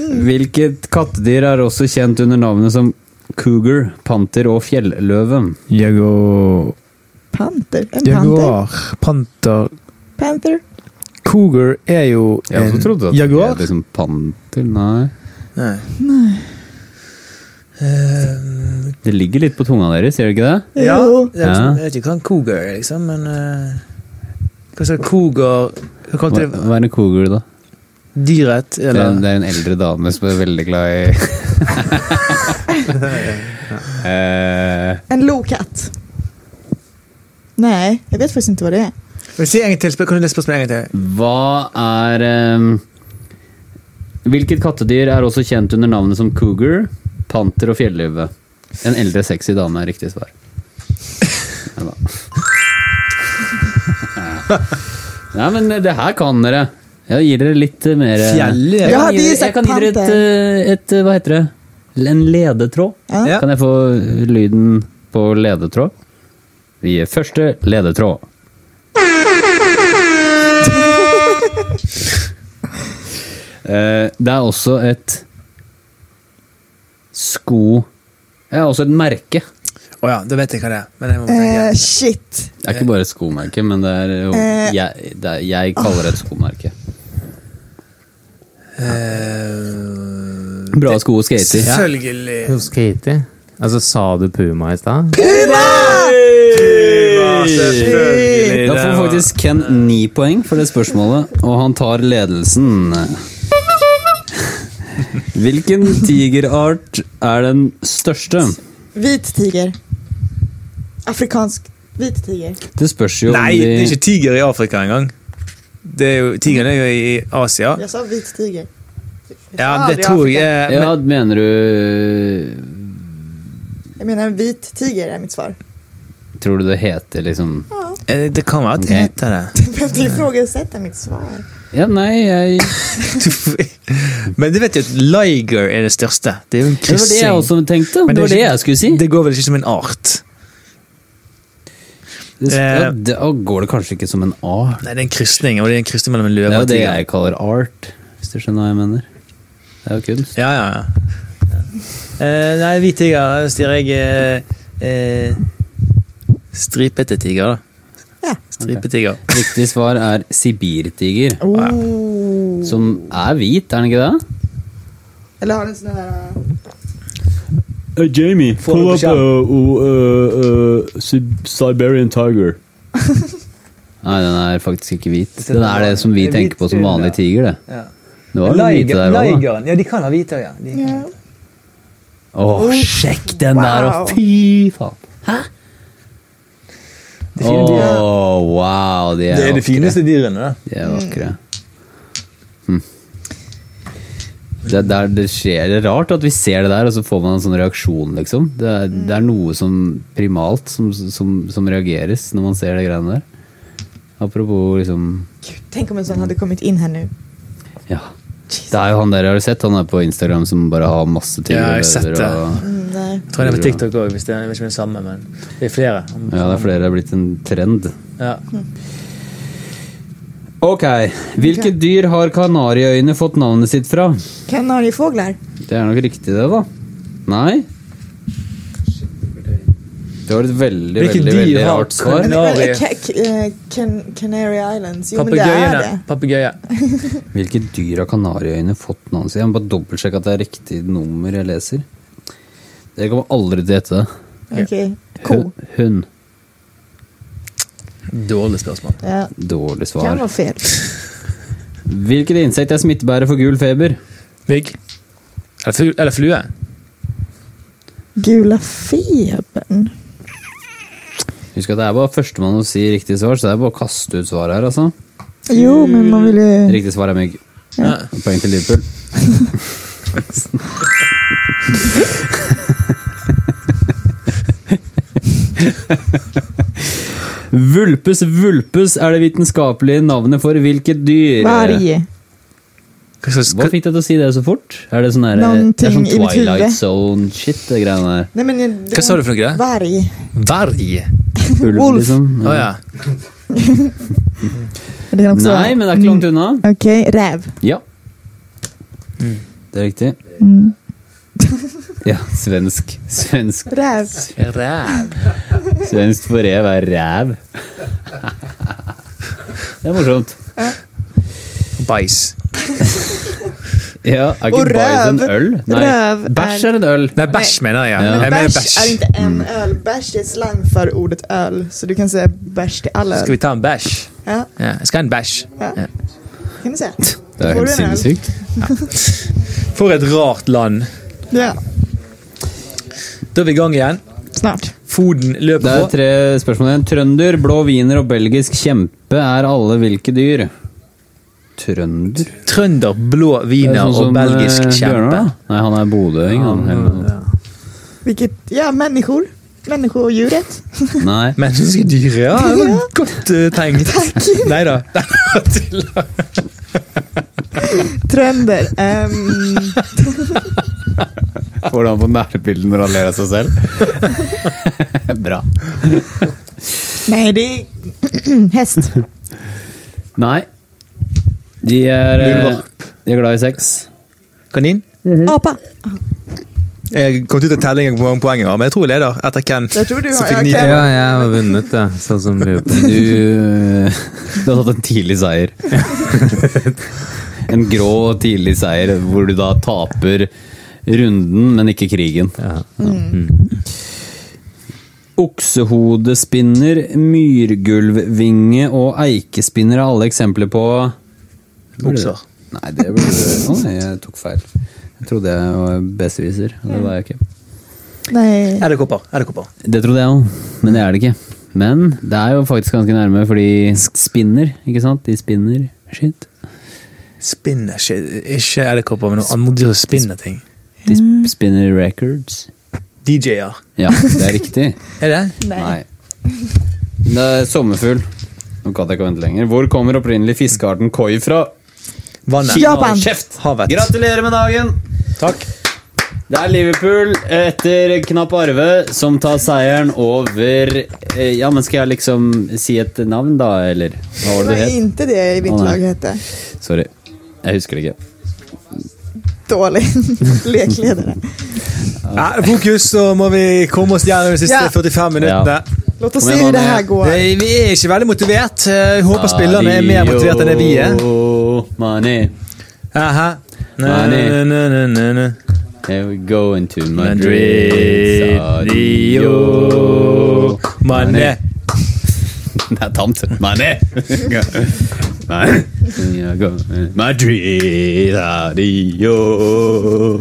[SPEAKER 1] Hvilket kattedyr er også kjent under navnet som cougar, panter og fjelløve?
[SPEAKER 3] Jago...
[SPEAKER 2] Panter. En panter.
[SPEAKER 3] Jaguar. Panter.
[SPEAKER 2] Panther.
[SPEAKER 3] Cougar er jo
[SPEAKER 1] Jeg også trodde at
[SPEAKER 3] jaguar.
[SPEAKER 1] det er liksom panter Nei.
[SPEAKER 4] Nei.
[SPEAKER 1] Det ligger litt på tunga deres, gjør det ikke det?
[SPEAKER 4] Ja,
[SPEAKER 2] Jo.
[SPEAKER 4] det er liksom, jeg vet ikke hva en cougar er, liksom, men eh, Hva slags cougar Hva kalte
[SPEAKER 1] Hva,
[SPEAKER 4] de
[SPEAKER 1] hva er en cougar, da?
[SPEAKER 4] dyret?
[SPEAKER 1] Det er, en,
[SPEAKER 4] Eller
[SPEAKER 1] det er en eldre dame som er veldig glad i Eh,
[SPEAKER 2] En lokatt. Nej, jag vet faktiskt inte vad det är.
[SPEAKER 4] Vil du si en gang til? Spør- Kan du lese spørsmålet en gang til?
[SPEAKER 1] Hva er ehm, Hvilket kattedyr er også kjent under navnet som cougar, panter og fjelløve? En eldre, sexy dame er riktig svar. Ja da. Nei, men det her kan dere. Jeg gir dere litt eh, mer eh,
[SPEAKER 4] Fjelløve?
[SPEAKER 1] Jeg kan
[SPEAKER 2] Ja,
[SPEAKER 1] gi
[SPEAKER 2] de
[SPEAKER 1] dere,
[SPEAKER 2] sagt
[SPEAKER 1] jeg kan gi dere et, eh, et eh, Hva heter det? En ledetråd.
[SPEAKER 2] Ja.
[SPEAKER 4] Ja.
[SPEAKER 1] Kan jeg få lyden på ledetråd? Vi gir første ledetråd. Eh, Det er også et sko... Det er også et merke.
[SPEAKER 4] Å ja, da vet jeg hva det er. Men jeg må
[SPEAKER 2] Eh,
[SPEAKER 4] tenke.
[SPEAKER 2] shit.
[SPEAKER 1] Det er ikke bare et skomerke, men det er jo
[SPEAKER 2] Eh.
[SPEAKER 1] jeg, det er, jeg kaller det et skomerke.
[SPEAKER 4] Eh,
[SPEAKER 1] Bra sko og skater. Ja.
[SPEAKER 4] Selvfølgelig.
[SPEAKER 6] Hos Katie? Altså, sa du Puma i stad?
[SPEAKER 1] Da får faktisk Ken ni poeng for det spørsmålet, og han tar ledelsen. Hvilken tigerart er den største?
[SPEAKER 2] Vit tiger. Afrikansk vit tiger.
[SPEAKER 1] Det spørs jo om
[SPEAKER 4] Nei, det er
[SPEAKER 1] de
[SPEAKER 4] ikke tiger i Afrika engang. Det er jo, tigeren er jo i Asia.
[SPEAKER 2] Jag sa vit tiger.
[SPEAKER 4] Ja, det tror jeg er
[SPEAKER 1] Ja, mener du
[SPEAKER 2] Jag menar en vit tiger är mitt svar.
[SPEAKER 1] Tror du det heter liksom
[SPEAKER 4] men- eh, Det kan være at det
[SPEAKER 1] Ok.
[SPEAKER 4] heter det.
[SPEAKER 2] Du behövde ifrågasätta mitt svar.
[SPEAKER 1] Ja, nei, jeg
[SPEAKER 4] Men du vet jo at liger er det største. Det er jo en
[SPEAKER 1] Det var det jeg
[SPEAKER 4] kryssing.
[SPEAKER 1] også tenkte. Det
[SPEAKER 4] Men det er
[SPEAKER 1] var det
[SPEAKER 4] ikke-
[SPEAKER 1] jeg skulle si.
[SPEAKER 4] Det går vel ikke som en art?
[SPEAKER 1] Det,
[SPEAKER 4] Eh.
[SPEAKER 1] ja, det, å, går det kanskje ikke som en art?
[SPEAKER 4] Nei, det er en krysning, og det er en krysning mellom en
[SPEAKER 1] Det er
[SPEAKER 4] løve og
[SPEAKER 1] jo
[SPEAKER 4] en
[SPEAKER 1] det
[SPEAKER 4] tiger.
[SPEAKER 1] jeg kaller art, hvis du skjønner hva jeg mener. Det er jo kunst.
[SPEAKER 4] Ja, ja, ja. Eh, nei, hvit tiger sier jeg eh, eh, Stripete tiger, da.
[SPEAKER 2] Ja.
[SPEAKER 4] Stripetiger.
[SPEAKER 1] Riktig svar er sibirtiger,
[SPEAKER 2] Oh.
[SPEAKER 1] som er hvit, er den ikke det?
[SPEAKER 2] Eller har den sån här...
[SPEAKER 3] Jamie,
[SPEAKER 4] Får pull du up, beskjed?
[SPEAKER 3] uh, Siberian Tiger.
[SPEAKER 1] Nei, den er faktisk ikke hvit. Den er det som vi tenker på som vanlig tiger, det.
[SPEAKER 4] Ja.
[SPEAKER 1] Det var den hvite der òg, da.
[SPEAKER 4] Ja, de kan ha hvite òg, ja. De kan.
[SPEAKER 2] Ja.
[SPEAKER 1] Å, sjekk den der,
[SPEAKER 2] Wow.
[SPEAKER 1] og fy faen! Hæ? Å, wow, de er,
[SPEAKER 4] Det er de
[SPEAKER 1] vakre.
[SPEAKER 4] fineste dyrene, da.
[SPEAKER 1] De er vakre. Hm. Det, er der det, skjer, det er rart at vi ser det der, og så får man en sånn reaksjon, liksom. Det er, det er noe som primalt som, som, som reageres når man ser de greiene der. Apropos liksom
[SPEAKER 2] Gud, tänk om en sån hade kommit in här nu.
[SPEAKER 1] Ja. Det er jo han der, har du sett? Han er på Instagram som bare har masse
[SPEAKER 4] Ja, jeg har sett
[SPEAKER 1] tigerløver
[SPEAKER 4] det.
[SPEAKER 1] og
[SPEAKER 2] Mm, nej.
[SPEAKER 4] Jeg tror det er på TikTok òg, hvis det er ikke den samme, men det er flere.
[SPEAKER 1] Ja, det er flere. Det er blitt en trend.
[SPEAKER 4] Ja.
[SPEAKER 1] Ok. Hvilket dyr har kanariøyene fått navnet sitt fra?
[SPEAKER 2] Kanariefåglar.
[SPEAKER 1] Det er nok riktig, det, da. Nei? Det var et veldig,
[SPEAKER 4] Hvilket
[SPEAKER 1] veldig
[SPEAKER 4] dyr
[SPEAKER 1] veldig
[SPEAKER 4] har
[SPEAKER 1] rart svar.
[SPEAKER 4] kanar-
[SPEAKER 2] Eller,
[SPEAKER 4] Kanari.
[SPEAKER 2] eh, Ca- Ca- eh, Can- Canary Islands. Jo, men det är
[SPEAKER 4] Papegøyene.
[SPEAKER 2] det.
[SPEAKER 4] Papegøye.
[SPEAKER 1] Hvilket dyr har kanariøyene fått navnet sitt? Jeg må bare dobbeltsjekke at det er riktig nummer jeg leser. Dere kommer aldri til å gjette det.
[SPEAKER 2] Okej. Ko.
[SPEAKER 1] Hun- Hund.
[SPEAKER 4] Dårlig spørsmål.
[SPEAKER 2] Ja.
[SPEAKER 1] Dårlig
[SPEAKER 2] Kan
[SPEAKER 1] svar.
[SPEAKER 2] vara fel.
[SPEAKER 1] Hvilket insekt er smittebærer for gul feber?
[SPEAKER 4] Mygg? Eller, flu- eller flue?
[SPEAKER 2] Gula febern.
[SPEAKER 1] Husk at det er bare førstemann å si riktig svar, så det er bare å kaste ut svaret her, altså.
[SPEAKER 2] Jo, men man vill ju...
[SPEAKER 1] Riktig svar er mygg. Poeng til Liverpool. Vulpes vulpes er det vitenskapelige navnet for hvilket dyr?
[SPEAKER 2] Varg.
[SPEAKER 4] Hva slags-
[SPEAKER 1] Hva fikk deg til å si det så fort? Er det sånn der,
[SPEAKER 2] Noen
[SPEAKER 1] det er sånn
[SPEAKER 2] ting i mitt hode.
[SPEAKER 1] Twilight Zone-shit, det greiene der?
[SPEAKER 2] Nej, men, eh, det
[SPEAKER 4] Hva sa du for noe?
[SPEAKER 2] Varg.
[SPEAKER 4] Varg?
[SPEAKER 1] Ulv,
[SPEAKER 2] Wolf.
[SPEAKER 1] liksom?
[SPEAKER 4] Å ja.
[SPEAKER 2] Det kan också Mm.
[SPEAKER 1] Nei, men det er ikke langt unna.
[SPEAKER 2] Okej, räv.
[SPEAKER 1] Ja. Det er riktig.
[SPEAKER 2] Mm.
[SPEAKER 1] Ja, svensk. Svensk
[SPEAKER 2] Räv.
[SPEAKER 4] Ræv.
[SPEAKER 1] Svensk for rev er ræv. Det er morsomt.
[SPEAKER 4] Bæsj.
[SPEAKER 1] Ja, er ikke
[SPEAKER 2] Og
[SPEAKER 1] bæsj en
[SPEAKER 2] ræv.
[SPEAKER 1] øl? Nei,
[SPEAKER 2] Ræv er-
[SPEAKER 1] bæsj er en øl.
[SPEAKER 4] Nei, bæsj mener jeg.
[SPEAKER 1] Ja.
[SPEAKER 4] Jeg mener
[SPEAKER 2] Bärs är
[SPEAKER 4] bæsj.
[SPEAKER 2] inte en öl. Bärs är slang för ordet öl. Så du kan säga bärs till all
[SPEAKER 4] Skal
[SPEAKER 2] öl.
[SPEAKER 4] vi ta en bæsj?
[SPEAKER 2] Ja,
[SPEAKER 4] Ja, jeg skal ha en bæsj.
[SPEAKER 2] ja. Kan du säga?
[SPEAKER 1] Det er
[SPEAKER 2] Får
[SPEAKER 1] helt
[SPEAKER 2] du en øl?
[SPEAKER 1] sinnssykt.
[SPEAKER 4] For et rart land.
[SPEAKER 2] Ja,
[SPEAKER 4] Da er vi i gang igjen.
[SPEAKER 2] snart.
[SPEAKER 4] Foden
[SPEAKER 1] Det
[SPEAKER 4] løper
[SPEAKER 1] er
[SPEAKER 4] på.
[SPEAKER 1] tre spørsmål igjen. Trønder, blå wiener og belgisk kjempe er alle hvilke dyr? Trønder?
[SPEAKER 4] Trønder, blå
[SPEAKER 1] Det er
[SPEAKER 4] wiener
[SPEAKER 1] sånn
[SPEAKER 4] og
[SPEAKER 1] som,
[SPEAKER 4] belgisk
[SPEAKER 1] eh, Bjørnar,
[SPEAKER 4] kjempe.
[SPEAKER 1] da. Nei, han er bodøing, han. eller noe sånt.
[SPEAKER 2] Vilket, ja, människor. Människodjuret.
[SPEAKER 1] Nei.
[SPEAKER 4] Menneskedyr, ja. det var Godt eh, tenkt. Nei da.
[SPEAKER 2] Trönder. ehm,
[SPEAKER 1] Får han på nærbilden når han ler av seg selv? Bra.
[SPEAKER 2] nej, det är häst.
[SPEAKER 1] Nei. De er, eh, de er glad i sex.
[SPEAKER 4] Kanin?
[SPEAKER 2] Apa.
[SPEAKER 4] Jeg kom ut av tellingen på mange poeng, ja, men jeg tror jeg leder etter Ken.
[SPEAKER 2] Jag tror du
[SPEAKER 4] Så
[SPEAKER 2] har...
[SPEAKER 4] fick
[SPEAKER 2] jag
[SPEAKER 4] ni-
[SPEAKER 2] kan-
[SPEAKER 6] Ja, jeg har vunnet, ja. Sånn som Liverpool.
[SPEAKER 1] Du Du har tatt en tidlig seier. En grå, tidlig seier hvor du da taper runden, men ikke krigen. Mm.
[SPEAKER 6] Ja. Mm.
[SPEAKER 1] Oksehodespinner, myrgulvvinge og eikespinner er alle eksempler på
[SPEAKER 4] Okser.
[SPEAKER 1] Nei, det ble Å, nei, jeg tok feil. Jeg trodde jeg var besserwisser, og det var jeg ikke.
[SPEAKER 2] Nej.
[SPEAKER 4] Edderkopper. Edderkopper.
[SPEAKER 1] Det trodde jeg òg, men det er det ikke. Men det er jo faktisk ganske nærme, fordi spinner, ikke sant? De spinner skitt.
[SPEAKER 4] Spinner ikke Ikke edderkopper, men noe annet dyr som spinner ting.
[SPEAKER 1] De sp- spinner records.
[SPEAKER 4] DJ-er.
[SPEAKER 1] Ja, det er riktig.
[SPEAKER 4] Er det?
[SPEAKER 1] Nei. Det er sommerfugl. Nå kan jeg ikke vente lenger. Hvor kommer opprinnelig fiskearten koi fra?
[SPEAKER 4] Vannet.
[SPEAKER 2] Japan.
[SPEAKER 1] Kjeft!
[SPEAKER 4] Havet.
[SPEAKER 1] Gratulerer med dagen!
[SPEAKER 4] Takk.
[SPEAKER 1] Det er Liverpool etter knapp arve som tar seieren over eh, Ja, men skal jeg liksom si et navn, da, eller? Hva var
[SPEAKER 2] Det
[SPEAKER 1] det det
[SPEAKER 2] var
[SPEAKER 1] het?
[SPEAKER 2] inte det i mitt
[SPEAKER 1] Åh, nej.
[SPEAKER 2] lag hette.
[SPEAKER 1] Sorry. Jeg husker det ikke.
[SPEAKER 2] Dålig lekledare.
[SPEAKER 4] Ja, fokus, så må vi komme oss gjennom de siste
[SPEAKER 2] Ja.
[SPEAKER 4] 45 minuttene.
[SPEAKER 2] Låt oss
[SPEAKER 1] Kom
[SPEAKER 2] se
[SPEAKER 1] igen,
[SPEAKER 2] hur det
[SPEAKER 1] Anne.
[SPEAKER 2] här går.
[SPEAKER 4] Eh, Vi er ikke veldig motivert. Eh, Jeg håper spillerne er mer motivert enn det vi er.
[SPEAKER 1] Adio, Mané.
[SPEAKER 4] Aha. Nø,
[SPEAKER 1] Nei.
[SPEAKER 4] nø, nø, nø, nø, nø.
[SPEAKER 1] Here we go into Madrid.
[SPEAKER 4] Madrid, Rio, Mané.
[SPEAKER 1] Det er tamt. Mané! Mané. Ja, go. Madrid, Rio.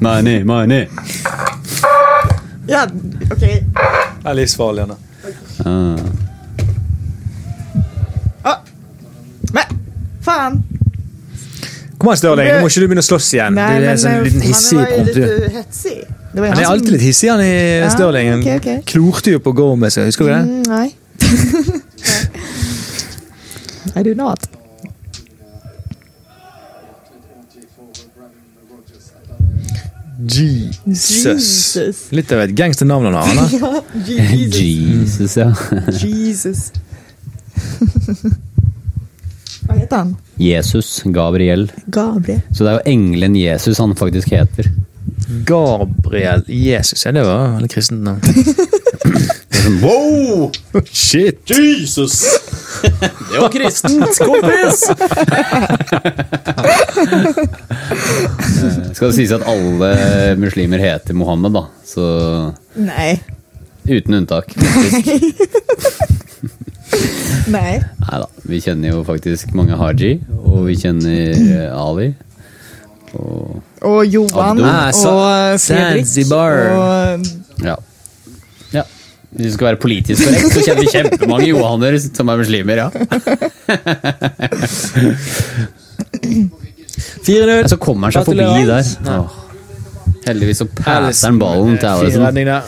[SPEAKER 1] Mané, mané.
[SPEAKER 2] Ja, okej.
[SPEAKER 4] Det er livsfarlig, Anne.
[SPEAKER 1] Ah.
[SPEAKER 2] Ah. Men, fan.
[SPEAKER 4] Kom an, Stirling. Nå må ikke du begynne å slåss igjen.
[SPEAKER 2] Nej,
[SPEAKER 4] du er
[SPEAKER 2] men
[SPEAKER 4] en sånn
[SPEAKER 2] eh,
[SPEAKER 4] liten
[SPEAKER 2] han
[SPEAKER 4] hissig
[SPEAKER 2] var ju
[SPEAKER 4] type.
[SPEAKER 2] lite hetsig. Det var ju
[SPEAKER 4] Han er
[SPEAKER 2] som-
[SPEAKER 4] alltid litt hissig, han i
[SPEAKER 2] eh, Ja,
[SPEAKER 4] Stirling. Han
[SPEAKER 2] ok, ok.
[SPEAKER 4] klorte jo på Gomez, husker du det?
[SPEAKER 2] Mm, nej. I do not.
[SPEAKER 4] Jesus.
[SPEAKER 2] Jesus.
[SPEAKER 4] Litt av et gangsternavn han har. da.
[SPEAKER 2] Ja, Jesus.
[SPEAKER 1] Jesus, ja.
[SPEAKER 2] Jesus. Vad heter han?
[SPEAKER 1] Jesus Gabriel.
[SPEAKER 2] Gabriel.
[SPEAKER 1] Så det er jo engelen Jesus han faktisk heter.
[SPEAKER 4] Gabriel Jesus. Ja, det var veldig kristent navn. Oh,
[SPEAKER 1] Wow!
[SPEAKER 4] Shit.
[SPEAKER 1] Jesus! Det var kristent, kompis! Skal det sies at alle muslimer heter Mohammed, da. Så
[SPEAKER 2] Nej.
[SPEAKER 1] uten unntak. Nei
[SPEAKER 2] Nej.
[SPEAKER 1] da. Vi kjenner jo faktisk mange haji, og vi kjenner eh, Ali. Og
[SPEAKER 2] Och Johan
[SPEAKER 1] Abdul.
[SPEAKER 4] Ah, så-
[SPEAKER 2] och Fredrik.
[SPEAKER 4] Zanzibar.
[SPEAKER 2] Och
[SPEAKER 1] ja. ja. Hvis du skal være politisk korrekt, så kjenner vi kjempemange johaner som er muslimer, ja.
[SPEAKER 4] 4-0.
[SPEAKER 1] Ja, så kommer han seg forbi der. Åh. Heldigvis så passer han ballen til
[SPEAKER 4] Fin
[SPEAKER 1] Allison.
[SPEAKER 4] redning der.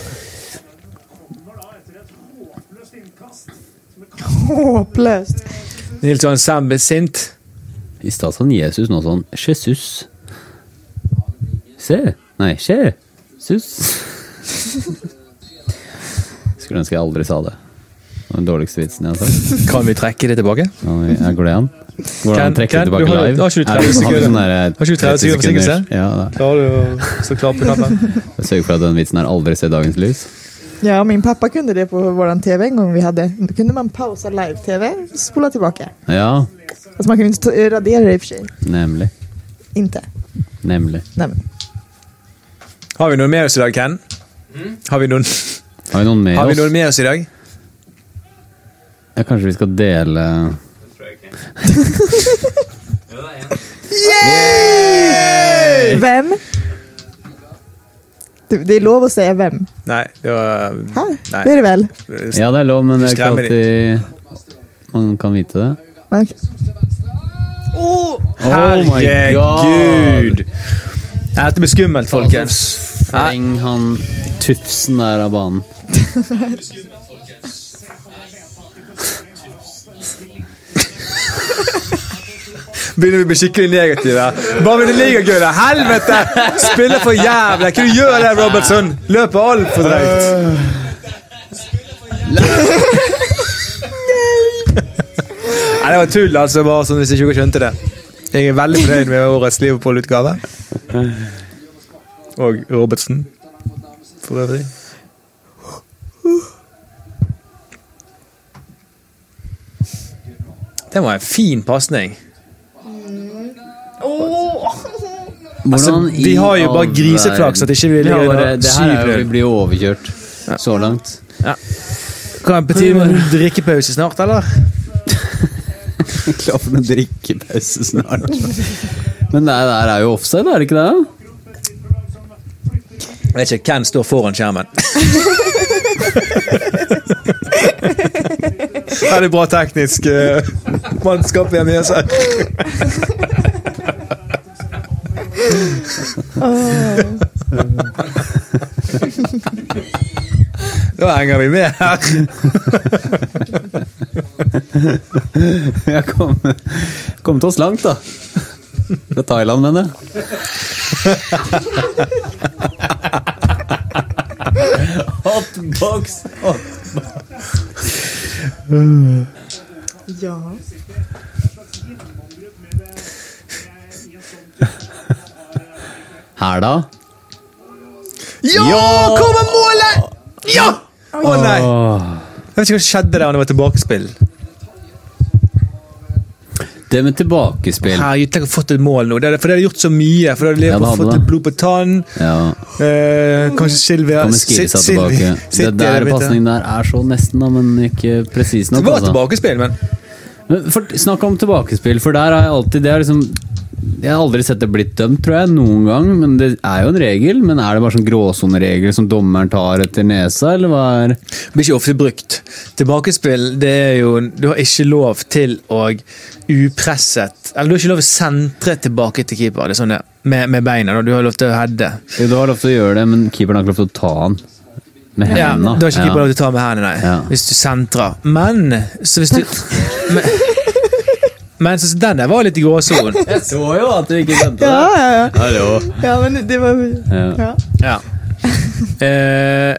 [SPEAKER 5] Kommer da etter et håpløst innkast som er
[SPEAKER 2] håpløst.
[SPEAKER 4] Nils Johan Sembe sint.
[SPEAKER 1] I stad sa han Jesus, nå sa han Jesus. Se. Nei, skje. Sus. Skulle ønske jeg aldri sa det. Det var den dårligste vitsen jeg har sagt.
[SPEAKER 4] Kan vi trekke det tilbake?
[SPEAKER 1] Ja, men Jeg går det an? Går det an
[SPEAKER 4] Ken-
[SPEAKER 1] å trekke det
[SPEAKER 4] Ken,
[SPEAKER 1] tilbake
[SPEAKER 4] du har-
[SPEAKER 1] live?
[SPEAKER 4] har ikke du
[SPEAKER 1] Er det-
[SPEAKER 4] 30
[SPEAKER 1] har vi
[SPEAKER 4] sekunder?
[SPEAKER 1] sånn der, eh,
[SPEAKER 4] Har ikke du 30 sekunder forsinkelse?
[SPEAKER 1] Ja, da.
[SPEAKER 4] Klarer du å stå klar på knappen?
[SPEAKER 1] Jeg sørger for at den vitsen her aldri ser dagens lys.
[SPEAKER 2] Ja, min pappa kunde det på vår TV en gång vi hade. Då kunde man pausa live-TV, spola tillbaka.
[SPEAKER 1] Ja,
[SPEAKER 2] Alltså man kunde inte ta- radera det i och för sig.
[SPEAKER 1] nemlig.
[SPEAKER 2] Inte.
[SPEAKER 1] Nemlig.
[SPEAKER 2] Nej, men.
[SPEAKER 4] Har vi noen med oss i dag, Ken? Har vi noen,
[SPEAKER 1] Har vi noen med
[SPEAKER 4] har vi
[SPEAKER 1] oss?
[SPEAKER 4] noen med oss i dag?
[SPEAKER 1] Ja, kanskje vi skal dele
[SPEAKER 2] Vem? Du, det är lov att säga vem.
[SPEAKER 4] Nei, det var
[SPEAKER 2] Här,
[SPEAKER 4] Nej.
[SPEAKER 2] det är det väl?
[SPEAKER 1] Ja, det er lov, men det er ikke
[SPEAKER 4] Skremmer
[SPEAKER 1] alltid man kan vite det.
[SPEAKER 2] Man,
[SPEAKER 1] Oh my god!
[SPEAKER 4] Herregud! Dette blir skummelt, folkens.
[SPEAKER 1] Fleng han tufsen der av banen.
[SPEAKER 4] Begynner vi å bli skikkelig negative. Bare med det ligagull! Helvete! Spiller for jævlig! Hva du gjør der, Robertson? Løper altfor drøyt. Nei, det var tull, altså. bare sånn Hvis ikke dere skjønte det. Jeg er veldig fornøyd med årets Liverpool-utgave. Og Robertsen, for øvrig. Det var en fin pasning.
[SPEAKER 1] Hvordan
[SPEAKER 4] Altså, de
[SPEAKER 1] i
[SPEAKER 4] har jo bare
[SPEAKER 1] all
[SPEAKER 4] griseflaks at ikke vi
[SPEAKER 1] verden-
[SPEAKER 4] ligger
[SPEAKER 1] Ja,
[SPEAKER 4] under
[SPEAKER 1] det- Det her er jo,
[SPEAKER 4] 7-0.
[SPEAKER 1] vi blir jo overkjørt så langt.
[SPEAKER 4] Kan bety en drikkepause snart, eller?
[SPEAKER 1] Klar for en drikkepause snart. Men det der er jo offside, er det ikke det?
[SPEAKER 4] Jeg vet ikke hvem står foran skjermen. Veldig bra teknisk eh, mannskap igjen i seg. Da henger vi med her.
[SPEAKER 1] Jeg kom, kom til oss langt, da. Fra Thailand, mener jeg. Hotbox!
[SPEAKER 2] ja.
[SPEAKER 1] Her, da?
[SPEAKER 4] Ja! Kommer målet! Ja! Å nei! Jeg vet ikke hva som skjedde der når det var tilbakespill.
[SPEAKER 1] Det med tilbakespill.
[SPEAKER 4] Herregud, tenk å ha fått et mål nå. Det er, for det har gjort så mye. For det
[SPEAKER 1] Ja,
[SPEAKER 4] har
[SPEAKER 1] det hadde
[SPEAKER 4] fått
[SPEAKER 1] det.
[SPEAKER 4] litt blod på tann.
[SPEAKER 1] Ja,
[SPEAKER 4] Eh, kanskje Silvia
[SPEAKER 1] Kommer Skirsa tilbake. Det der pasningen der er så nesten, da, men ikke presis
[SPEAKER 4] Det
[SPEAKER 1] nok.
[SPEAKER 4] var
[SPEAKER 1] altså.
[SPEAKER 4] tilbakespill, men
[SPEAKER 1] Men for, snakk om tilbakespill, for der har jeg alltid det er liksom, Jeg har aldri sett det blitt dømt, tror jeg, noen gang. Men det er jo en regel. Men er det bare sånn gråsoneregel som dommeren tar etter nesa, eller hva er
[SPEAKER 4] blir ikke ofte brukt. Tilbakespill, det er jo Du har ikke lov til å upresset Eller du har ikke lov til å sentre tilbake til keeper. Det er sånn det, med, med beina. da. Du har lov til å heade.
[SPEAKER 1] Jo, du har lov til å gjøre det, men keeperen har ikke lov til å ta han med
[SPEAKER 4] Ja, du
[SPEAKER 1] hendene.
[SPEAKER 4] har ikke keeper lov til å ta med hendene, nei.
[SPEAKER 1] Ja.
[SPEAKER 4] Hvis du sentrer. Men så hvis du Men, men så, så den der var litt i gråsonen.
[SPEAKER 1] Jeg så jo at du ikke skjønte
[SPEAKER 2] Ja, ja, ja.
[SPEAKER 1] Hallo.
[SPEAKER 2] ja, men det var...
[SPEAKER 1] Ja.
[SPEAKER 2] Ja.
[SPEAKER 4] Ja. Eh,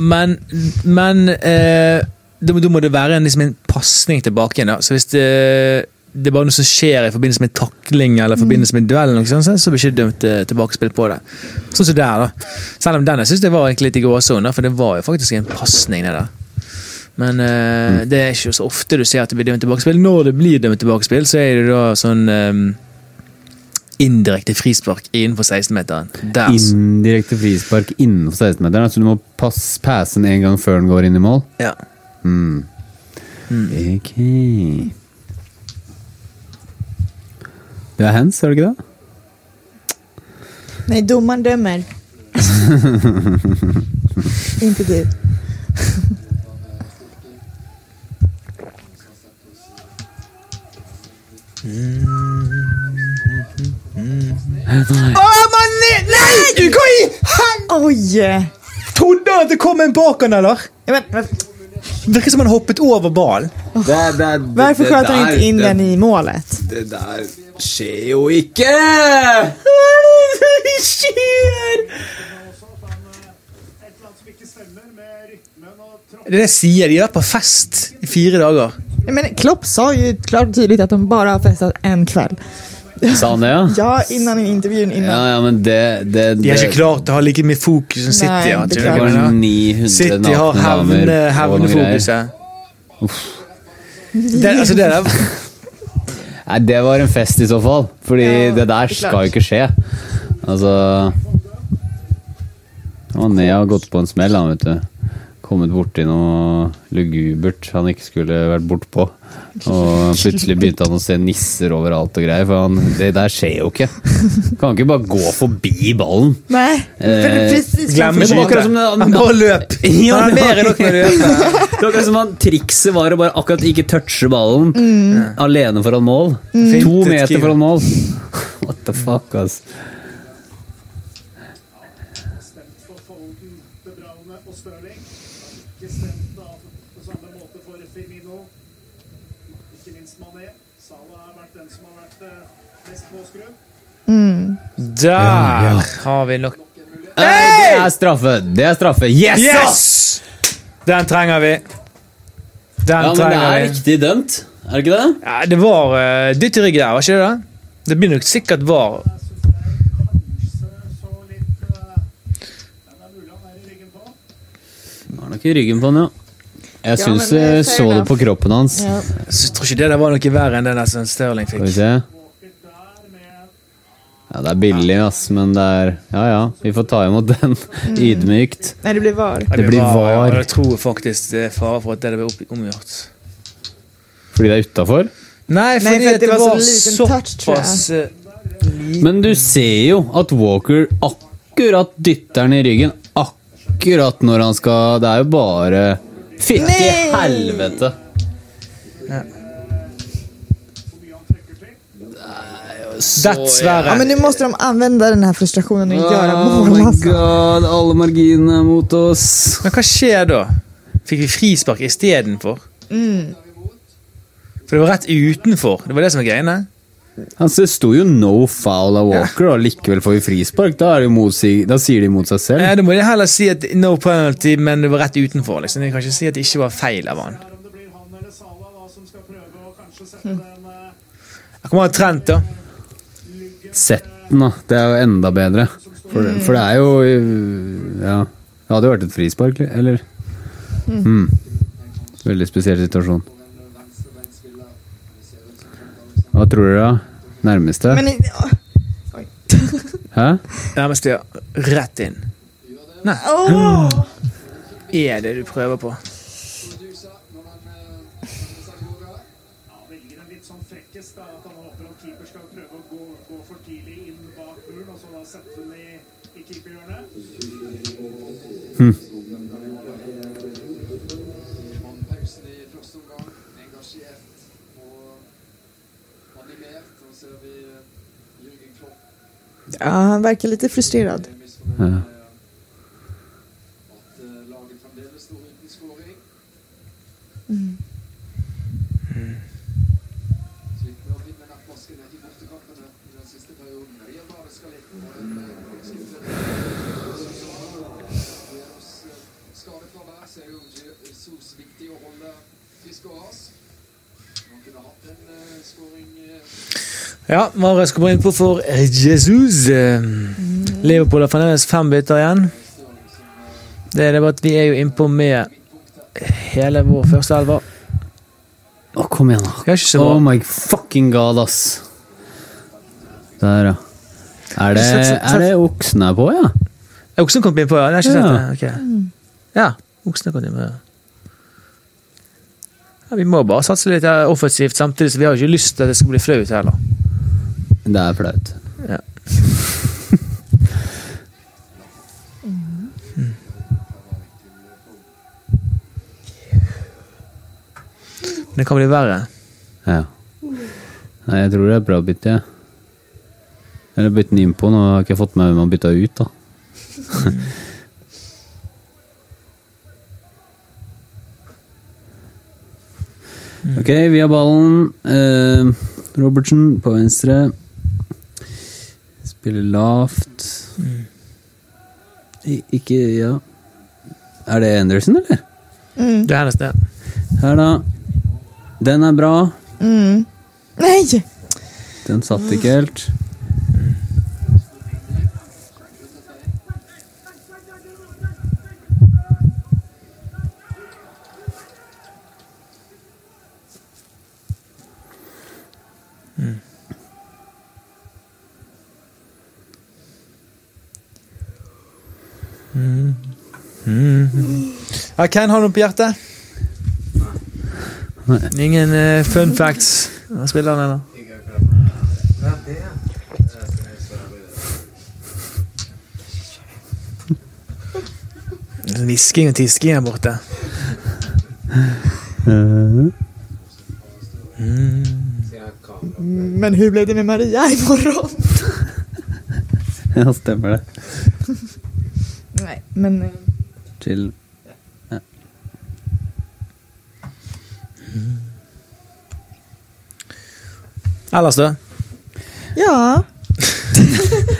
[SPEAKER 4] men men eh, da, må- da må det være en, liksom en pasning tilbake igjen. Da. Så hvis det, det er bare noe som skjer i forbindelse med takling eller i forbindelse med duell, eller noe sånt, så blir ikke dømt eh, tilbakespill på det. Sånn som der, da. Selv om den jeg syns det var egentlig litt i gråsonen, da, for det var jo faktisk en pasning. det der. Men eh, det er ikke så ofte du ser at det blir dømt tilbakespill. Når det blir dømt tilbakespill, så er det da sånn eh, indirekte frispark innenfor 16-meteren. Der, så-
[SPEAKER 1] Indirekte frispark innenfor 16-meteren. Så du må pass- passe den en gang før den går inn i mål?
[SPEAKER 4] Ja.
[SPEAKER 1] Mm. Ok. Du er hands, er du ikke det?
[SPEAKER 2] Nej, domaren dömer. Inte du.
[SPEAKER 4] Nei, hva i
[SPEAKER 2] Oj! Ja,
[SPEAKER 4] Trodde han at det kom en bak han, eller?
[SPEAKER 2] Men, men,
[SPEAKER 4] Virker som han hoppet over ballen.
[SPEAKER 1] Det, det, det,
[SPEAKER 2] Varför sköter du inte in den i målet?
[SPEAKER 1] Det der skjer jo ikke! Hva er det som skjer?
[SPEAKER 5] Et eller annet som ikke stemmer med rytmen og
[SPEAKER 4] Det er det jeg sier. De har vært på fest i fire dager.
[SPEAKER 2] Ja, Men Klopp sa ju klart och tydligt att de bara har festat en kväll.
[SPEAKER 1] Sa han det, ja?
[SPEAKER 2] Ja, innan intervjun
[SPEAKER 1] Ja,
[SPEAKER 2] innan.
[SPEAKER 1] ja, men det, det,
[SPEAKER 4] De har
[SPEAKER 1] det
[SPEAKER 4] ikke klart å ha like mye fokus som City.
[SPEAKER 2] Nei,
[SPEAKER 4] har, tror
[SPEAKER 1] det
[SPEAKER 4] jeg.
[SPEAKER 2] beklager.
[SPEAKER 1] var 900
[SPEAKER 4] City har
[SPEAKER 1] nakne damer
[SPEAKER 4] hevne,
[SPEAKER 1] og greier.
[SPEAKER 4] hevnefokuset. Det, altså det der
[SPEAKER 1] Nei, det var en fest i så fall. Fordi
[SPEAKER 2] Ja,
[SPEAKER 1] det der
[SPEAKER 2] det er klart.
[SPEAKER 1] skal jo ikke skje. Altså Mané har gått på en smell, han, vet du. Kommet borti noe lugubert han ikke skulle vært bortpå. Og plutselig begynte han å se nisser overalt og greier, for han, det der skjer jo ikke. Kan ikke bare gå forbi ballen.
[SPEAKER 2] Nej,
[SPEAKER 1] Eh,
[SPEAKER 2] för precis
[SPEAKER 4] Glem
[SPEAKER 1] Men
[SPEAKER 4] å
[SPEAKER 1] det var
[SPEAKER 4] skyte.
[SPEAKER 1] akkurat som det-
[SPEAKER 4] Han bare løp.
[SPEAKER 1] Ja,
[SPEAKER 4] Han er
[SPEAKER 1] det var-
[SPEAKER 4] mer enn nok når du løper.
[SPEAKER 1] Det var akkurat som han, trikset var å bare akkurat ikke touche ballen
[SPEAKER 2] Mm.
[SPEAKER 1] alene foran mål. To
[SPEAKER 4] Fintet
[SPEAKER 1] meter
[SPEAKER 4] keeper.
[SPEAKER 1] foran mål. What the fuck, ass.
[SPEAKER 5] stemt for Foden, De Bruyne og Stirling. Ikke stemt da på samme måte for Firmino. Ikke minst Mané. Salah har vært den som har vært eh, mest påskrudd.
[SPEAKER 4] Der har vi nok
[SPEAKER 1] Nei, Det er straffe! Det er straffe. Yes! ass!
[SPEAKER 4] Yes! Den trenger vi. Den
[SPEAKER 1] Ja, men det
[SPEAKER 4] trenger
[SPEAKER 1] er
[SPEAKER 4] vi.
[SPEAKER 1] riktig dømt, er det ikke det?
[SPEAKER 4] Ja, det var uh, dytt i rygg der, var ikke det? det? Det blir nok sikkert var.
[SPEAKER 5] Der synes jeg kanskje så litt eh, Den er mulig han er i ryggen på.
[SPEAKER 1] Han har nok i ryggen på han, ja. Jeg
[SPEAKER 2] Ja,
[SPEAKER 1] syns
[SPEAKER 2] men det
[SPEAKER 1] jeg
[SPEAKER 2] er fair
[SPEAKER 1] så det
[SPEAKER 2] enough.
[SPEAKER 1] på kroppen hans.
[SPEAKER 2] Ja.
[SPEAKER 4] Så jeg tror ikke det der var noe verre enn det der som Sterling
[SPEAKER 1] Skal vi
[SPEAKER 4] fikk.
[SPEAKER 1] se.
[SPEAKER 5] Walker der med
[SPEAKER 1] Ja, det er billig, ass, men det er Ja ja, vi får ta imot den
[SPEAKER 2] Mm.
[SPEAKER 1] ydmykt.
[SPEAKER 2] Nej, det blir VAR.
[SPEAKER 1] Det blir
[SPEAKER 4] ja,
[SPEAKER 1] var.
[SPEAKER 4] og Jeg tror faktisk det er fare for at det blir opp- omgjort.
[SPEAKER 1] Fordi det er utafor?
[SPEAKER 4] Nei, fordi
[SPEAKER 2] for
[SPEAKER 4] at det, var så
[SPEAKER 2] liten touch, tror jeg.
[SPEAKER 4] såpass eh,
[SPEAKER 1] Men du ser jo at Walker akkurat dytter den i ryggen akkurat når han skal Det er jo bare Fytti
[SPEAKER 2] Nei!
[SPEAKER 1] helvete!
[SPEAKER 4] Dessverre.
[SPEAKER 2] Ja, men nu måste de använda den här frustrationen och göra mål. alltså.
[SPEAKER 1] Ah, oh god, alle marginene er mot oss.
[SPEAKER 4] Men hva skjer da? Fikk vi frispark istedenfor?
[SPEAKER 2] Mm.
[SPEAKER 4] For det var rett utenfor. Det var det som var greiene.
[SPEAKER 1] Altså, det sto jo 'no foul' av Walker, og likevel får vi frispark. Da, er det jo motsig, da sier de mot seg selv.
[SPEAKER 4] Ja, Eh, da må de heller si at no penalty, men det var rett utenfor. liksom. De kan ikke si at det ikke var feil av han.
[SPEAKER 5] Her om det blir han eller Salah da som skal prøve å kanskje sette den eh,
[SPEAKER 4] Her kommer han Trent, da.
[SPEAKER 1] Sett den, da. Det er jo enda bedre. For, for det er jo øh, Ja. Det hadde jo vært et frispark, eller? Mm. Veldig spesiell situasjon. Hva tror dere, da? Nærmeste?
[SPEAKER 2] Men,
[SPEAKER 1] Hæ?
[SPEAKER 4] Nærmest ja. Rett inn.
[SPEAKER 2] åh!
[SPEAKER 4] Er det du prøver på?
[SPEAKER 5] velger en litt sånn frekkest, da, at han håper at keeper skal prøve å gå, gå for tidlig inn bak muren, og så da sette den i, i keeperhjørnet.
[SPEAKER 7] Pausen i første omgang, engasjert og animert. Og ser vi Jørgen Klopp
[SPEAKER 2] Ja, han verkar lite frustrerad.
[SPEAKER 7] er misfornøyd med at eh, laget fremdeles står uten skåring. Slitt med å vinne nattmaskene i bortekampene i den siste perioden. Vi har bare skalert og en eh, siste Vi er oss eh, skadet fra der, så er jo Jø- Sos viktig å holde frisk og rask. Man kunne hatt en eh, skåring eh,
[SPEAKER 4] Ja, Marius kommer innpå for Jesus. Eh, Liverpool har fremdeles fem bytter igjen. Det er det bare at vi er jo innpå med hele vår første elver.
[SPEAKER 1] Å, kom igjen, da.
[SPEAKER 4] Det er ikke så
[SPEAKER 1] Oh
[SPEAKER 4] bra.
[SPEAKER 1] my fucking god, ass. Der, ja. Er det,
[SPEAKER 4] Sett- sett-
[SPEAKER 1] er det oksene er på, ja?
[SPEAKER 4] Er oksen kommet innpå, ja? Jeg har ikke
[SPEAKER 1] Ja.
[SPEAKER 4] sett det. Ok. Ja, oksen har kommet innpå, ja. ja. Vi må bare satse litt eh, offensivt samtidig, så vi har jo ikke lyst til at det skal bli flaut heller.
[SPEAKER 1] Det er flaut.
[SPEAKER 4] Ja. Men Det kan bli verre.
[SPEAKER 1] Ja. Nei, jeg tror det er et bra bytte, jeg. Eller bytte den innpå, nå har jeg ikke fått med hvem han bytta ut, da. Ok, vi har ballen. Eh, Robertsen på venstre. Spiller lavt. I, ikke Ja. Er det Anderson, eller?
[SPEAKER 2] Mm.
[SPEAKER 4] Det er hennes, det.
[SPEAKER 1] Her, da. Den er bra.
[SPEAKER 2] Mm. Nei!
[SPEAKER 1] Den satt ikke helt.
[SPEAKER 4] Ja, Ken, har du noe på hjertet? Ingen eh, fun facts av spillerne, da? Hvisking og tisking her borte.
[SPEAKER 1] Mhm.
[SPEAKER 2] Men hur blev det med Maria imorgon?
[SPEAKER 1] Ja, stemmer det.
[SPEAKER 2] Nej, men... eh,
[SPEAKER 1] Chill.
[SPEAKER 4] Ellers, da?
[SPEAKER 2] Ja.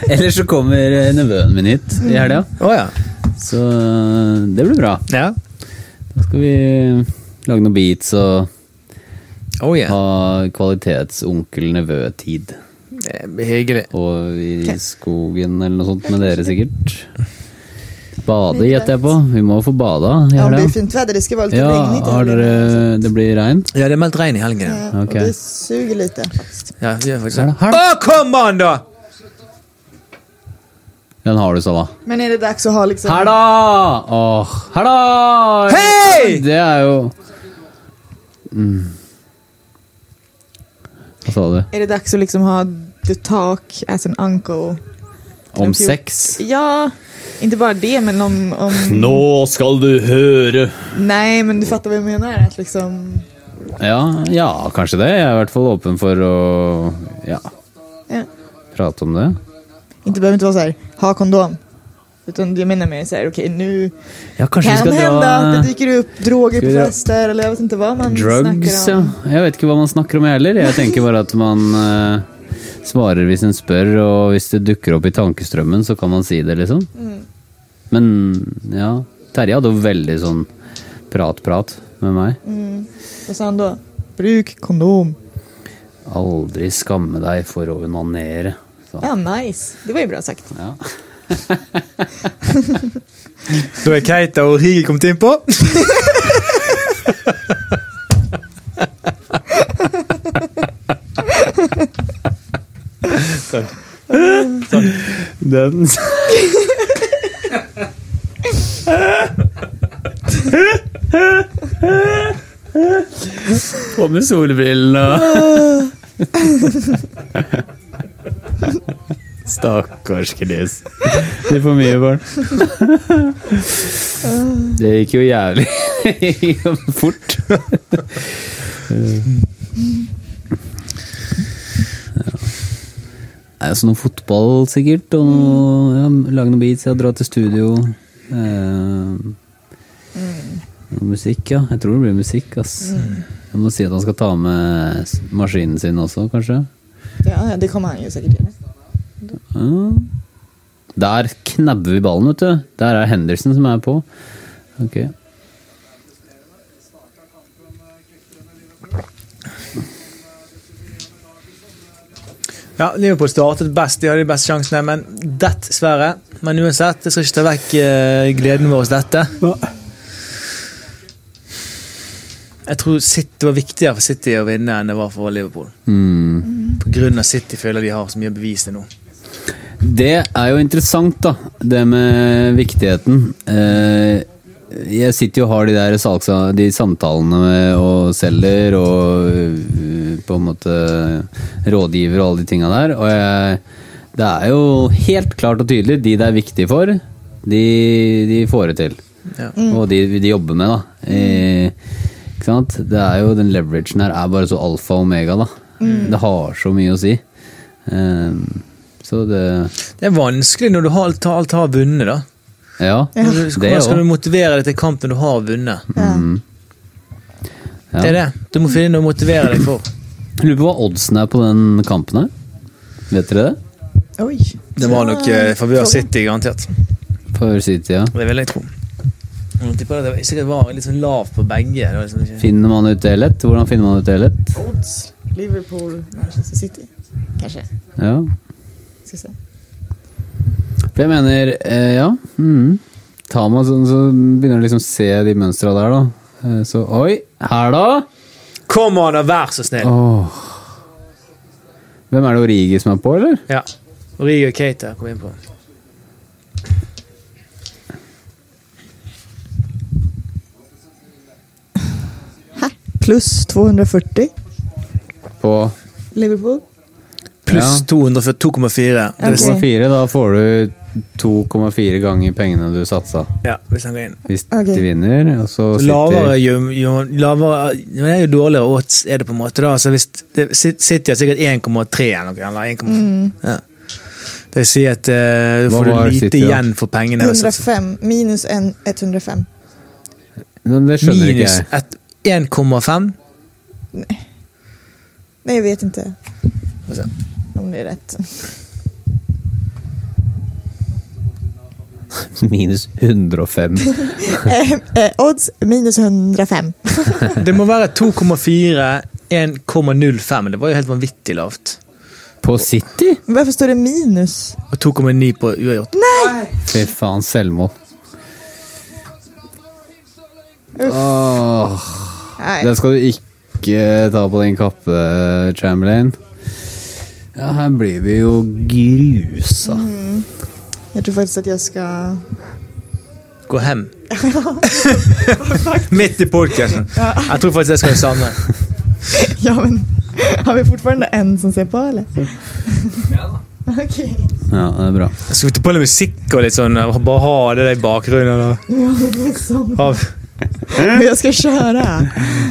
[SPEAKER 1] Eller så kommer eh, nevøen min hit
[SPEAKER 2] Mm.
[SPEAKER 1] i helga,
[SPEAKER 4] Å ja.
[SPEAKER 1] så eh, det blir bra.
[SPEAKER 4] ja.
[SPEAKER 1] Da skal vi lage noen beats og
[SPEAKER 4] Oh, ja.
[SPEAKER 1] ha kvalitetsonkel-nevø-tid.
[SPEAKER 4] Det blir hyggelig.
[SPEAKER 1] Og i skogen eller noe sånt med dere, sikkert. Bade gjetter jeg på. Vi må få bada i
[SPEAKER 2] ja, om det
[SPEAKER 1] helga.
[SPEAKER 2] är fint väder, det ska vara lite
[SPEAKER 1] Ja,
[SPEAKER 2] regnigt. i
[SPEAKER 1] har
[SPEAKER 2] helgen.
[SPEAKER 1] dere Det blir regn?
[SPEAKER 4] Ja, det er meldt regn i helgen. ja.
[SPEAKER 2] Ja, och
[SPEAKER 1] Okej.
[SPEAKER 2] Det suger lite faktiskt.
[SPEAKER 4] Ja, vi gjør faktisk
[SPEAKER 1] Er det
[SPEAKER 4] det.
[SPEAKER 1] her?
[SPEAKER 4] Å, kom an, da!
[SPEAKER 1] Den har du, Sala.
[SPEAKER 2] Men är det dags att ha liksom...
[SPEAKER 1] Her, da! Åh, her, da!
[SPEAKER 4] Hei!
[SPEAKER 1] Det er jo mm. Hva sa du?
[SPEAKER 2] Är det dags att liksom ha the talk as an uncle?
[SPEAKER 1] Om sex?
[SPEAKER 2] Ja, inte bara det men om... om...
[SPEAKER 1] Nå skal du høre
[SPEAKER 2] Nej, men du fattar vad jag menar. Att liksom...
[SPEAKER 1] Ja, ja, kanskje det. Jeg er i hvert fall åpen for å ja,
[SPEAKER 2] Ja.
[SPEAKER 1] prate om det.
[SPEAKER 2] Inte behöver inte vara så här, ha kondom. Utan jag menar mer så här, okej nu
[SPEAKER 1] Ja, kanskje vi
[SPEAKER 2] kan
[SPEAKER 1] skal
[SPEAKER 2] det hända
[SPEAKER 1] dra
[SPEAKER 2] att det dyker upp droger
[SPEAKER 1] Ska vi
[SPEAKER 2] på
[SPEAKER 1] dra-
[SPEAKER 2] fester eller jag vet inte vad man
[SPEAKER 1] drugs,
[SPEAKER 2] snackar
[SPEAKER 1] ja.
[SPEAKER 2] om.
[SPEAKER 1] Jeg vet ikke hva man snakker om heller. Jeg tenker bare at man eh, svarer hvis en spør, og hvis det dukker opp i tankestrømmen, så kan man si det, liksom. Men ja, Terje hadde jo veldig sånn prat-prat med meg.
[SPEAKER 2] Vad sa han då? Bruk kondom.
[SPEAKER 1] Aldri skamme deg for å onanere. sa han.
[SPEAKER 2] Ja, nice. Det var ju bra sagt.
[SPEAKER 1] Ja.
[SPEAKER 4] Da er Keita og Rigi kommet innpå.
[SPEAKER 1] Den På med solbrillene og Stakkars Chris. Det er for mye, barn. Det gikk jo jævlig Det gikk jo fort. Det er jo sånn noe fotball, sikkert. Og noe, ja, lage noen beats, ja, dra til studio. Eh, noe Musikk, ja. Jeg tror det blir musikk, ass. Jeg må si at han skal ta med s- maskinen sin også, kanskje.
[SPEAKER 2] Ja, ja, det kommer han ju säkert göra.
[SPEAKER 1] Ja. Der knabber vi ballen, vet du. Der er Henderson som er på. Ok.
[SPEAKER 4] Ja, Liverpool startet best, de hadde de beste sjansene, men dessverre. Men uansett, jeg skal ikke ta vekk eh, gleden vår hos dette. Jeg tror City det var viktigere for City å vinne enn det var for Liverpool.
[SPEAKER 1] Mm.
[SPEAKER 4] På grunn av City føler de har så mye bevis til nå.
[SPEAKER 1] Det er jo interessant, da. Det med viktigheten. Eh, jeg sitter jo og har de der salgsa, de samtalene med, og selger og øh, på en måte rådgiver og alle de tinga der. Og jeg, det er jo helt klart og tydelig de det er viktig for, de, de får det til.
[SPEAKER 4] Ja.
[SPEAKER 1] Og de, de jobber med, da. Eh, ikke sant? Det er jo Den leveragen her er bare så alfa og omega, da. Det har så mye å si. Eh, så det
[SPEAKER 4] Det er vanskelig når du har alt, alt har vunnet, da.
[SPEAKER 1] Ja,
[SPEAKER 4] Hvordan
[SPEAKER 1] det
[SPEAKER 4] skal
[SPEAKER 1] òg.
[SPEAKER 4] du motivere deg til kamp når du har vunnet?
[SPEAKER 2] Ja.
[SPEAKER 1] Mm. Ja.
[SPEAKER 4] Det er det. Du må finne noe å motivere deg for.
[SPEAKER 1] Lurer på hva oddsen er på den kampen her. Vet dere det?
[SPEAKER 2] Oi.
[SPEAKER 4] Det var nok eh, favør City, garantert.
[SPEAKER 1] For City, ja.
[SPEAKER 4] Det vil jeg tro. Jeg tipper det var- sikkert var litt sånn lav på begge. Det var liksom ikke...
[SPEAKER 1] Finner man ut det lett? Hvordan finner man ut det lett?
[SPEAKER 2] Odds. Liverpool, Manchester City. Kanskje.
[SPEAKER 1] Ja.
[SPEAKER 2] Skal vi se.
[SPEAKER 1] For jeg mener, eh, ja mm. Tar man sånn, så begynner du liksom å se de mønstra der, da. Eh, Så oi, her da!
[SPEAKER 4] Kom an, da, vær så snill!
[SPEAKER 1] Åh. Hvem er det Origi som er på, eller?
[SPEAKER 4] Ja. Rigo og Keita kom inn på.
[SPEAKER 2] Pluss 240.
[SPEAKER 1] På
[SPEAKER 2] Liverpool.
[SPEAKER 4] Pluss 202,4. Det vil si-
[SPEAKER 1] 2,4. Da får du 2,4 ganger pengene du satsa.
[SPEAKER 4] Ja, hvis han går inn.
[SPEAKER 1] Hvis
[SPEAKER 2] Ok.
[SPEAKER 1] de vinner, og så
[SPEAKER 4] Lavere
[SPEAKER 1] sitter
[SPEAKER 4] jo, jo, lavere, jo, er jo dårligere odds er det på en måte, da. Så hvis det, Sit- City har sikkert 1,3 eller noe. Eller 1,5. ja. Det vil si at eh, da
[SPEAKER 1] Mm. Hva
[SPEAKER 4] får du
[SPEAKER 1] var
[SPEAKER 4] lite
[SPEAKER 1] City, da?
[SPEAKER 4] igjen for pengene. hvis du-
[SPEAKER 2] 105. Minus en 105.
[SPEAKER 1] Men Det skjønner ikke
[SPEAKER 4] Minus
[SPEAKER 1] jeg.
[SPEAKER 4] et- 1,5.
[SPEAKER 2] Nej, jag vet inte.
[SPEAKER 4] Får se.
[SPEAKER 2] Om det är rätt.
[SPEAKER 1] Minus 105.
[SPEAKER 2] eh, eh, odds minus 105.
[SPEAKER 4] Det må være 2,4, 1,05. Det var jo helt vanvittig lavt.
[SPEAKER 1] På City?
[SPEAKER 2] Varför står det minus?
[SPEAKER 4] Og 2,9 på uavgjort.
[SPEAKER 1] Fy faen, selvmål. Åh,
[SPEAKER 2] Nej.
[SPEAKER 1] den skal du ikke ta på din kappe, Chamberlain. Ja, her blir vi jo grusa.
[SPEAKER 2] Jag tror faktiskt att jag ska...
[SPEAKER 4] Gå hjem. Midt i podkasten. Jeg tror faktisk det skal jeg savne.
[SPEAKER 2] Ja, men har vi fortfarande en som ser på eller? Okej.
[SPEAKER 1] Ja, det er bra.
[SPEAKER 4] Skal vi ta på litt musikk og litt sånn, og bare ha det der i bakgrunnen? Og
[SPEAKER 2] liksom.
[SPEAKER 4] av
[SPEAKER 2] Men jag ska köra.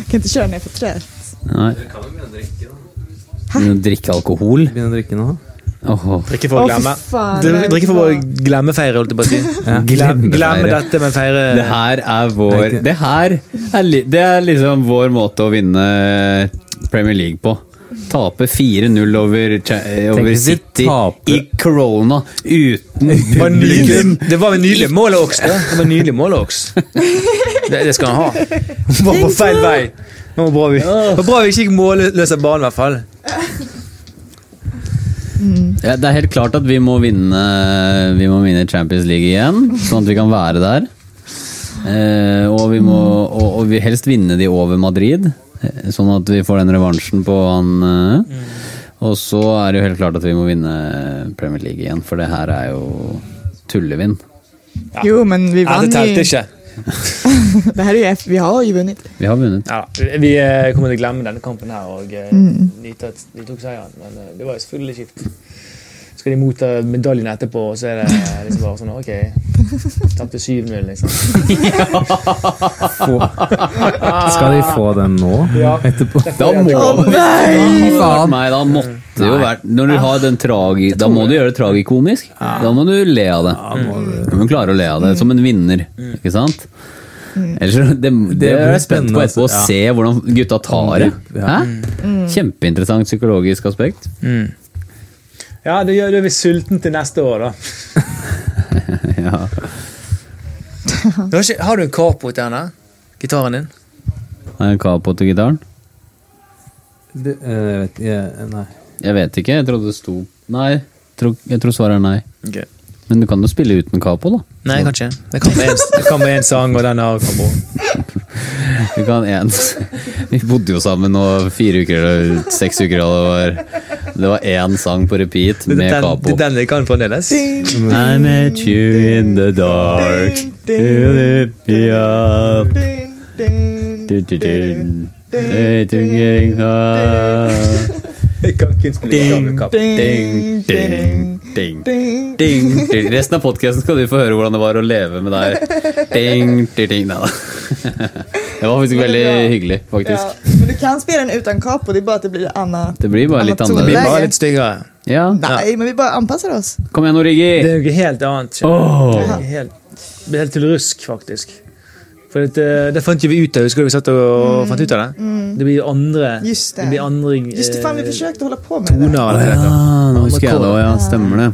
[SPEAKER 2] Kan inte köra när jag är för trött.
[SPEAKER 1] Nei. Begynne å drikke alkohol?
[SPEAKER 6] Begynne å drikke nå?
[SPEAKER 1] Åhå.
[SPEAKER 4] drikke for å
[SPEAKER 2] Åh, fy
[SPEAKER 4] glemme.
[SPEAKER 2] fan,
[SPEAKER 4] Dri-
[SPEAKER 2] det er liksom-
[SPEAKER 4] Drikke for å
[SPEAKER 2] bra.
[SPEAKER 4] glemmefeire, holdt jeg på å si. Glem,
[SPEAKER 1] Glemmefeire.
[SPEAKER 4] glemme dette, men
[SPEAKER 1] Det
[SPEAKER 4] feire
[SPEAKER 1] her er vår eh, Det her er, li, det er liksom vår måte å vinne eh, Premier League på. Tape 4-0 over, Cha- eh, over
[SPEAKER 6] hvis vi
[SPEAKER 1] City
[SPEAKER 6] taper.
[SPEAKER 1] i corona uten
[SPEAKER 4] Det var
[SPEAKER 1] publikum.
[SPEAKER 4] nydelig- Det var en nydelig mål også. Det Det var en nydelig mål også. Det, det skal han ha. Var på feil vei. Det var bra vi, det var bra vi ikke gikk målløs av banen, i hvert fall.
[SPEAKER 1] Ja, det er helt klart at vi må vinne Vi må vinne Champions League igjen, sånn at vi kan være der. Eh, og vi må og, og vi helst vinne de over Madrid, eh, sånn at vi får den revansjen på han eh. Og så er det jo helt klart at vi må vinne Premier League igjen, for det her er jo tullevinn.
[SPEAKER 2] Jo, men vi
[SPEAKER 4] Ja,
[SPEAKER 2] vann
[SPEAKER 4] det
[SPEAKER 2] ju.
[SPEAKER 4] telte ikke.
[SPEAKER 2] Det här är ju F. Vi har ju vunnit.
[SPEAKER 1] Vi har vunnet.
[SPEAKER 4] Ja, da. vi eh, kommer til å glemme denne kampen her og eh, nyte at de tok seieren. Men eh, det var jo selvfølgelig kjipt. Skal de motta medaljen etterpå, og så er det eh, liksom bare sånn OK. Tapte 7-0, liksom.
[SPEAKER 6] Få.
[SPEAKER 4] Ah.
[SPEAKER 6] Skal de få den nå?
[SPEAKER 4] Ja.
[SPEAKER 6] Etterpå?
[SPEAKER 1] Da må
[SPEAKER 2] Åh, nej!
[SPEAKER 1] Hadde det vært meg, da måtte det jo vært Når du har den tragi... Da må du gjøre det tragikomisk. Da må du le av det. Du må klare å le av det som en vinner, ikke sant? Ellers, det, det
[SPEAKER 6] blir
[SPEAKER 1] er jeg spent på
[SPEAKER 6] spennende,
[SPEAKER 1] etterpå å
[SPEAKER 6] altså. Ja.
[SPEAKER 1] se hvordan gutta tar det.
[SPEAKER 6] Ja.
[SPEAKER 1] Hæ? Mm. Kjempeinteressant psykologisk aspekt.
[SPEAKER 4] Ja, det gjør vi sulten til neste år, da.
[SPEAKER 1] Ja.
[SPEAKER 4] Du har, ikke, har du en Capo til henne? Gitaren din?
[SPEAKER 1] Er det Capo til gitaren?
[SPEAKER 6] Det, eh, jeg vet jeg, Nei.
[SPEAKER 1] Jeg vet ikke. Jeg trodde det sto Nei. tro- Jeg tror svaret er nei.
[SPEAKER 4] Okay.
[SPEAKER 1] Men du kan jo spille uten Capo, da.
[SPEAKER 4] Nei, jeg kan ikke. Det kan være en- det kan være en sang, og den har Capo.
[SPEAKER 1] Vi kan en Vi bodde jo sammen nå fire uker eller seks uker, og det var Det var én sang på repeat
[SPEAKER 4] Det
[SPEAKER 1] med
[SPEAKER 4] er den-
[SPEAKER 1] Capo.
[SPEAKER 4] det er den vi kan fremdeles.
[SPEAKER 1] I met you in the dark You lift me up Du, du, du. Hey, to getting high.
[SPEAKER 4] Jeg kan ikke spille sang med Capo.
[SPEAKER 1] Ding, ding, ding, ding, ding. Resten av podkasten skal du få høre hvordan det var å leve med deg. Ding, ding, ding. Nei da. Det var faktisk veldig hyggelig,
[SPEAKER 2] Ja,
[SPEAKER 1] faktisk.
[SPEAKER 2] men du kan spela den utan kapo, det är bara att det blir annat.
[SPEAKER 1] Det blir bare litt
[SPEAKER 2] Han har to
[SPEAKER 4] Vi er
[SPEAKER 1] annerledes.
[SPEAKER 4] bare litt styggere.
[SPEAKER 1] Ja.
[SPEAKER 2] Nej, men vi bara anpassar oss.
[SPEAKER 1] Kom igjen, Origi.
[SPEAKER 4] Det er jo ikke helt annet. skjønner du. Det er helt, det er helt til rusk, faktisk. For det, det fant jo vi ut av, husker du vi satt og fant ut av det? Det blir andre
[SPEAKER 2] Mm. Just det.
[SPEAKER 4] blir andre
[SPEAKER 2] Just det, fan vi
[SPEAKER 4] eh,
[SPEAKER 2] försökte hålla på med det.
[SPEAKER 4] toner eller hva det heter.
[SPEAKER 1] Ja, nå husker jeg det òg, ja. Stemmer det.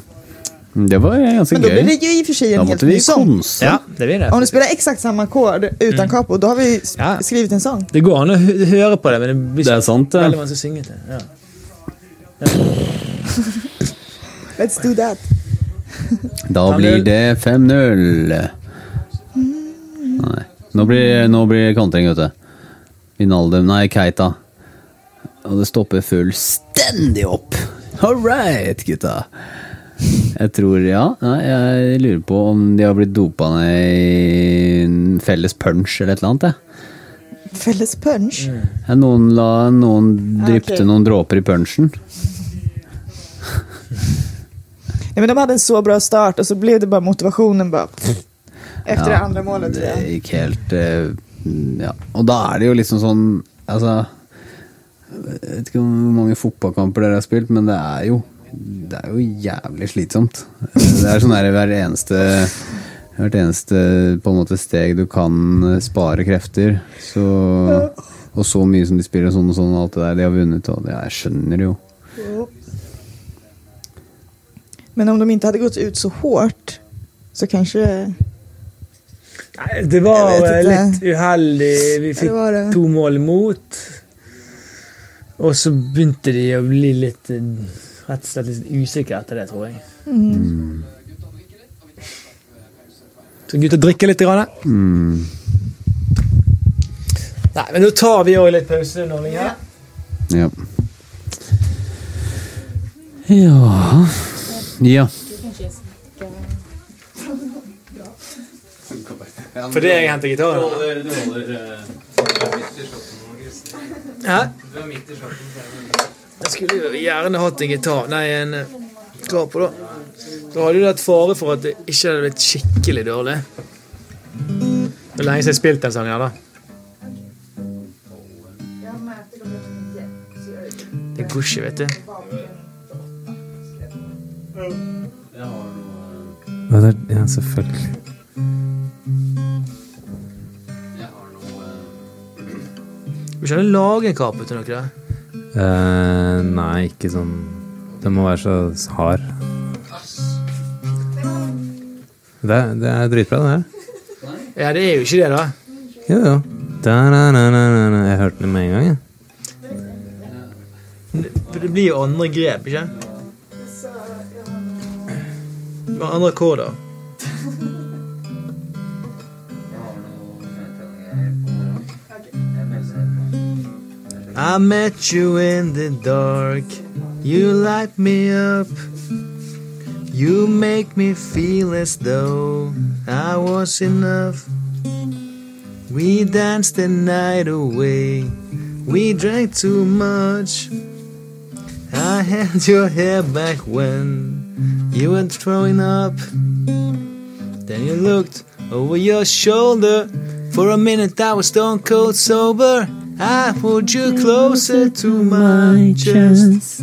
[SPEAKER 1] Det var ganske
[SPEAKER 2] Men då blir det liksom.
[SPEAKER 1] gøy.
[SPEAKER 2] ju i och för sig
[SPEAKER 1] Da
[SPEAKER 2] en helt
[SPEAKER 1] måtte vi
[SPEAKER 2] ny sång.
[SPEAKER 1] konse.
[SPEAKER 4] Ja, det blir
[SPEAKER 2] Om du
[SPEAKER 4] det.
[SPEAKER 2] spelar exakt samma ackord utan
[SPEAKER 1] Mm.
[SPEAKER 2] capo, då har vi ju
[SPEAKER 4] Ja.
[SPEAKER 2] sk- skrivit en sång.
[SPEAKER 4] Det går an å hø- høre på det, men det blir
[SPEAKER 1] Det er sant,
[SPEAKER 4] veldig
[SPEAKER 1] det.
[SPEAKER 4] vanskelig å synge til. Ja.
[SPEAKER 2] Let's do that.
[SPEAKER 1] Mm. Da blir det 5-0. Nei. Nå blir, nå blir det kontring, vet du. Vinaldum, nei, Keita. Og det stopper fullstendig opp. All right, gutta. Jeg tror, ja. Nei, jeg lurer på om de har blitt dopa ned i en felles punch eller et eller annet. jeg.
[SPEAKER 2] Felles punch.
[SPEAKER 1] Ja, Noen, la, noen drypte
[SPEAKER 2] Ah, ok.
[SPEAKER 1] noen dråper i punchen.
[SPEAKER 2] Ja, men de hade en så bra start och så blev det bara motivationen bara... Efter det andra målet tror
[SPEAKER 1] Det
[SPEAKER 2] jag.
[SPEAKER 1] gikk helt eh, Ja. Og da er det jo liksom sånn Altså Jeg vet ikke hvor mange fotballkamper dere har spilt, men det er jo Det er jo jævlig slitsomt. Det er sånn der hver eneste Hvert eneste på en måte steg du kan eh, spare krefter, så Og så mye som de spiller, og sånn og sånn, og alt det der de har vunnet, og det jeg skjønner jo.
[SPEAKER 2] Men om de inte hade gått ut så hårt så kanske...
[SPEAKER 4] Nei, det var
[SPEAKER 2] Jeg vet
[SPEAKER 4] eh,
[SPEAKER 2] ikke.
[SPEAKER 4] litt uheldig. Vi
[SPEAKER 2] det var det.
[SPEAKER 4] fikk to mål imot. Og så begynte de å bli litt eh, rett og slett litt usikre etter det, tror jeg. Så gutta drikker litt. Grann. eh? Nei, men nå tar vi òg litt pause. Norling, her.
[SPEAKER 1] Ja. Ja Ja.
[SPEAKER 4] For det jeg henter gitaren. Hæ? Jeg skulle jo gjerne hatt en gitar Nei, en eh, kapo, da. Da hadde jo det vært fare for at det ikke hadde blitt skikkelig dårlig. Det er lenge siden jeg har spilt den sangen her, da. Det går ikke, vet du.
[SPEAKER 6] Ja, det er, ja selvfølgelig.
[SPEAKER 4] Du skjønner, lage en kapo til noe.
[SPEAKER 6] Eh, nei, ikke sånn Den må være så hard. Det, er- det er dritbra, det her.
[SPEAKER 4] Ja, det er jo ikke det, da.
[SPEAKER 6] Jo, jo. Da-na-na-na-na. Jeg hørte den med en gang, jeg.
[SPEAKER 4] For det blir jo andre grep, ikke? Det var er andre akkorder. I met you in the dark. You light me up. You make me feel as though I was enough. We danced the night away. We drank too much. I had your hair back when you were throwing up. Then you looked over your shoulder. For a minute I was stone cold sober. I pulled you closer to my chest.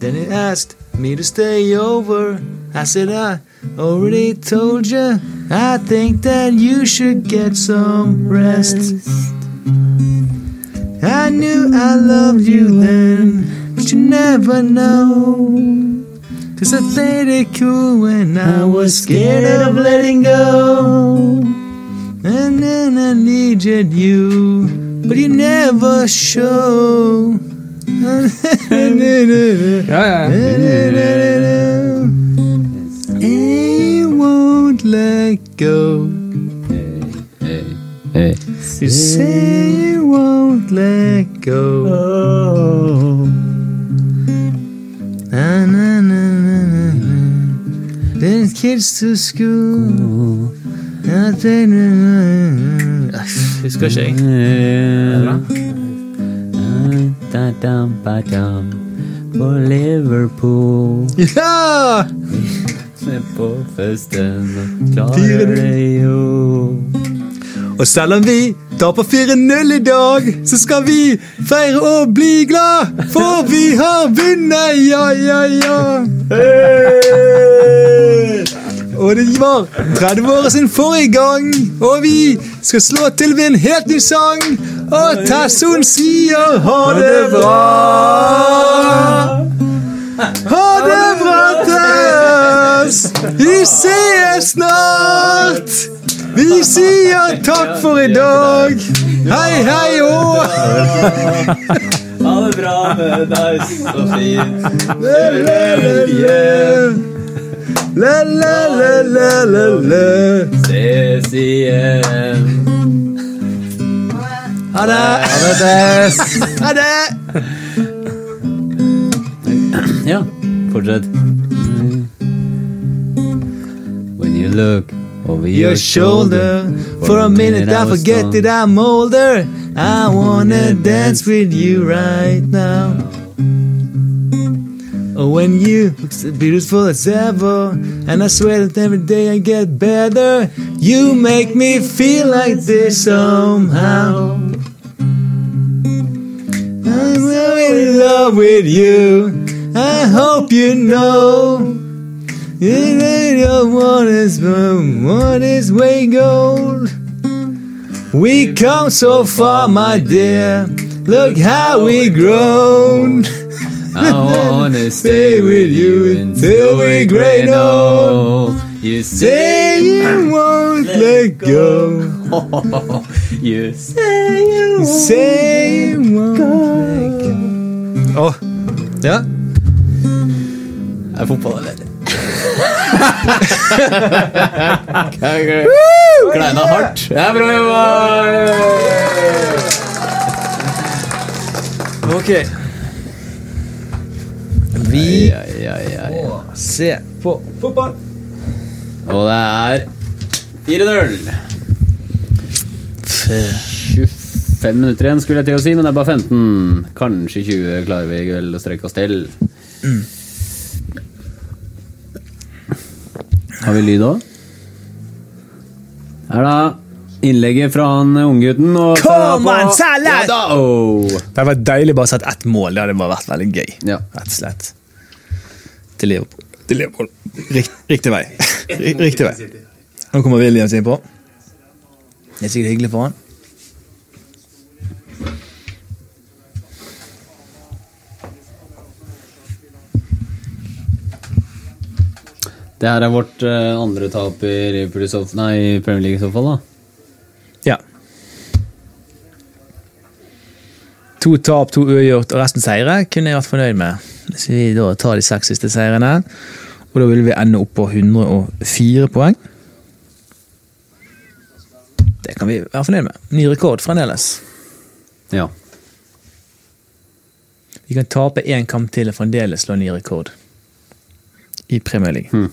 [SPEAKER 4] Then you asked me to stay over. I said, I already told you. I think that you should get some rest. I knew I loved you then, but you never know. Cause I played it cool when I was scared of letting go. And then I needed you, but you never show. It won't let go.
[SPEAKER 1] Hey.
[SPEAKER 4] You say you won't let go. Na, na, na, na, na, na. Then kids to school. Na, na, na, na, na. Ah, Husker ikke jeg.
[SPEAKER 1] For Liverpool
[SPEAKER 4] Ja!
[SPEAKER 1] Se på festen Klarer det jo
[SPEAKER 4] Og selv om vi taper 4-0 i dag, så skal vi feire og bli glad, for vi har vunnet, ja, ja, ja. og det var 30-året sin forrige gang. Og vi skal slå til med en helt ny sang. Og Tasson sier ha det bra. Ha det bra, Tess. Vi ses snart. Vi sier takk for i dag. Hei, hei og
[SPEAKER 1] Ha det bra med deg, så fint.
[SPEAKER 4] la-la-la-la-la.
[SPEAKER 1] Ses igjen.
[SPEAKER 4] Ha det. Ha det.
[SPEAKER 1] Ja, fortsett. When you look over
[SPEAKER 4] your shoulder. For a minute, I forget that I'm older. I wanna dance with you right now. Oh, when you look so beautiful as ever, and I swear that every day I get better. You make me feel like this somehow. I'm so in love with you. I hope you know. It ain't your waters, but waters way gold. We come so far, my dear. Look how we grown.
[SPEAKER 1] I wanna stay with you until we're great old. You say
[SPEAKER 4] Say you won't let go.
[SPEAKER 1] you say
[SPEAKER 4] Say you won't let go. Oh, ja.
[SPEAKER 1] Jeg er fotballærer. Kleina hardt. Det er bra jobba!
[SPEAKER 4] Ok. Vi
[SPEAKER 1] Ja, ja, ja, ja.
[SPEAKER 4] ser på fotball.
[SPEAKER 1] Og det er 4-0. 25 minutter igjen, skulle jeg til å si, men det er bare 15. Kanskje 20 klarer vi vel å strekke oss til. Har vi lyd òg? Her, da. Innlegget fra han unggutten. og-
[SPEAKER 4] Kom an, Salah!
[SPEAKER 1] Ja, da, oh.
[SPEAKER 4] Det hadde vært deilig bare å sette ett mål. Det hadde bare vært veldig gøy.
[SPEAKER 1] Ja.
[SPEAKER 4] Rett og slett. Til Liverpool. Til Liverpool. Rikt, riktig vei. Ri- Riktig vei. Nå kommer Williams innpå. Det er sikkert hyggelig for han.
[SPEAKER 1] Det her er vårt eh, andre tap i Liverpool i så fall- Nei, i Premier League i så fall, da.
[SPEAKER 4] Ja. To tap, to uavgjort og resten seire kunne jeg vært fornøyd med. Hvis vi da tar de seks siste seirene, og da vil vi ende opp på 104 poeng. Det kan vi være fornøyd med. Ny rekord fremdeles.
[SPEAKER 1] Ja.
[SPEAKER 4] Vi kan tape én kamp til og fremdeles slå ny rekord i Premier League.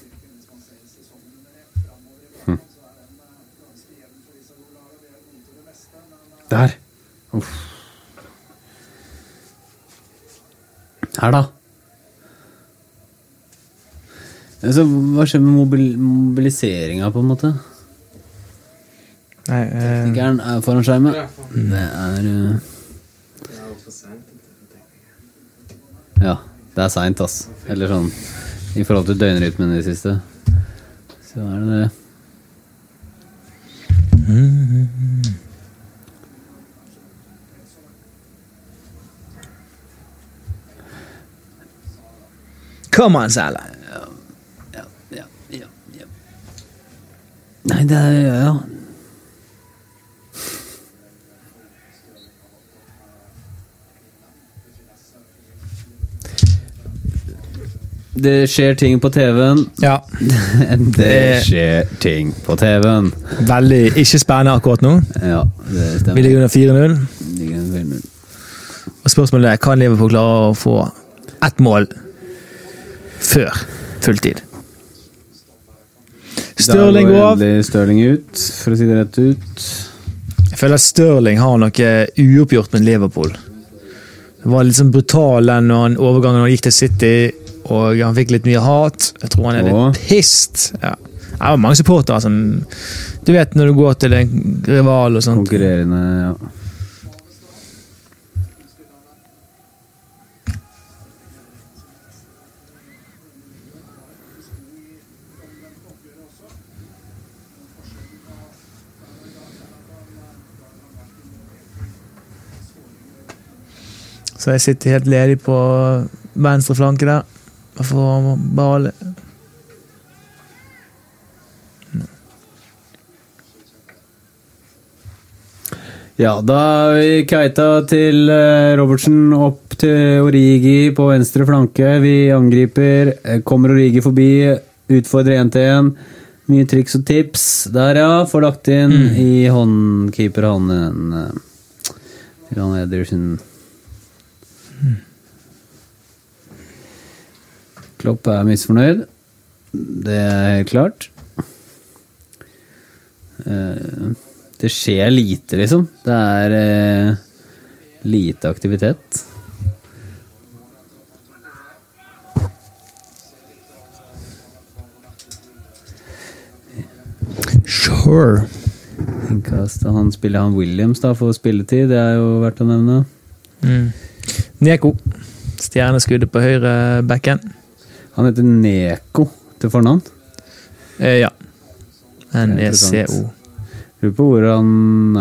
[SPEAKER 1] Der. Uff. Her, da. Altså, hva skjer med mobil mobiliseringa, på en måte?
[SPEAKER 4] Nei, eh,
[SPEAKER 1] Ikke er den er foran skjermen? Mm, Det er eh, Ja. Det er seint, ass. Eller sånn i forhold til døgnrytmen i det siste. Så er det det.
[SPEAKER 4] come on, Salah!
[SPEAKER 1] Ja, ja, ja. Nei, det er ja, ja. Det skjer ting på TV-en.
[SPEAKER 4] Ja,
[SPEAKER 1] Det skjer ting på TV-en.
[SPEAKER 4] Veldig ikke spennende akkurat nå.
[SPEAKER 1] Ja, det
[SPEAKER 4] Vi
[SPEAKER 1] stemmer.
[SPEAKER 4] ligger under 4-0.
[SPEAKER 1] Ligger en film ut.
[SPEAKER 4] Og spørsmålet er kan Liverpool klare å få ett mål før fulltid. Stirling
[SPEAKER 1] Der
[SPEAKER 4] går
[SPEAKER 1] går
[SPEAKER 4] av.
[SPEAKER 1] endelig Stirling ut, for å si det rett ut.
[SPEAKER 4] Jeg føler at Stirling har noe uoppgjort med Liverpool. Det var litt sånn brutal den når han overgangen når han gikk til City, og han fikk litt mye hat. Jeg tror han er
[SPEAKER 1] Åh.
[SPEAKER 4] litt pissed. Ja. Det var mange supportere som Du vet når du går til en rival og sånt.
[SPEAKER 1] Konkurrerende, ja.
[SPEAKER 4] Så jeg sitter helt ledig på venstre flanke der. Jeg får bare
[SPEAKER 1] Ja, da er Keita til eh, Robertsen, opp til Origi på venstre flanke. Vi angriper, eh, kommer Origi forbi, utfordrer én til én. Mye triks og tips. Der, ja. Får lagt inn i håndkeeperhånden eh, til han Edersen. Klopp er misfornøyd. Det er helt klart. Eh, det skjer lite, liksom. Det er eh, lite aktivitet.
[SPEAKER 4] Sure.
[SPEAKER 1] Innkast. Han spiller han Williams da for spilletid, det er jo verdt å nevne.
[SPEAKER 4] Mm. Neko. Stjerneskuddet på høyre bekken.
[SPEAKER 1] Han heter Neko til fornavn.
[SPEAKER 4] Eh, ja. NECO.
[SPEAKER 1] interessant. Lurer på hvor han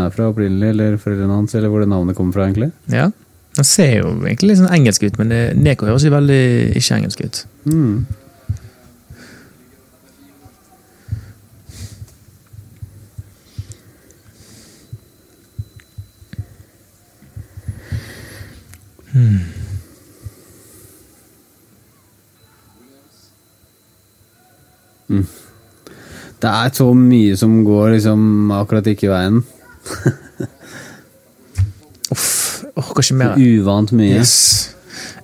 [SPEAKER 1] er fra opprinnelig, eller foreldrene hans, eller hvor det navnet kommer fra, egentlig.
[SPEAKER 4] Ja. Han ser jo egentlig litt sånn engelsk ut, men det- Neko høres jo veldig ikke engelsk ut.
[SPEAKER 1] Mm. Mm. Det er så mye som går liksom akkurat ikke i veien.
[SPEAKER 4] Uff, jeg orker ikke mer.
[SPEAKER 1] Uvant mye.
[SPEAKER 4] Yes.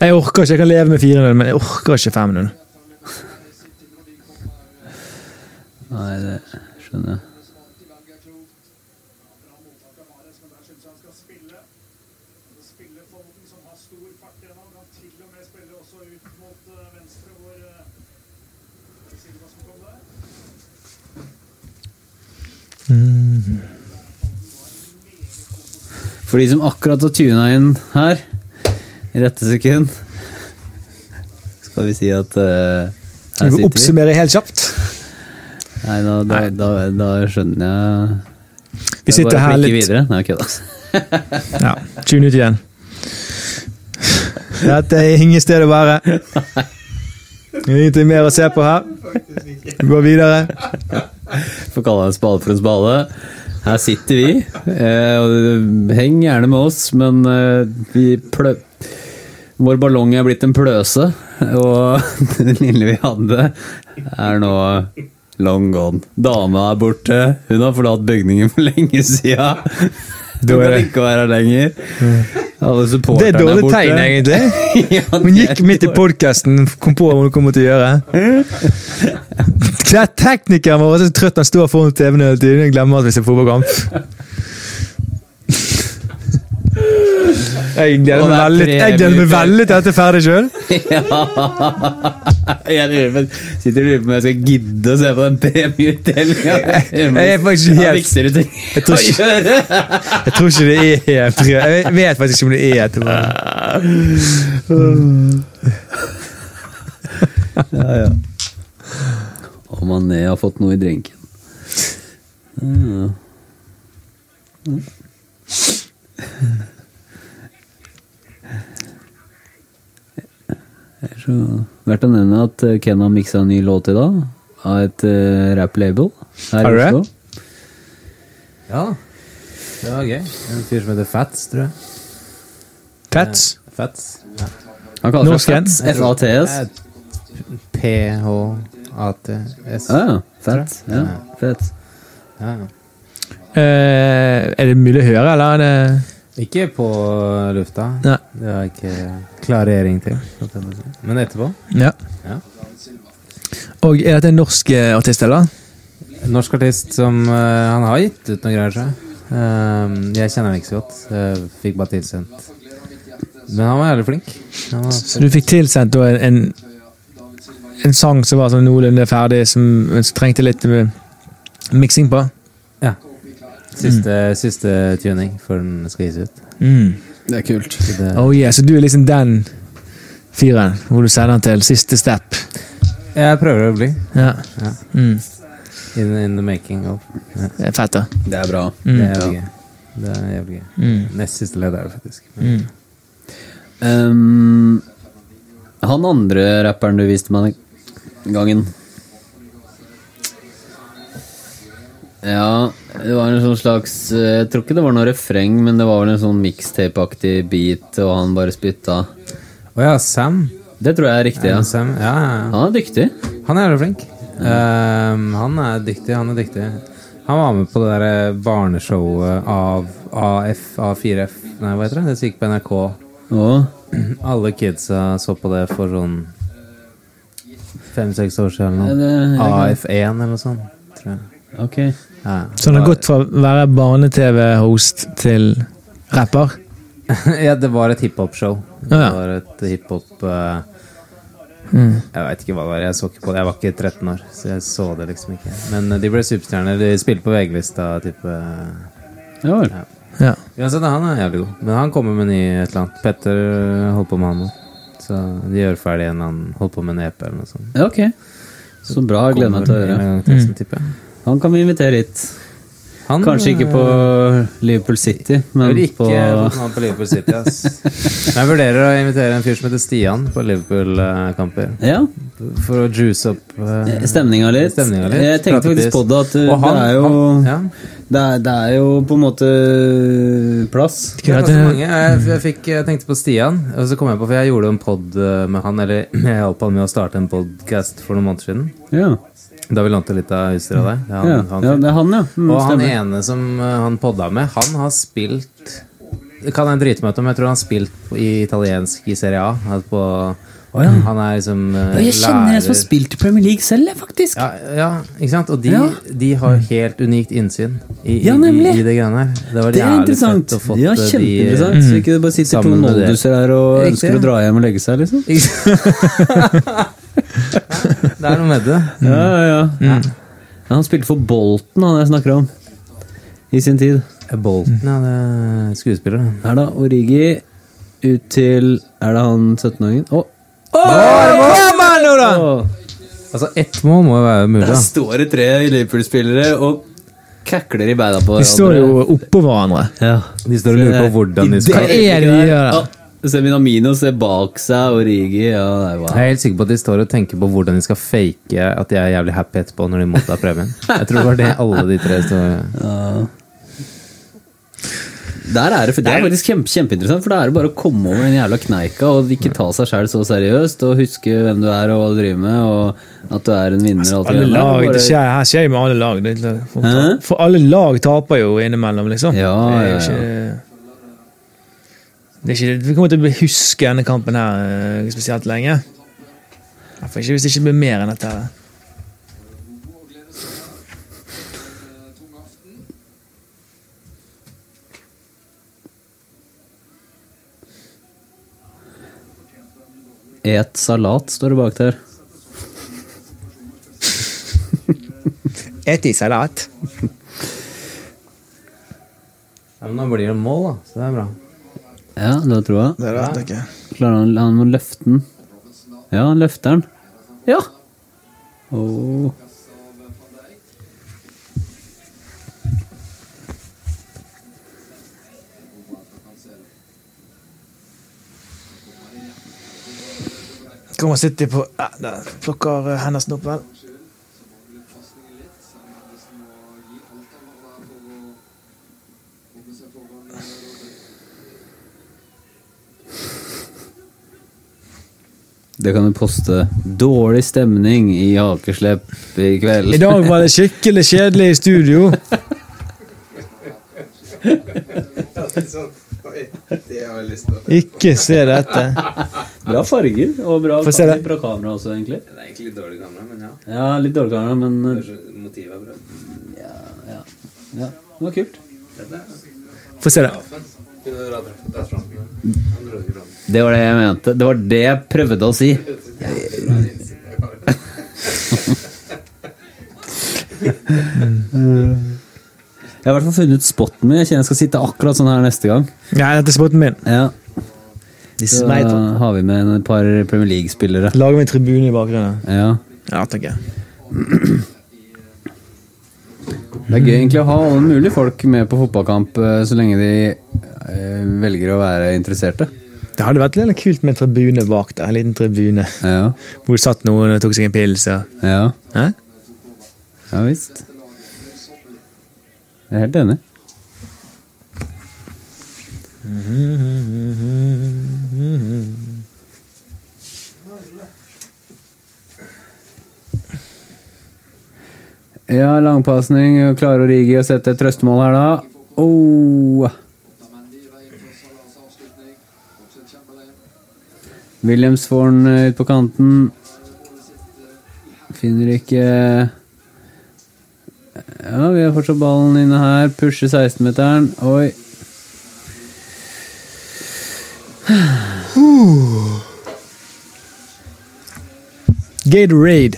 [SPEAKER 4] Jeg orker ikke, jeg kan leve med 4-0, men jeg orker ikke 5-0.
[SPEAKER 1] Nei, det skjønner jeg.
[SPEAKER 5] eh,
[SPEAKER 1] For de som akkurat har tuna inn her, i dette sekund, skal vi si at eh, her
[SPEAKER 4] Vi
[SPEAKER 1] sitter vi.
[SPEAKER 4] oppsummerer helt kjapt.
[SPEAKER 1] Nei, da, da, da, da skjønner jeg
[SPEAKER 4] Vi
[SPEAKER 1] Det er
[SPEAKER 4] sitter
[SPEAKER 1] bare å
[SPEAKER 4] her
[SPEAKER 1] klikke
[SPEAKER 4] litt
[SPEAKER 1] Videre. Nei, kødda.
[SPEAKER 4] Ja, tune ut igjen. Dette er ingen sted å være. Ingenting mer å se på her. Vi går videre.
[SPEAKER 1] Får kalle en spade for en spade. Her sitter vi. Eh, og heng gjerne med oss, men eh, vi plø... Vår ballong er blitt en pløse, og den lille vi hadde, er nå long gone. Dama er borte. Hun har forlatt bygningen for lenge sida. Hun
[SPEAKER 4] Da er
[SPEAKER 1] kan
[SPEAKER 4] det-
[SPEAKER 1] ikke være her lenger. Alle
[SPEAKER 4] Det
[SPEAKER 1] supporterne
[SPEAKER 4] er
[SPEAKER 1] er borte.
[SPEAKER 4] dårlig tegn, egentlig.
[SPEAKER 1] Ja,
[SPEAKER 4] Hun
[SPEAKER 1] det er
[SPEAKER 4] gikk midt i podkasten, kom på hva hun kom til å gjøre. Det er teknikeren vår så trøtt han står foran TV-en hele tiden. Jeg glemmer at vi ser fotballkamp. Jeg gleder meg veldig, jeg gleder meg veldig til dette er ferdig sjøl.
[SPEAKER 1] Jeg lurer på, sitter og lurer på om jeg skal gidde å se på den premieutdelinga.
[SPEAKER 4] Jeg er faktisk
[SPEAKER 1] Det er
[SPEAKER 4] helt
[SPEAKER 1] viktigere ting
[SPEAKER 4] Jeg tror
[SPEAKER 1] å
[SPEAKER 4] ikke-
[SPEAKER 1] gjøre!
[SPEAKER 4] Jeg tror ikke det er pre... Jeg vet faktisk ikke om det er et pre...
[SPEAKER 1] Å, Mané har fått noe i drinken. Ja. Ellers så- Verdt å nevne at eh, Ken har miksa en ny låt i dag. Av et uh, rap-label her
[SPEAKER 4] Har du
[SPEAKER 1] i
[SPEAKER 4] det?
[SPEAKER 1] Oslo.
[SPEAKER 6] Ja. Det var gøy. En fyr som heter Fats, tror jeg.
[SPEAKER 4] Pets?
[SPEAKER 6] Fats.
[SPEAKER 1] Han kaller
[SPEAKER 4] Norsk
[SPEAKER 1] seg Fats.
[SPEAKER 6] Jeg tror-
[SPEAKER 1] F-A-T-S.
[SPEAKER 6] P-H-A-T-S.
[SPEAKER 1] Ja, ja. Fats. Ja, fett.
[SPEAKER 6] Ja, ja.
[SPEAKER 4] Eh, er det mulig å høre, eller? Er det...
[SPEAKER 6] Ikke på lufta.
[SPEAKER 4] Nei.
[SPEAKER 6] Det har jeg ikke klarering til. holdt jeg på å si. Men etterpå?
[SPEAKER 4] Ja.
[SPEAKER 6] Ja.
[SPEAKER 4] Og er dette en norsk eh, artist, eller?
[SPEAKER 6] Norsk artist som eh, Han har gitt ut noen greier, tror jeg. Ehm, jeg kjenner ham ikke så godt. Jeg fikk bare tilsendt. Men han var jævlig flink. Han var,
[SPEAKER 4] Så du fikk tilsendt da en, en, en sang som var sånn noenlunde ferdig, som som trengte litt eh, miksing på?
[SPEAKER 6] siste, siste tuning før den skal gis ut.
[SPEAKER 4] Mm.
[SPEAKER 1] Det er kult.
[SPEAKER 6] Så det,
[SPEAKER 4] Oh yeah, så du er liksom den fyren hvor du sender den til siste step?
[SPEAKER 6] jeg prøver å bli.
[SPEAKER 4] Ja.
[SPEAKER 6] Ja.
[SPEAKER 4] Mm.
[SPEAKER 6] In, in the making of.
[SPEAKER 4] Det er fett, da.
[SPEAKER 1] Det er bra.
[SPEAKER 6] Det
[SPEAKER 4] Mm.
[SPEAKER 6] er jævlig gøy. Det er jævlig gøy.
[SPEAKER 4] Mm.
[SPEAKER 6] Nest siste ledd er det faktisk.
[SPEAKER 4] Mm.
[SPEAKER 1] Ehm, han andre rapperen du viste meg den gangen Ja, det var en sånn slags eh, Jeg tror ikke det var noe refreng, men det var vel en sånn mixtape-aktig beat, og han bare spytta.
[SPEAKER 6] Å ja, Sam.
[SPEAKER 1] Det tror jeg er riktig, ja.
[SPEAKER 6] Ja. Sam. Ja, ja,
[SPEAKER 1] Han er dyktig.
[SPEAKER 6] ja. Han er jævlig flink. Ehm, han er dyktig, han er dyktig. Han var med på det der eh, barneshowet av AF, A4F Nei, hva heter det? Det som gikk på NRK.
[SPEAKER 1] Og
[SPEAKER 6] Alle kidsa så på det for sånn fem-seks år siden
[SPEAKER 1] Ja,
[SPEAKER 6] eller
[SPEAKER 1] det er
[SPEAKER 6] noe.
[SPEAKER 1] greit.
[SPEAKER 6] AF1 eller noe sånt, tror jeg.
[SPEAKER 1] Ok.
[SPEAKER 6] Ja.
[SPEAKER 3] Så han har gått fra å være barne-TV-host til rapper?
[SPEAKER 6] ja, det var et hiphop-show. Det
[SPEAKER 3] Ja.
[SPEAKER 6] var et hiphop eh,
[SPEAKER 1] Mm.
[SPEAKER 6] Jeg veit ikke hva det var. Jeg så ikke på det. Jeg var ikke 13 år, så jeg så det liksom ikke. Men eh, de ble superstjerner. De spilte på VG-lista, type. eh,
[SPEAKER 1] Ja vel.
[SPEAKER 3] Ja.
[SPEAKER 6] Uansett, han er jævlig god. Men han kommer med ny et eller annet. Petter eh, holder på med han nå. Så de gjør ferdig en eller annen Holder på med en EP eller noe sånt.
[SPEAKER 1] Ja, ok. Så bra. Jeg gleder meg til å høre. Mm.
[SPEAKER 6] høre.
[SPEAKER 1] Han kan vi invitere hit.
[SPEAKER 6] Han, eh,
[SPEAKER 1] Kanskje ikke på Liverpool City, men
[SPEAKER 6] Men ikke
[SPEAKER 1] på
[SPEAKER 6] fått noen på Liverpool City, ass. Men jeg vurderer å invitere en fyr som heter Stian på eh, Liverpool-kamper.
[SPEAKER 1] Ja,
[SPEAKER 6] For å juice opp eh,
[SPEAKER 1] stemninga litt.
[SPEAKER 6] Stemninga litt.
[SPEAKER 1] Jeg tenkte faktisk på det, at uh,
[SPEAKER 6] Og han-
[SPEAKER 1] det er jo
[SPEAKER 6] han- ja.
[SPEAKER 1] det, er, det er jo på en måte eh, plass.
[SPEAKER 6] Det er ganske mange. Jeg, jeg, fikk, jeg tenkte på Stian, og så kom jeg på, for jeg gjorde en pod eh, med han, eller jeg hjalp han med å starte en podcast for noen måneder siden.
[SPEAKER 1] Ja,
[SPEAKER 6] Da vi lånte litt av huset av deg. Det er han-
[SPEAKER 1] ja,
[SPEAKER 6] han
[SPEAKER 1] ja
[SPEAKER 6] fyren.
[SPEAKER 1] det er han, ja. Mm,
[SPEAKER 6] Og han
[SPEAKER 1] stemmer.
[SPEAKER 6] ene som eh, han podda med, han har spilt Det kan jeg drite meg ut om, jeg tror han har spilt i italiensk i Serie A. altså På, Han er liksom eh,
[SPEAKER 1] Ja, jeg kjenner en som har spilt i Premier League selv, jeg, faktisk.
[SPEAKER 6] ja, ja, ikke sant? Og de,
[SPEAKER 1] Ja.
[SPEAKER 6] de har helt unikt innsyn i, i,
[SPEAKER 1] Ja,
[SPEAKER 6] i,
[SPEAKER 1] nemlig.
[SPEAKER 6] i det greiene her. Det var
[SPEAKER 1] Det er
[SPEAKER 6] jævlig
[SPEAKER 1] interessant.
[SPEAKER 6] fett å fått
[SPEAKER 1] Ja,
[SPEAKER 6] eh, de-
[SPEAKER 1] kjempeinteressant. Så ikke det bare sitter to
[SPEAKER 6] sammen med det.
[SPEAKER 1] nolduser her og
[SPEAKER 6] Riktig.
[SPEAKER 1] ønsker å dra hjem og legge seg, liksom.
[SPEAKER 6] Det er noe med det.
[SPEAKER 1] Ja, ja,
[SPEAKER 6] Mm.
[SPEAKER 1] ja. ja han spilte for Bolten, han jeg snakker om. I sin tid.
[SPEAKER 6] Bolten, ja. Det er skuespiller. det.
[SPEAKER 1] Her da, Origi ut til Er det han 17-åringen? Å! Åh.
[SPEAKER 6] Altså, ett mål må jo være mulig.
[SPEAKER 1] Der
[SPEAKER 6] Da.
[SPEAKER 1] står det tre Liverpool-spillere og kakler i beina på
[SPEAKER 3] De står jo oppå hverandre.
[SPEAKER 1] ja.
[SPEAKER 6] De står og lurer på hvordan de
[SPEAKER 3] Hva
[SPEAKER 6] skal
[SPEAKER 3] er det de gjør
[SPEAKER 1] Ja,
[SPEAKER 3] der?
[SPEAKER 1] Seminamino ser bak seg, Origi ja, det er
[SPEAKER 6] Jeg
[SPEAKER 1] wow.
[SPEAKER 6] er helt sikker på at de står og tenker på hvordan de skal fake at de er jævlig happy etterpå når de mottar premien. Jeg tror det var det alle de tre står
[SPEAKER 1] Der er det, for det er faktisk kjempe, kjempeinteressant, for da er det bare å komme over den jævla kneika og ikke ta seg sjøl så seriøst, og huske hvem du er og hva du driver med, og at du er en vinner og alt
[SPEAKER 4] Altså,
[SPEAKER 3] Alle
[SPEAKER 1] det der.
[SPEAKER 3] lag, det
[SPEAKER 1] Bare-
[SPEAKER 3] skjer, her skjer jo med alle lag. Det, er litt-
[SPEAKER 1] Hæ?
[SPEAKER 3] for alle lag taper jo innimellom, liksom.
[SPEAKER 1] Ja, ja,
[SPEAKER 3] det er jo
[SPEAKER 1] ja.
[SPEAKER 3] ikke det er ikke, Vi kommer til å huske denne kampen her eh, spesielt lenge. Iallfall ikke hvis det ikke blir mer enn dette. her.
[SPEAKER 1] Et salat står det bak der.
[SPEAKER 3] Et i salat.
[SPEAKER 6] ja, men Nå blir det mål, da, så det er bra.
[SPEAKER 1] Ja, det tror jeg.
[SPEAKER 3] Det vet jeg ikke.
[SPEAKER 1] Klarer han, han må løfte den. Ja, han løfter den. Ja! Åh.
[SPEAKER 3] Kommer City på ja, der Plukker eh, Henderson opp, vel.
[SPEAKER 1] Det kan du poste. Dårlig stemning i hakeslepp i kveld.
[SPEAKER 3] I dag var det skikkelig kjedelig i studio.
[SPEAKER 8] Det har jeg lyst til.
[SPEAKER 3] Ikke se dette.
[SPEAKER 1] Bra farger og bra,
[SPEAKER 3] Få se det.
[SPEAKER 1] bra kamera også, egentlig.
[SPEAKER 6] Det er egentlig litt dårlig kamera, men ja.
[SPEAKER 1] Ja, litt dårlig kamera, men eh,
[SPEAKER 6] Motivet er bra.
[SPEAKER 1] ja, det var kult.
[SPEAKER 3] Få se det.
[SPEAKER 1] Det var det jeg mente. Det var det jeg prøvde å si. Jeg har i hvert fall funnet spotten min. Jeg kjenner jeg skal sitte akkurat sånn her neste gang.
[SPEAKER 3] Nei, dette er spotten min.
[SPEAKER 1] Ja,
[SPEAKER 3] This
[SPEAKER 1] Så har vi med en- et par Premier League-spillere.
[SPEAKER 3] Lager vi en tribune i bakgrunnen?
[SPEAKER 1] Ja.
[SPEAKER 3] Ja, tenker jeg.
[SPEAKER 1] Det er gøy egentlig å ha alle mulige folk med på fotballkamp eh, så lenge de eh, velger å være interesserte.
[SPEAKER 4] Det hadde vært litt kult med en tribune bak der. En liten tribune.
[SPEAKER 1] Ja,
[SPEAKER 4] Hvor det satt noen og tok seg en pils. og-
[SPEAKER 1] ja,
[SPEAKER 4] Hæ?
[SPEAKER 1] ja visst. Jeg er helt enig. Ja, langpasning. Klarer Origi å sette et trøstemål her, da? Oh. Williams får den eh, ut på kanten. Finner ikke Ja, vi har fortsatt ballen inne her. Pusher 16-meteren. Oi.
[SPEAKER 4] Gatorade.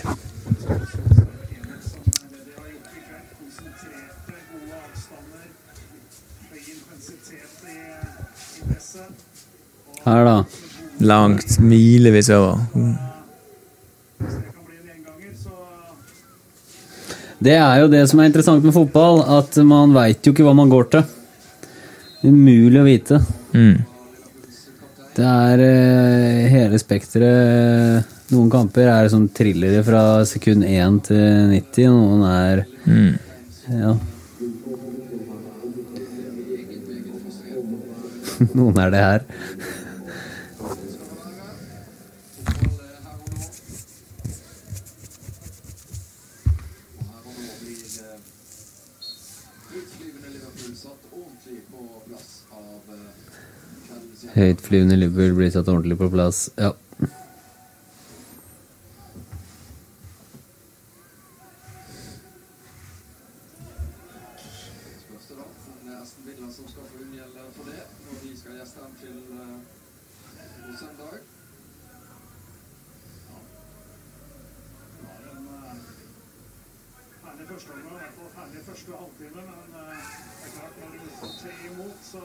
[SPEAKER 1] Her, da.
[SPEAKER 4] Langt. Milevis over.
[SPEAKER 1] Det er jo det som er interessant med fotball, at man veit jo ikke hva man går til. Umulig å vite.
[SPEAKER 4] Mm.
[SPEAKER 1] Det er eh, hele spekteret. Noen kamper er som thrillere fra sekund 1 til 90, noen er
[SPEAKER 4] Mm.
[SPEAKER 1] Ja. Noen er det her. Høytflyvende Liverpool blir satt ordentlig på plass. Ja.
[SPEAKER 5] Herlig første omgang, i hvert fall herlig første halvtime, men eh, det er klart når du får tre imot, så,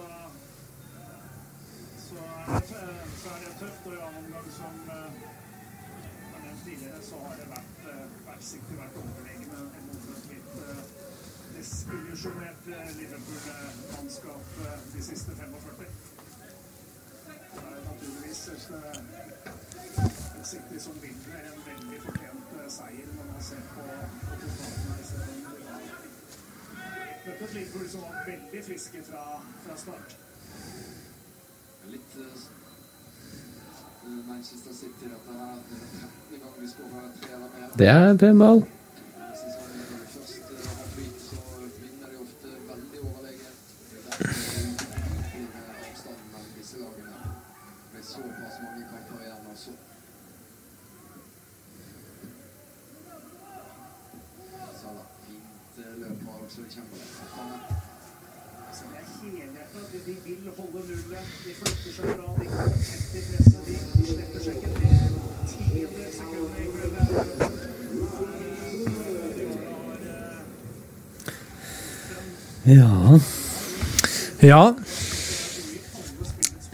[SPEAKER 5] så, er, det, eh, så er det tøft. Og i annen omgang, som uh, er nevnt tidligere, så har det vært uh, værsiktig, vært overlegne mot et litt uh, desillusjonert eh, Liverpool-mannskap eh, de siste 45. Det er naturligvis et, eh, et sikte som vinner en veldig fortjent eh, seier når man ser på på resultatene her, så det var- Dette er et Liverpool som var veldig friske fra, fra start.
[SPEAKER 7] Litt eh, Manchester City, dette her. Det er 13. gang vi skårer tre eller mer.
[SPEAKER 1] Det er pen ball.
[SPEAKER 7] sesongen. Når de først eh, har flyt, så vinner de ofte veldig overlegent. Derfor er det en avstand mellom disse lagene. Med såpass mange kamper igjen og så Salah. Fint eh, løp av Oxlade Chamberlain.
[SPEAKER 5] Så det er helhjertet. De, de vil holde nullet. De flytter seg fra. De kommer tett i presset. De, de slipper seg ikke ned. Tiende sekundet i klubben.
[SPEAKER 1] Ja
[SPEAKER 4] Ja.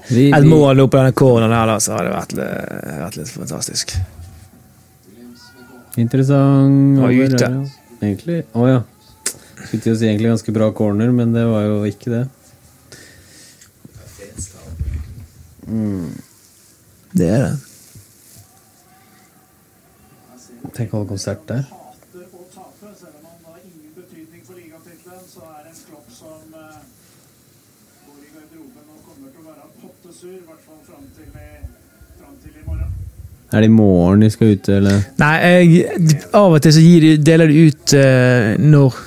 [SPEAKER 1] vi,
[SPEAKER 4] Et
[SPEAKER 1] vi,
[SPEAKER 4] mål opp i denne corneren her, da, så hadde det vært, litt- vært litt fantastisk.
[SPEAKER 1] Interessant.
[SPEAKER 4] Var
[SPEAKER 1] over,
[SPEAKER 4] ute.
[SPEAKER 1] er det, ja. Egentlig. Å ja. Skulle til å si egentlig ganske bra corner, men det var jo ikke det.
[SPEAKER 4] Det er det.
[SPEAKER 1] Tenk å holde konsert der.
[SPEAKER 5] hater å tape, selv om han har ingen betydning for ligatittelen, så er det en klopp som eh, går i garderoben og kommer til å være pottesur, i hvert fall fram til, i- fram til i morgen.
[SPEAKER 1] Er det i morgen de skal ute, eller?
[SPEAKER 3] Nei, jeg, av og til så gir de, deler de ut eh, når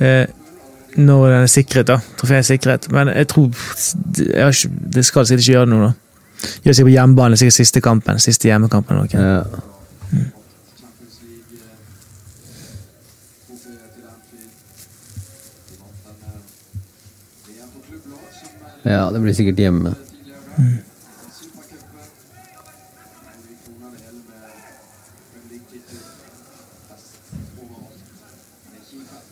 [SPEAKER 3] eh, Når den er sikret, da. Trofeet er sikret. Men jeg tror jeg har ikke, Det skal sikkert ikke gjøre det nå, da. Gjør sikkert på hjemmebane, sikkert siste kampen. Siste hjemmekampen. eller noe.
[SPEAKER 1] Ja.
[SPEAKER 7] Champions League eh, trofeet eh, til Anfield. De vant den eh, VM på klubblag som er
[SPEAKER 1] ja, det blir sikkert hjemme.
[SPEAKER 7] tidligere. Supercupen. Og vi kroner det hele med en liggtittel. Fest overalt. Det er kjipt.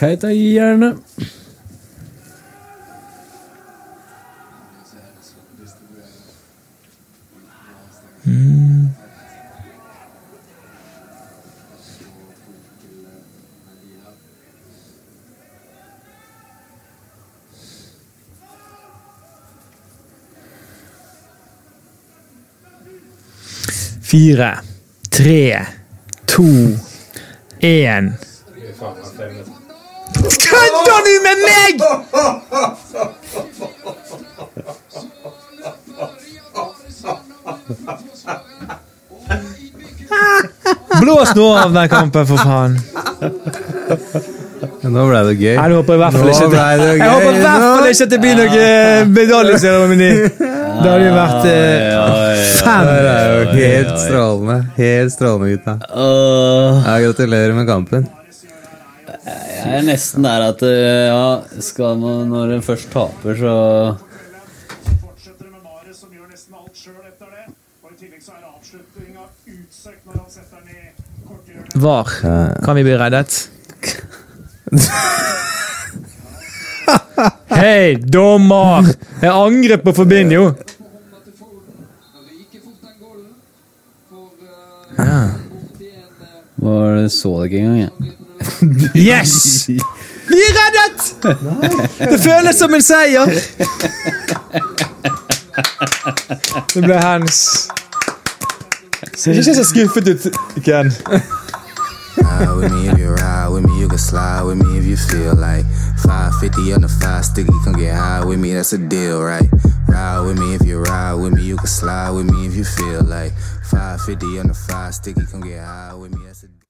[SPEAKER 1] Keita gir jernet.
[SPEAKER 7] Jeg ser
[SPEAKER 4] fire, tre, to, én Kødder du med meg?! Blås nå av den kampen, for faen.
[SPEAKER 6] Nå ble det gøy.
[SPEAKER 4] Nei, nå håper jeg i hvert fall ikke at
[SPEAKER 6] Nå ble det
[SPEAKER 4] det, jeg håper i hvert fall ikke at det blir noe eh, medaljeseremoni. Det hadde jo vært eh, fem.
[SPEAKER 6] Det er jo helt strålende. Helt strålende, gutta.
[SPEAKER 1] Åh,
[SPEAKER 6] Ja, gratulerer med kampen.
[SPEAKER 1] jeg er nesten der at eh, ja, skal man, når en først taper, så
[SPEAKER 5] Fortsetter med Mares, som gjør nesten alt sjøl etter det. Og I tillegg så er avslutninga utsøkt når han setter den i korthjørnet.
[SPEAKER 4] Var. Kan vi bli reddet? Hei, dommer! Jeg angrer på Forbinio.
[SPEAKER 1] Var det så det ikke engang, jeg.
[SPEAKER 4] Yes! Vi er reddet! Det føles som en seier. Det ble hands. Ser ikke så skuffet ut, Ken.
[SPEAKER 7] ride with me if you ride with me. You can slide with me if you feel like 550 on the five sticky. Come get high with me, that's a deal, right? Ride with me if you ride with me. You can slide with me if you feel like 550 on the five sticky. Come get high with me.